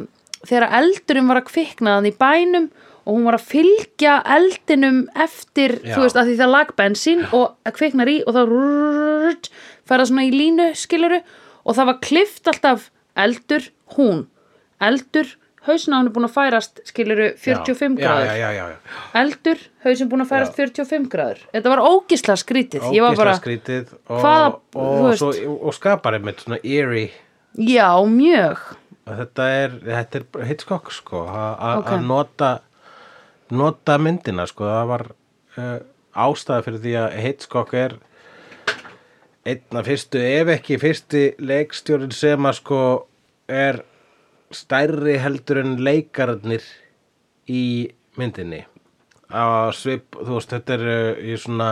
[SPEAKER 2] þegar eldurinn var að kvikna þannig í bænum og hún var að fylgja eldinum eftir,
[SPEAKER 1] Já.
[SPEAKER 2] þú veist, að því það lag bensín og að kviknar í og þá rrrrt, fara svona í línu skiluru og það var klift alltaf eldur, hún eldur, hausna hún er búin að færast skiluru 45
[SPEAKER 1] já,
[SPEAKER 2] gráður
[SPEAKER 1] já, já, já, já.
[SPEAKER 2] eldur, hausinn búin að færast 45 gráður þetta var ógisla skrítið ég var bara,
[SPEAKER 1] Ógeðslega skrítið og,
[SPEAKER 2] Hvaða-
[SPEAKER 1] og,
[SPEAKER 2] þú
[SPEAKER 1] og,
[SPEAKER 2] veist.
[SPEAKER 1] svo, og skapar einmitt svona eerie
[SPEAKER 2] já, mjög
[SPEAKER 1] að þetta er, þetta er Hitchcock sko, a- a-
[SPEAKER 2] Ok.
[SPEAKER 1] að nota nota myndina sko, það var uh, ástæða fyrir því að Hitchcock er einn af fyrstu, ef ekki fyrsti leikstjórin sem að sko er stærri heldur en leikararnir í myndinni að svip, þú veist, þetta er uh, í svona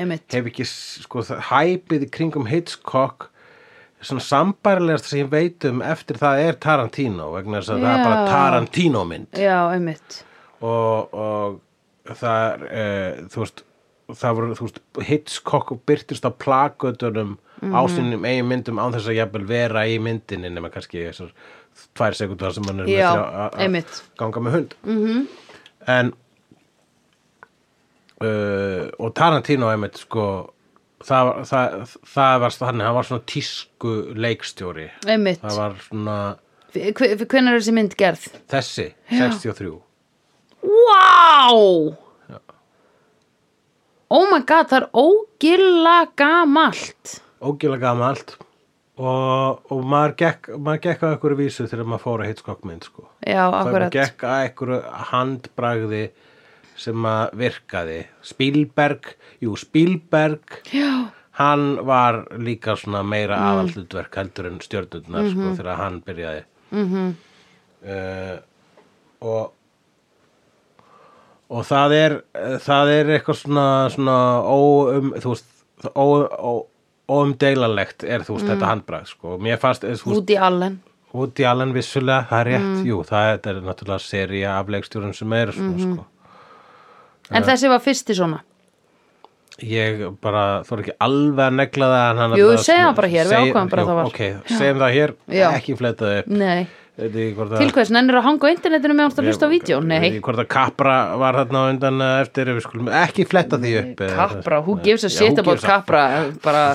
[SPEAKER 2] Einmitt.
[SPEAKER 1] hef ekki, s- sko, það- hæpið í kringum Hitchcock svona sambærilegast sem ég veit um eftir það er Tarantino vegna þess að það er bara
[SPEAKER 2] Já.
[SPEAKER 1] Tarantino mynd
[SPEAKER 2] Já, einmitt.
[SPEAKER 1] og, og það er, uh, þú veist það voru, þú veist, Hitchcock byrtist á plakötunum á
[SPEAKER 2] Mhm.
[SPEAKER 1] sínum eigin myndum án þess að jafnvel vera í myndinni nema kannski þessar tvær sekundar sem hann er með
[SPEAKER 2] Já,
[SPEAKER 1] þrjá- að- að
[SPEAKER 2] einmitt.
[SPEAKER 1] ganga með hund mm -hmm. en uh, og Tarantino einmitt sko það, var- það, það var hann, hann var svona tísku leikstjóri
[SPEAKER 2] Einmitt.
[SPEAKER 1] það var svona
[SPEAKER 2] Hvernig er þessi mynd gerð?
[SPEAKER 1] þessi, 63
[SPEAKER 2] Wow! Oh my god, það er ógilla gamalt.
[SPEAKER 1] ógjöla gamalt og, og maður gekk, maður gekk á einhverju vísu þegar maður fór að Hitchcock mynd sko.
[SPEAKER 2] Já, akkurat.
[SPEAKER 1] maður gekk á einhverju handbragði sem að virkaði Spielberg, jú Spielberg
[SPEAKER 2] Já,
[SPEAKER 1] hann var líka svona meira mm. aðaldutverk heldur en stjörnurnar sko, þegar hann byrjaði mm og og það er það er eitthvað svona, svona óum, þú veist ó, ó, óumdeilanlegt er þú veist þetta handbragð sko, mér fannst eh, þú veist,
[SPEAKER 2] Woody Allen.
[SPEAKER 1] Woody Allen vissulega, það er
[SPEAKER 2] Mm.
[SPEAKER 1] rétt jú, það er, þetta er náttúrulega sería af leikstjórun sem er svona
[SPEAKER 2] Mhm.
[SPEAKER 1] sko
[SPEAKER 2] En þessi var fyrsti svona.
[SPEAKER 1] Ég bara, þú er ekki alveg að negla það en hann
[SPEAKER 2] Jú,
[SPEAKER 1] allavega
[SPEAKER 2] segjum
[SPEAKER 1] svona-
[SPEAKER 2] það bara hér, við
[SPEAKER 1] seg-
[SPEAKER 2] ákváðum bara
[SPEAKER 1] jú,
[SPEAKER 2] að það var.
[SPEAKER 1] Ok, segjum það hér,
[SPEAKER 2] Já.
[SPEAKER 1] ekki fletta upp
[SPEAKER 2] Nei.
[SPEAKER 1] Veit ekki hvort
[SPEAKER 2] Til hvers, nennir að hanga á internetinu meðan þú ert að hlusta á vídeo?
[SPEAKER 1] Veit
[SPEAKER 2] Nei.
[SPEAKER 1] ekki hvort að Capra var þarna á undan eða eftir við skulum ekki fletta því upp eh, eða-
[SPEAKER 2] Capra, who gives a
[SPEAKER 1] Já,
[SPEAKER 2] shit
[SPEAKER 1] who gives
[SPEAKER 2] about
[SPEAKER 1] a-
[SPEAKER 2] Capra? Bara,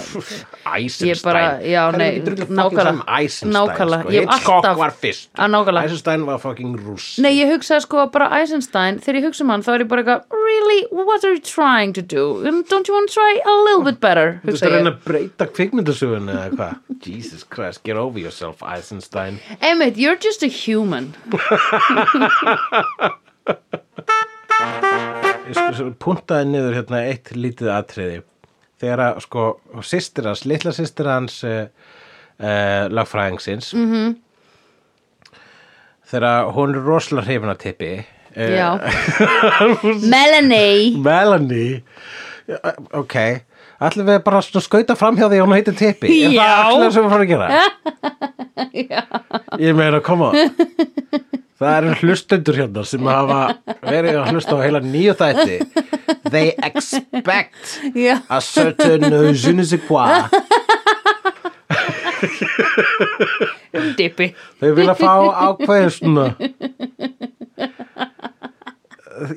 [SPEAKER 1] Eisenstein
[SPEAKER 2] ég bara, já,
[SPEAKER 1] Það er
[SPEAKER 2] nei,
[SPEAKER 1] ekki drullið fucking saman
[SPEAKER 2] nákvæmlega.
[SPEAKER 1] Eisenstein,
[SPEAKER 2] Nákvæmlega,
[SPEAKER 1] sko.
[SPEAKER 2] ég hef
[SPEAKER 1] Hitchcock
[SPEAKER 2] alltaf-
[SPEAKER 1] var fyrst
[SPEAKER 2] Að nákvæmlega.
[SPEAKER 1] Eisenstein var fucking rúss
[SPEAKER 2] Nei, ég hugsaði sko bara Eisenstein, þegar ég hugsa um hann þá er ég bara eitthvað, really, what are you trying to do? Um, Don't you want to try a little bit better?
[SPEAKER 1] Þú veist að
[SPEAKER 2] Hugsaði
[SPEAKER 1] reyna
[SPEAKER 2] ég.
[SPEAKER 1] að breyta kvikmyndasögun eða hvað Jesus Christ, get over yourself, Eisenstein
[SPEAKER 2] Emmett, you're just a human.
[SPEAKER 1] Ég sko- svo puntaði niður hérna eitt lítið atriði þegar að sko sýstir hans, litla sýstir hans uh, uh, lagfræðingsins mm -hmm. þegar að hún er rosalega hrifin að tippi uh,
[SPEAKER 2] Já. Melanie.
[SPEAKER 1] Melanie eh, ok, allir við bara svona skauta framhjá því að hún heitir tippi er
[SPEAKER 2] Já.
[SPEAKER 1] það allir sem við fórum að gera? ég meina, koma það eru hlustendur hérna sem hafa verið að hlusta á heila nýju þætti they expect
[SPEAKER 2] Já.
[SPEAKER 1] a certain uh, je ne sais quoi
[SPEAKER 2] Dippi.
[SPEAKER 1] þau vilja fá ákveðið svona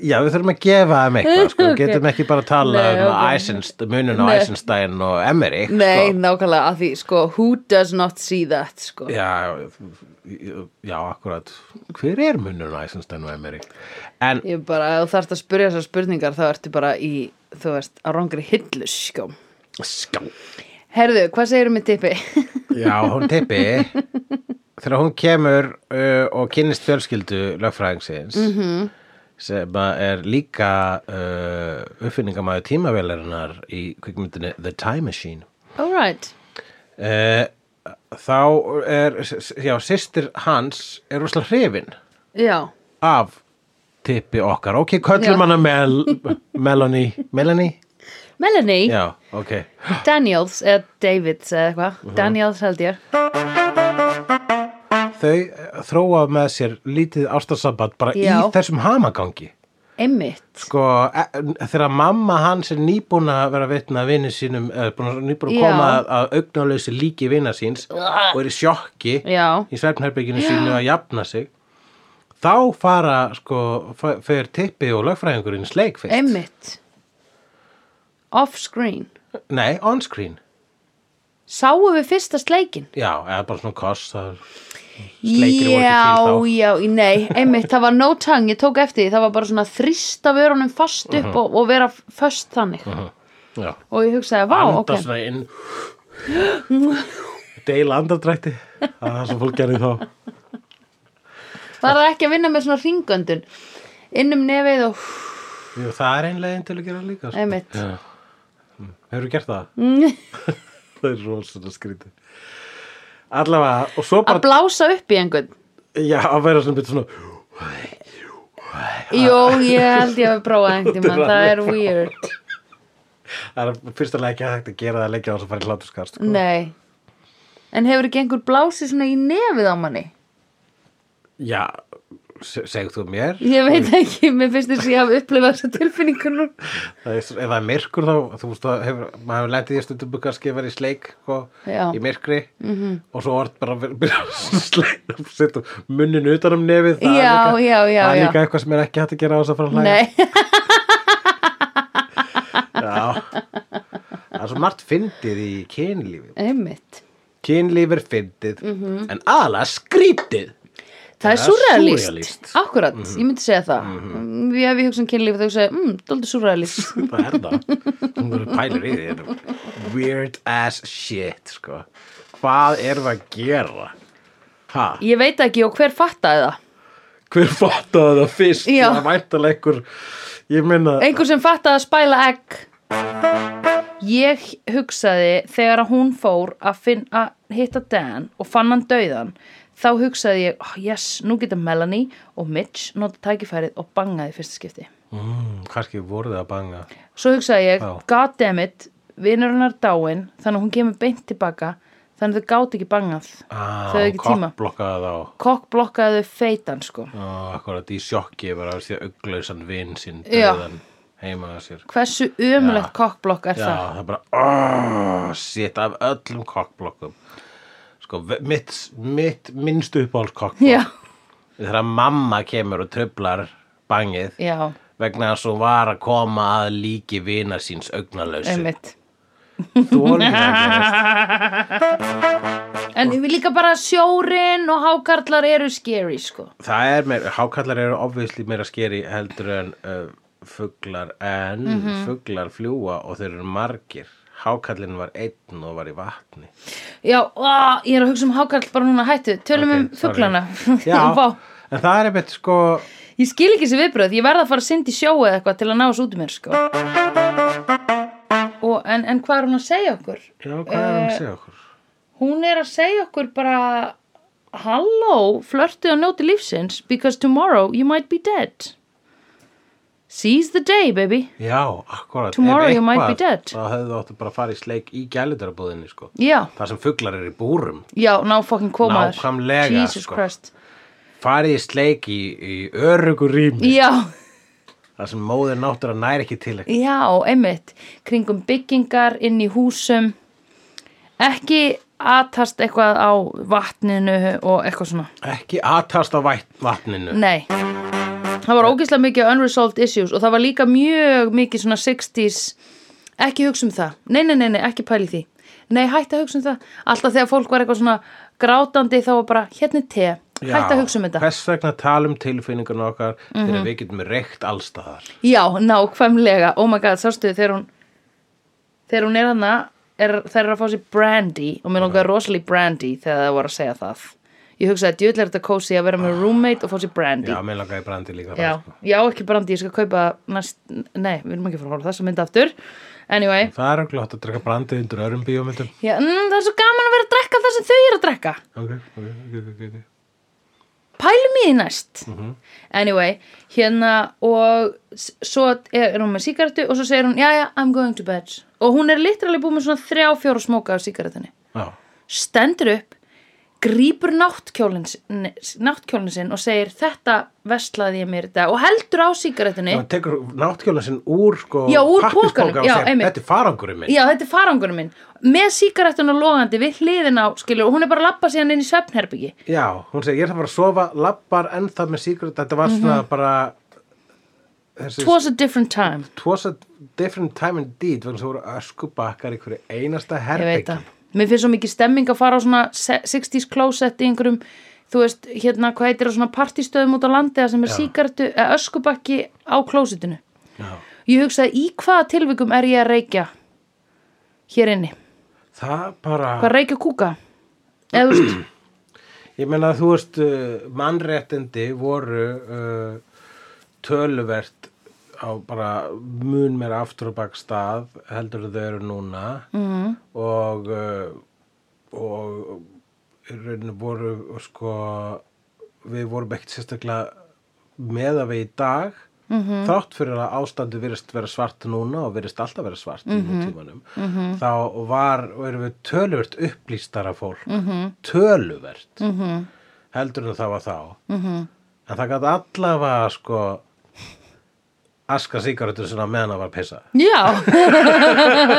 [SPEAKER 1] já við þurfum að gefa þeim eitthvað sko.
[SPEAKER 2] Ok.
[SPEAKER 1] getum ekki bara að tala
[SPEAKER 2] Nei,
[SPEAKER 1] um
[SPEAKER 2] ok.
[SPEAKER 1] Eisenstein, munun á
[SPEAKER 2] Nei.
[SPEAKER 1] Eisenstein og Emmerich
[SPEAKER 2] Nei,
[SPEAKER 1] sko.
[SPEAKER 2] nákvæmlega, að því, sko, who does not see that, sko.
[SPEAKER 1] já, já, akkurat hver er munun á Eisenstein og Emmerich en
[SPEAKER 2] Ég bara, ef þú þarft að spyrja þessar spurningar þá ertu bara í, þú veist, á rangri hillu, sko.
[SPEAKER 1] ská
[SPEAKER 2] Herðu, hvað segirðu með Dippi?
[SPEAKER 1] Já, hún tippi þegar hún kemur uh, og kynnist fjölskyldu lögfræðingsins -hmm. sem að er líka uh, uppfinningamæður tímavélarinnar í kvikmyndinu The Time Machine
[SPEAKER 2] All right.
[SPEAKER 1] uh, þá er já, systir hans er rosalega hrifin
[SPEAKER 2] Já.
[SPEAKER 1] af tippi okkar ok, köllum
[SPEAKER 2] Já.
[SPEAKER 1] hana Mel Melanie, Melanie?
[SPEAKER 2] Melanie
[SPEAKER 1] Já, Mhm. ok
[SPEAKER 2] Daniels, eða Davids, eða eitthvað. Daniels held ég.
[SPEAKER 1] þau eh, þróa með sér lítið ástarsamband bara
[SPEAKER 2] Já.
[SPEAKER 1] í þessum hamagangi
[SPEAKER 2] Emmitt.
[SPEAKER 1] sko, e- þegar mamma hans er nýbúin að vera vitna að vinni sínum, eða búin að- nýbúin að
[SPEAKER 2] Já.
[SPEAKER 1] koma að, að augnálausi líki vina síns og er í sjokki
[SPEAKER 2] Já.
[SPEAKER 1] í svefnherbygginu sínu að jafna sig þá fara, sko, fa- fer tippi og lögfræðingurinn í sleik fyrst
[SPEAKER 2] Einmitt Off-screen
[SPEAKER 1] nei, on-screen
[SPEAKER 2] Sáu við fyrsta sleikin?
[SPEAKER 1] já, eða bara svona koss það er Sleikir voru ekki
[SPEAKER 2] Já,
[SPEAKER 1] til þá.
[SPEAKER 2] já, nei, einmitt, það var no tongue, ég tók eftir því, það var bara svona að þrýsta vörunum fast upp og, og vera föst þannig
[SPEAKER 1] Mhm. já,
[SPEAKER 2] og ég hugsaði, vá,
[SPEAKER 1] anda
[SPEAKER 2] ok,
[SPEAKER 1] svona inn deila andardrætti það er það sem fólk gerir þá
[SPEAKER 2] það er ekki að vinna með svona ringöndun inn um nefið og
[SPEAKER 1] Jú, það er ein leiðin til að gera það líka. Sko.
[SPEAKER 2] einmitt
[SPEAKER 1] Hefur þú gert það? Mm. það er rosalega skrítið. Allavega, og svo
[SPEAKER 2] að
[SPEAKER 1] bara,
[SPEAKER 2] blása upp í einhvern
[SPEAKER 1] já, að vera svona bitur svona,
[SPEAKER 2] Jó, ég held ég að prófa einhvern tímann, það er weird
[SPEAKER 1] það er fyrst að leggja hægt að gera það að leggja þess að fara í hlátuskast. Sko.
[SPEAKER 2] Nei En hefur ekki einhver blásið svona í nefið á manni?
[SPEAKER 1] Já, se- segðu þú mér?
[SPEAKER 2] Ég veit ekki, mér finnst þess að ég hafa upplifað þessa tilfinningar nú
[SPEAKER 1] Það er, s- ef það er myrkur þá, þú veist, það hefur, maður hefur lendið í stundum kannski að vera í sleik og
[SPEAKER 2] Já. Mhm.
[SPEAKER 1] í myrkri -hmm. og svo orð bara að byrja að sleik og setja munnin utan um nefið. það er
[SPEAKER 2] Já,
[SPEAKER 1] líka-
[SPEAKER 2] já, já,
[SPEAKER 1] Það er
[SPEAKER 2] já.
[SPEAKER 1] líka eitthvað sem er ekki hægt að gera á þess að fara að hlæja.
[SPEAKER 2] Nei,
[SPEAKER 1] Já, það er svo margt fyndið í kynlífi.
[SPEAKER 2] einmitt
[SPEAKER 1] Kynlíf er fyndið,
[SPEAKER 2] Mhm.
[SPEAKER 1] en aðalega skrítið.
[SPEAKER 2] Það er Mhm.
[SPEAKER 1] Það er
[SPEAKER 2] surrealist,
[SPEAKER 1] súrrealískt.
[SPEAKER 2] akkurat, ég myndi segja það mm Ég hef ég hugsa um kynlíf og þau segja, mm, dóldi surrealist
[SPEAKER 1] Það er það. Hún verður pælir í því. þetta er Weird ass shit, sko. Hvað erum við að gera? Ha?
[SPEAKER 2] Ég veit ekki og hver fattaði það
[SPEAKER 1] Hver fattaði það fyrst?
[SPEAKER 2] Já.
[SPEAKER 1] Það væntalega einhver, ég meina,
[SPEAKER 2] einhver sem fattaði að spæla egg ég hugsaði þegar að hún fór að, finn, að hitta Dan og fann hann dauðan þá hugsaði ég, oh, yes, nú getur Melanie og Mitch nota tækifærið og bangaði í fyrsta skipti
[SPEAKER 1] mm, kannski voru það að banga.
[SPEAKER 2] svo hugsaði ég,
[SPEAKER 1] Já.
[SPEAKER 2] god damn it vinnur hennar dáin, þannig að hún kemur beint tilbaka þannig að þau gáti ekki bangað
[SPEAKER 1] Ah,
[SPEAKER 2] þau hefðu ekki tíma
[SPEAKER 1] Blokkaði þá,
[SPEAKER 2] kokk blokkaði þau feitan sko
[SPEAKER 1] ah, akkurat í sjokki, bara að því að auglausan vinn sinn
[SPEAKER 2] Já.
[SPEAKER 1] döðan heima að sér.
[SPEAKER 2] hversu umlegt kokkblokk er
[SPEAKER 1] Já,
[SPEAKER 2] það
[SPEAKER 1] það er bara, oh, shit, af öllum kokkblokkum. Sko, ve- mitt, mitt minnstu uppáhalds
[SPEAKER 2] já,
[SPEAKER 1] kokkblokk. Þegar mamma kemur og tröflar bangið
[SPEAKER 2] já,
[SPEAKER 1] vegna þess að hún var að koma að líki vina síns augnalösi.
[SPEAKER 2] einmitt
[SPEAKER 1] Þólir það gerist.
[SPEAKER 2] En líka bara sjórin og hákarlar eru scary, sko.
[SPEAKER 1] Það er meira, hákallar eru obvisli meira skeri heldur en uh, fuglar, en
[SPEAKER 2] Mhm.
[SPEAKER 1] fuglar fljúa og þeir eru margir. Hákallin var einn og var í vatni.
[SPEAKER 2] Já, á, ég er að hugsa um hákarl bara núna hættu. Tölum
[SPEAKER 1] Ok,
[SPEAKER 2] um
[SPEAKER 1] sorry.
[SPEAKER 2] fuglana.
[SPEAKER 1] Já,
[SPEAKER 2] Vá.
[SPEAKER 1] en það er einmitt sko,
[SPEAKER 2] Ég skil ekki þessi viðbröð. Ég verð að fara að synda í sjó eða eitthvað til að ná þessu út um mér, sko. Og, en, en hvað er hún að segja okkur?
[SPEAKER 1] já, hvað er
[SPEAKER 2] Eh,
[SPEAKER 1] hann að segja okkur?
[SPEAKER 2] Hún er að segja okkur bara, halló, flörtu og njóti lífsins, because tomorrow you might be dead. Seize the day, baby.
[SPEAKER 1] Já, akkurat.
[SPEAKER 2] Tomorrow
[SPEAKER 1] Ef
[SPEAKER 2] you might be dead.
[SPEAKER 1] Þá hefðu þú áttu bara að fara í sleik í gælutarabúðinni, sko.
[SPEAKER 2] Já,
[SPEAKER 1] Það sem fuglar eru í búrum.
[SPEAKER 2] já, ná fucking komaður.
[SPEAKER 1] Nákvæmlega,
[SPEAKER 2] Jesus
[SPEAKER 1] sko.
[SPEAKER 2] Christ.
[SPEAKER 1] Farið í sleik í, í örugur rými.
[SPEAKER 2] Já.
[SPEAKER 1] Það sem móðir náttúrulega næri ekki til ekki.
[SPEAKER 2] Já, einmitt, kringum byggingar inn í húsum ekki aðtast eitthvað á vatninu og eitthvað svona
[SPEAKER 1] Ekki aðtast á vætt, vatninu.
[SPEAKER 2] Nei, það var ógeðslega mikið unresolved issues og það var líka mjög mikið svona 60s ekki hugsa um það, nei, nei, nei, nei ekki pæli því Nei, hætt að hugsa um það Alltaf þegar fólk var eitthvað svona grátandi þá var bara, hérna er te, hætt að hugsa um þetta
[SPEAKER 1] Hvers vegna tala um tilfinningarna okkar þegar við getum reykt allstaðar.
[SPEAKER 2] Já, nákvæmlega, oh my god, sástu þegar hún þegar hún er hana er, þær eru að fá sér brandy og mér
[SPEAKER 1] Mhm.
[SPEAKER 2] langaði rosalega í brandy þegar það voru að segja það ég hugsaði að djöðlega er þetta kósi að vera með roommate og fá sér brandy
[SPEAKER 1] Ah. Já, mér langaði brandi líka. það,
[SPEAKER 2] já,
[SPEAKER 1] sko.
[SPEAKER 2] já, ekki brandy, ég skal kaupa næst, nei, við erum ekki að fara að horfa á þessa mynd aftur anyway,
[SPEAKER 1] Það er okkur hægt að drekka brandi undir örum bíómyndum.
[SPEAKER 2] já, mm, það er svo gaman að vera að drekka það sem þau eru að drekka
[SPEAKER 1] Ok, ok, ok, ok, ok.
[SPEAKER 2] pælum í því næst anyway, hérna og s- svo er, er hún með sígarettu og svo segir hún, já, já, I'm going to bed og hún er literally búin með svona þrjá, fjóra smóka af sígarettunni,
[SPEAKER 1] Já,
[SPEAKER 2] stendur upp grípur náttkjólinn náttkjólinn sinn og segir þetta veslaði ég mér í dag og heldur á sígarettunni
[SPEAKER 1] það tekur náttjólan sinn úr sko
[SPEAKER 2] Já, úr
[SPEAKER 1] pappírspoka
[SPEAKER 2] pokanum,
[SPEAKER 1] og
[SPEAKER 2] já,
[SPEAKER 1] segir,
[SPEAKER 2] einmitt.
[SPEAKER 1] Þetta er farangurinn minn.
[SPEAKER 2] Já, þetta er farangunum minn með sígarettuna logandi við hliðin á skilur og hún er bara að lappa síðan inn í svefnherbyggi
[SPEAKER 1] Já, hún segir, ég er það bara að sofa, lappar ennþá með sígrönd, þetta var svona
[SPEAKER 2] Mhm.
[SPEAKER 1] bara þessi
[SPEAKER 2] It was a different time
[SPEAKER 1] twas a different time indeed vegna svo voru öskubakkar í hverju einasta
[SPEAKER 2] ég veit
[SPEAKER 1] herbyggi.
[SPEAKER 2] það, mér finnst svo mikið stemming að fara á svona se- 60s closet í einhverjum, þú veist, hérna hvað heitir á svona partistöðum út á landiða sem er síkartu, öskubakki á closetinu
[SPEAKER 1] Já.
[SPEAKER 2] ég hugsaði í hvaða tilvikum er ég að reykja hér inni,
[SPEAKER 1] Það bara,
[SPEAKER 2] hvað reykja kúka eða þú veist,
[SPEAKER 1] eh, ég meina að þú veist, uh, mannréttindi voru uh, töluvert á bara mun meira aftur og bak stað heldur en þau eru núna mm. og uh, og í rauninu voru og sko við vorum ekkert sérstaklega með að við í dag -hmm. þrátt fyrir að ástandi virðist vera svart núna og virðist alltaf vera svart í nútímanum -hmm. þá var og erum við töluvert upplýstara fólk -hmm. töluvert -hmm. heldur en það var þá -hmm. en það gæti allavega sko aska sigarettur sinna meðan að var pissa
[SPEAKER 2] Já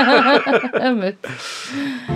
[SPEAKER 2] Einmitt.